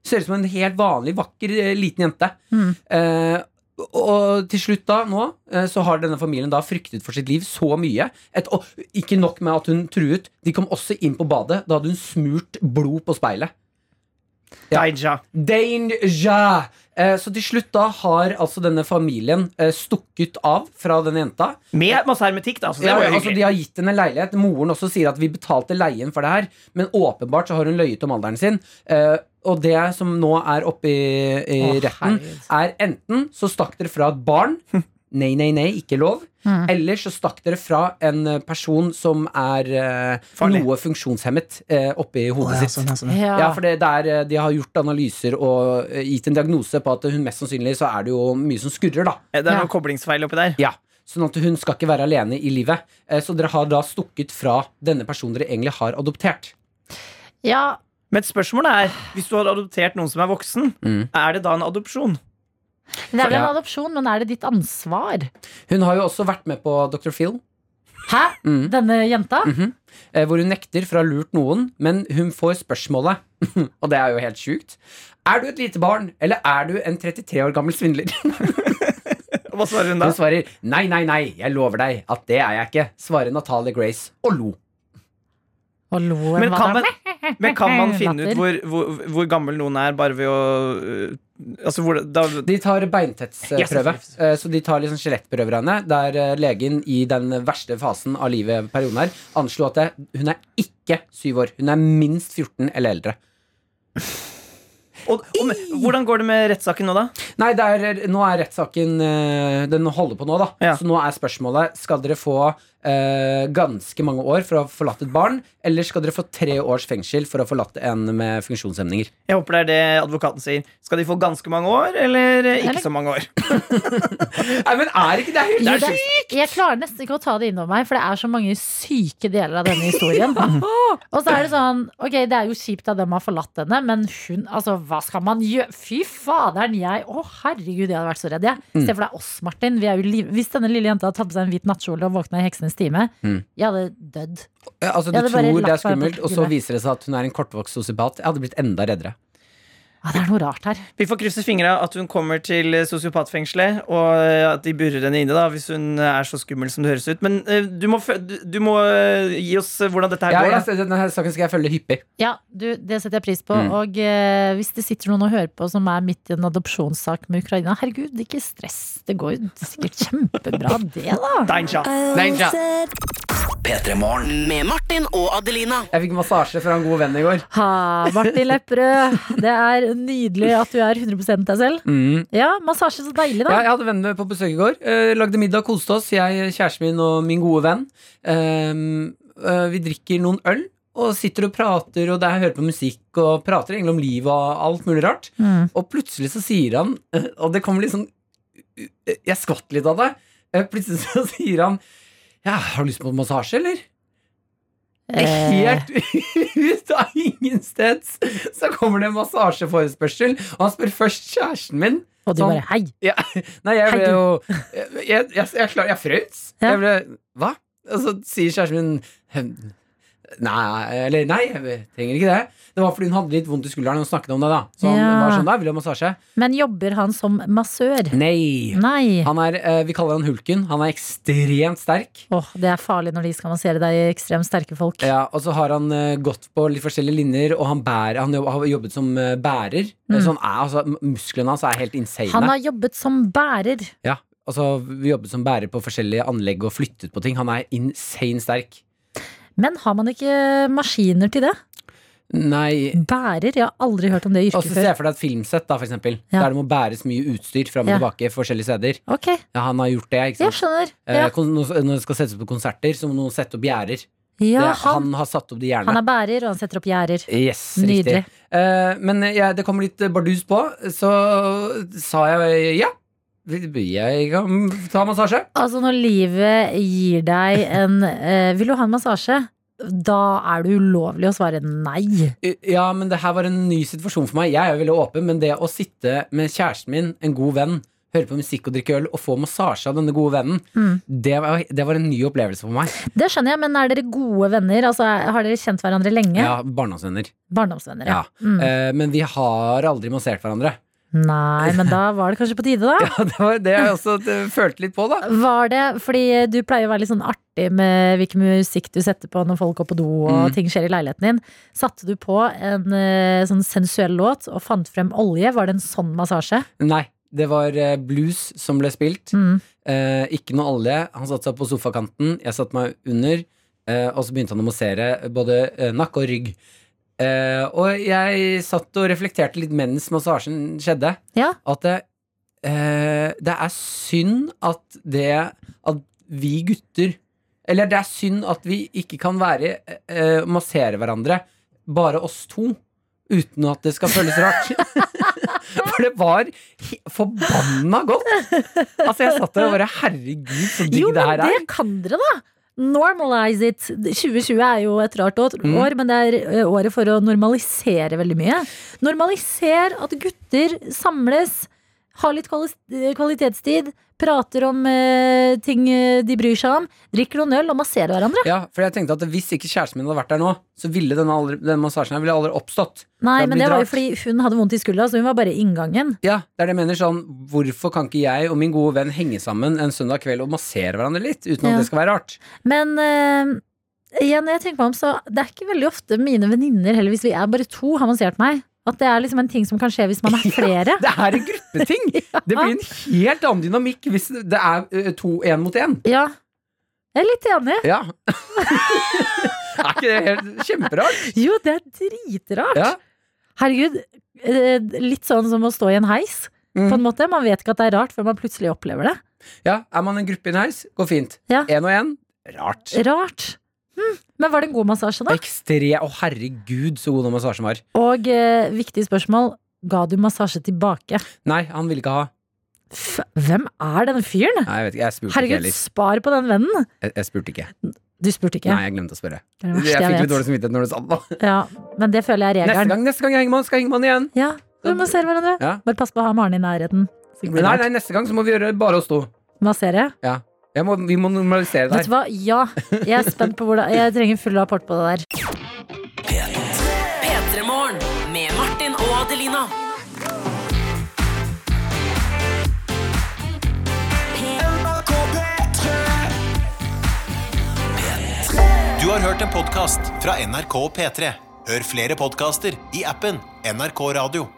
Speaker 3: Ser ut som en helt vanlig, vakker eh, liten jente.
Speaker 2: Mm.
Speaker 3: Eh, og til slutt da, nå, eh, så har denne familien da fryktet for sitt liv så mye. Et, og ikke nok med at hun truet, de kom også inn på badet. Da hadde hun smurt blod på speilet.
Speaker 4: Danger.
Speaker 3: Danger! Eh, Så til slutt da har altså denne familien eh, stukket av fra denne jenta.
Speaker 4: Med masse hermetikk, da. Så det
Speaker 3: Ja,
Speaker 4: var jo
Speaker 3: altså
Speaker 4: hyggelig.
Speaker 3: De har gitt henne en leilighet. Moren også sier at vi betalte leien for det her, men åpenbart så har hun løyet om alderen sin. Eh, og det som nå er oppe i, i
Speaker 2: Å,
Speaker 3: retten, er enten så stakk dere fra et barn Nei, nei, nei, ikke lov.
Speaker 2: Mm.
Speaker 3: Eller så stakk dere fra en eh, person som er eh,
Speaker 4: Farlig.
Speaker 3: noe funksjonshemmet eh, oppi hodet
Speaker 4: Å, ja,
Speaker 3: sitt.
Speaker 4: sånn, ja, sånn, ja. Ja.
Speaker 3: for det, det er, eh, De har gjort analyser og eh, gitt en diagnose på at hun mest sannsynlig så er det jo mye som skurrer, da.
Speaker 4: Det er noen koblingsfeil oppi der.
Speaker 3: Ja, Sånn at hun skal ikke være alene i livet. Eh, Så dere har da stukket fra denne personen dere egentlig har adoptert.
Speaker 4: Men spørsmålet er, hvis du har adoptert noen som er voksen,
Speaker 3: Mm.
Speaker 4: er det da en adopsjon?
Speaker 2: Det er vel en
Speaker 3: Ja.
Speaker 2: adopsjon, men er det ditt ansvar?
Speaker 3: Hun har jo også vært med på Dr. Phil.
Speaker 2: Hæ? Denne jenta?
Speaker 3: Mhm. Eh, Hvor hun nekter for å ha lurt noen, men hun får spørsmålet, og det er jo helt sjukt, er du et lite barn, eller er du en 33 år gammel svindler?
Speaker 4: Hva svarer hun da?
Speaker 3: Hun svarer nei, nei, nei, jeg lover deg at det er jeg ikke, svarer Natalie Grace og lo.
Speaker 2: Og lo
Speaker 4: Men kan man, Men kan man finne
Speaker 2: Latter.
Speaker 4: ut hvor, hvor, hvor gammel noen er bare ved å øh, Altså hvor da,
Speaker 3: De tar beintettsprøve. Eh, Så de tar liksom skjelettprøver av henne, der eh, legen i den verste fasen av livet perioden her anslo at det, hun er ikke syv år. Hun er minst 14 eller eldre.
Speaker 4: Og, og, men hvordan går det med rettssaken nå, da?
Speaker 3: Nei, det er, nå er rettssaken eh, Den holder på nå, da. Så nå er spørsmålet Skal dere få eh, ganske mange år for å ha forlatt et barn, eller skal dere få tre års fengsel for å ha forlatt en med funksjonshemninger?
Speaker 4: Jeg håper det er det advokaten sier. Skal de få ganske mange år, eller eh, ikke
Speaker 2: Eller-
Speaker 4: så mange år? Nei, men er ikke det helt
Speaker 2: Jo, det- Jeg klarer nesten ikke å ta det innom meg, for det er så mange syke deler av denne historien. Og så er det sånn, ok, det er jo kjipt at dem har forlatt henne, men hun, altså, hva skal man gjøre? Fy faderen, jeg, å herregud, jeg hadde vært så redd, jeg.
Speaker 12: Mm.
Speaker 2: Se for deg oss, Martin. Vi er jo liv... Hvis denne lille jenta hadde tatt på seg en hvit nattkjole og våkna i Heksenes time,
Speaker 3: Mm.
Speaker 2: jeg hadde dødd.
Speaker 3: Ja, altså,
Speaker 2: Jeg
Speaker 3: du
Speaker 2: hadde bare
Speaker 3: tror det er
Speaker 2: lagt meg på
Speaker 3: skummelt, og så
Speaker 2: gulvet.
Speaker 3: viser det seg at hun er en kortvokst sosiopat. Jeg hadde blitt enda reddere.
Speaker 2: Ja, det er noe rart her.
Speaker 4: Vi får krysse fingra at hun kommer til eh, sosiopatfengselet, og eh, at de burer henne inne, da, hvis hun eh, er så skummel som det høres ut. Men eh, du må, fø- du, du må eh, gi oss eh, hvordan dette her
Speaker 3: Ja,
Speaker 4: går.
Speaker 3: jeg- denne saken skal jeg følge hyppig.
Speaker 2: Ja, du, det setter jeg pris på.
Speaker 3: Mm.
Speaker 2: Og eh, hvis det sitter noen og hører på som er midt i en adopsjonssak med Ukraina, herregud, ikke stress. Det går jo sikkert kjempebra, det da.
Speaker 4: Danger.
Speaker 3: Danger.
Speaker 8: P3 Morgen.
Speaker 5: Med Martin og Adelina.
Speaker 3: Jeg fikk massasje fra en god venn i går.
Speaker 2: Ha, Martin Lepperød, det er nydelig at du er 100 deg selv.
Speaker 3: Mm.
Speaker 2: Ja, massasje så deilig,
Speaker 3: Ja,
Speaker 2: da.
Speaker 3: jeg hadde venner på besøk i går. Eh, lagde middag, koste oss. Jeg, kjæresten min og min gode venn. Ehm, eh, vi drikker noen øl og sitter og prater og der hører på musikk og prater egentlig om livet og alt mulig rart.
Speaker 2: Mm.
Speaker 3: Og plutselig så sier han, eh, og det kommer litt sånn eh, Jeg skvatt litt av det. Eh, Plutselig så sier han Ja, har du lyst på massasje, eller?
Speaker 2: Eh.
Speaker 3: Helt ut av ingensteds så kommer det en massasjeforespørsel, og han spør først kjæresten min.
Speaker 2: Og du
Speaker 3: sånn-
Speaker 2: bare hei.
Speaker 3: ja. Nei, jeg
Speaker 2: Hei,
Speaker 3: ble
Speaker 2: du.
Speaker 3: jo Jeg, jeg, jeg, jeg, klar, jeg frøs. Jeg ble Hva? Og så sier kjæresten min «Hm, Nei, eller nei, jeg trenger ikke det. Det var fordi hun hadde litt vondt i skulderen. Hun snakket om det, da. Så han
Speaker 2: Ja.
Speaker 3: var sånn, da, vil du ha massasje?
Speaker 2: Men jobber han som massør?
Speaker 3: Nei.
Speaker 2: Nei.
Speaker 3: Han er, eh, vi kaller han Hulken. Han er ekstremt sterk.
Speaker 2: Åh, Det er farlig når de skal massere deg, ekstremt sterke folk.
Speaker 3: Ja, og så har han eh, gått på litt forskjellige linjer, og han, bærer, han jobb- har jobbet som eh, bærer.
Speaker 2: Mm.
Speaker 3: Så han er, altså, m- musklene hans er helt insane.
Speaker 2: Han har jobbet som bærer.
Speaker 3: Ja, altså vi jobbet som bærer på forskjellige anlegg og flyttet på ting. Han er insane sterk.
Speaker 2: Men har man ikke maskiner til det?
Speaker 3: Nei.
Speaker 2: Bærer? Jeg har aldri hørt om det
Speaker 3: Og
Speaker 2: yrket
Speaker 3: så ser
Speaker 2: før.
Speaker 3: jeg for deg et filmsett, da, for eksempel.
Speaker 2: Ja.
Speaker 3: Der det må bæres mye utstyr fram og
Speaker 2: Ja.
Speaker 3: tilbake forskjellige steder.
Speaker 2: Ok,
Speaker 3: Ja, han har gjort det, ikke
Speaker 2: jeg
Speaker 3: sant.
Speaker 2: skjønner.
Speaker 3: Eh,
Speaker 2: Ja.
Speaker 3: kon- Når når det skal settes opp på konserter, så må noen sette opp gjerder.
Speaker 2: Ja,
Speaker 3: Det-
Speaker 2: han-
Speaker 3: har satt opp de gjerdene.
Speaker 2: Han er bærer, og han setter opp gjerder.
Speaker 3: Yes,
Speaker 2: Nydelig.
Speaker 3: riktig. Eh, men jeg, det kom litt eh, bardus på, så sa jeg ja. Jeg kan ta massasje.
Speaker 2: Altså når livet gir deg en eh, Vil du ha en massasje? Da er det ulovlig å svare nei.
Speaker 3: Ja, men det her var en ny situasjon for meg. Jeg er jo veldig åpen, men det å sitte med kjæresten min, en god venn, høre på musikk og drikke øl og få massasje av denne gode vennen,
Speaker 2: Mm.
Speaker 3: det, var, det var en ny opplevelse for meg.
Speaker 2: Det skjønner jeg, men er dere gode venner? Altså, er- Har dere kjent hverandre lenge?
Speaker 3: Ja, barndomsvenner.
Speaker 2: Barndomsvenner, ja.
Speaker 3: Ja.
Speaker 2: Mm.
Speaker 3: Eh, men vi har aldri massert hverandre.
Speaker 2: Nei, men da var det kanskje på tide, da?
Speaker 3: Ja, det var det jeg også eh, følte litt på, da.
Speaker 2: Var det, fordi du pleier å være litt sånn artig med hvilken musikk du setter på når folk går på do og
Speaker 3: Mm.
Speaker 2: ting skjer i leiligheten din. Satte du på en eh, sånn sensuell låt og fant frem olje? Var det en sånn massasje?
Speaker 3: Nei, det var eh, blues som ble spilt.
Speaker 2: Mm.
Speaker 3: Eh, ikke noe olje. Han satte seg på sofakanten, jeg satte meg under, eh, og så begynte han å massere både eh, nakke og rygg. Eh, og jeg satt og reflekterte litt mens massasjen skjedde,
Speaker 2: Ja.
Speaker 3: at det, eh, det er synd at det At vi gutter Eller det er synd at vi ikke kan være eh, massere hverandre, bare oss to. Uten at det skal føles rart. For det var he- forbanna godt! Altså, jeg satt der og bare Herregud, så digg
Speaker 2: Jo,
Speaker 3: det
Speaker 2: men
Speaker 3: her
Speaker 2: det
Speaker 3: er.
Speaker 2: kan dere, da! Normalize it. 2020 er jo et rart år,
Speaker 3: Mm.
Speaker 2: år, men det er eh, året for å normalisere veldig mye. Normaliser at gutter samles, har litt kvali- eh, kvalitetstid, prater om eh, ting eh, de bryr seg om, drikker noen øl og masserer hverandre.
Speaker 3: Ja, for jeg tenkte at Hvis ikke kjæresten min hadde vært der nå, så ville denne, aldri, denne massasjen her ville aldri oppstått.
Speaker 2: Nei,
Speaker 3: hadde
Speaker 2: men
Speaker 3: blitt
Speaker 2: det var
Speaker 3: rart.
Speaker 2: jo fordi hun hadde vondt i skuldra, så hun var bare i inngangen.
Speaker 3: Ja, det er det jeg mener sånn Hvorfor kan ikke jeg og min gode venn henge sammen en søndag kveld og massere hverandre litt, uten
Speaker 2: Ja.
Speaker 3: at det skal være rart?
Speaker 2: Men eh, igjen, når jeg tenker meg om, så det er ikke veldig ofte mine venninner, heller hvis vi er bare to, har massert meg. At det er liksom en ting som kan skje hvis man er flere.
Speaker 3: det er en gruppeting! Det blir en helt annen dynamikk hvis det er eh, to én mot én.
Speaker 2: Ja. Jeg er litt enig.
Speaker 3: Ja. er ikke det helt kjemperart?
Speaker 2: Jo, det er dritrart.
Speaker 3: Ja.
Speaker 2: Herregud, eh, litt sånn som å stå i en heis. På
Speaker 3: Mm.
Speaker 2: en måte, Man vet ikke at det er rart før man plutselig opplever det.
Speaker 3: ja. Er man en gruppe i en heis, går fint.
Speaker 2: Ja.
Speaker 3: Én og én, rart.
Speaker 2: Rart. Hm. Men var det en god massasje, da?
Speaker 3: Ekstre... Å, herregud, så god den massasjen var.
Speaker 2: Og eh, viktig spørsmål, ga du massasje tilbake?
Speaker 3: Nei, han ville ikke ha.
Speaker 2: F Hvem er denne fyren?
Speaker 3: Nei, jeg vet ikke. Jeg spurte ikke
Speaker 2: Herregud,
Speaker 3: heller.
Speaker 2: spar på den vennen!
Speaker 3: Jeg, jeg spurte ikke.
Speaker 2: Du spurte ikke?
Speaker 3: Nei, jeg glemte å spørre.
Speaker 2: Det er det verste
Speaker 3: jeg
Speaker 2: jeg
Speaker 3: fikk
Speaker 2: vet.
Speaker 3: litt dårlig samvittighet når du sa det.
Speaker 2: Ja, men det føler jeg er
Speaker 3: Neste
Speaker 2: regelen.
Speaker 3: gang, neste gang jeg henger med han, skal jeg henge med han igjen.
Speaker 2: Ja, vi må se hverandre.
Speaker 3: Ja.
Speaker 2: Bare pass på å ha Maren i nærheten. Så det blir
Speaker 3: Nei,
Speaker 2: rart.
Speaker 3: nei, neste gang så må vi gjøre bare oss to.
Speaker 2: Massere.
Speaker 3: Ja. Jeg må, vi må normalisere det
Speaker 2: Vet du
Speaker 3: her.
Speaker 2: hva? Ja, jeg er spent på hvordan Jeg trenger full rapport på det der.
Speaker 5: P3-morgen med Martin og Adelina.
Speaker 1: Du har hørt en podcast fra NRK P3. Hør flere podcaster i appen NRK Radio.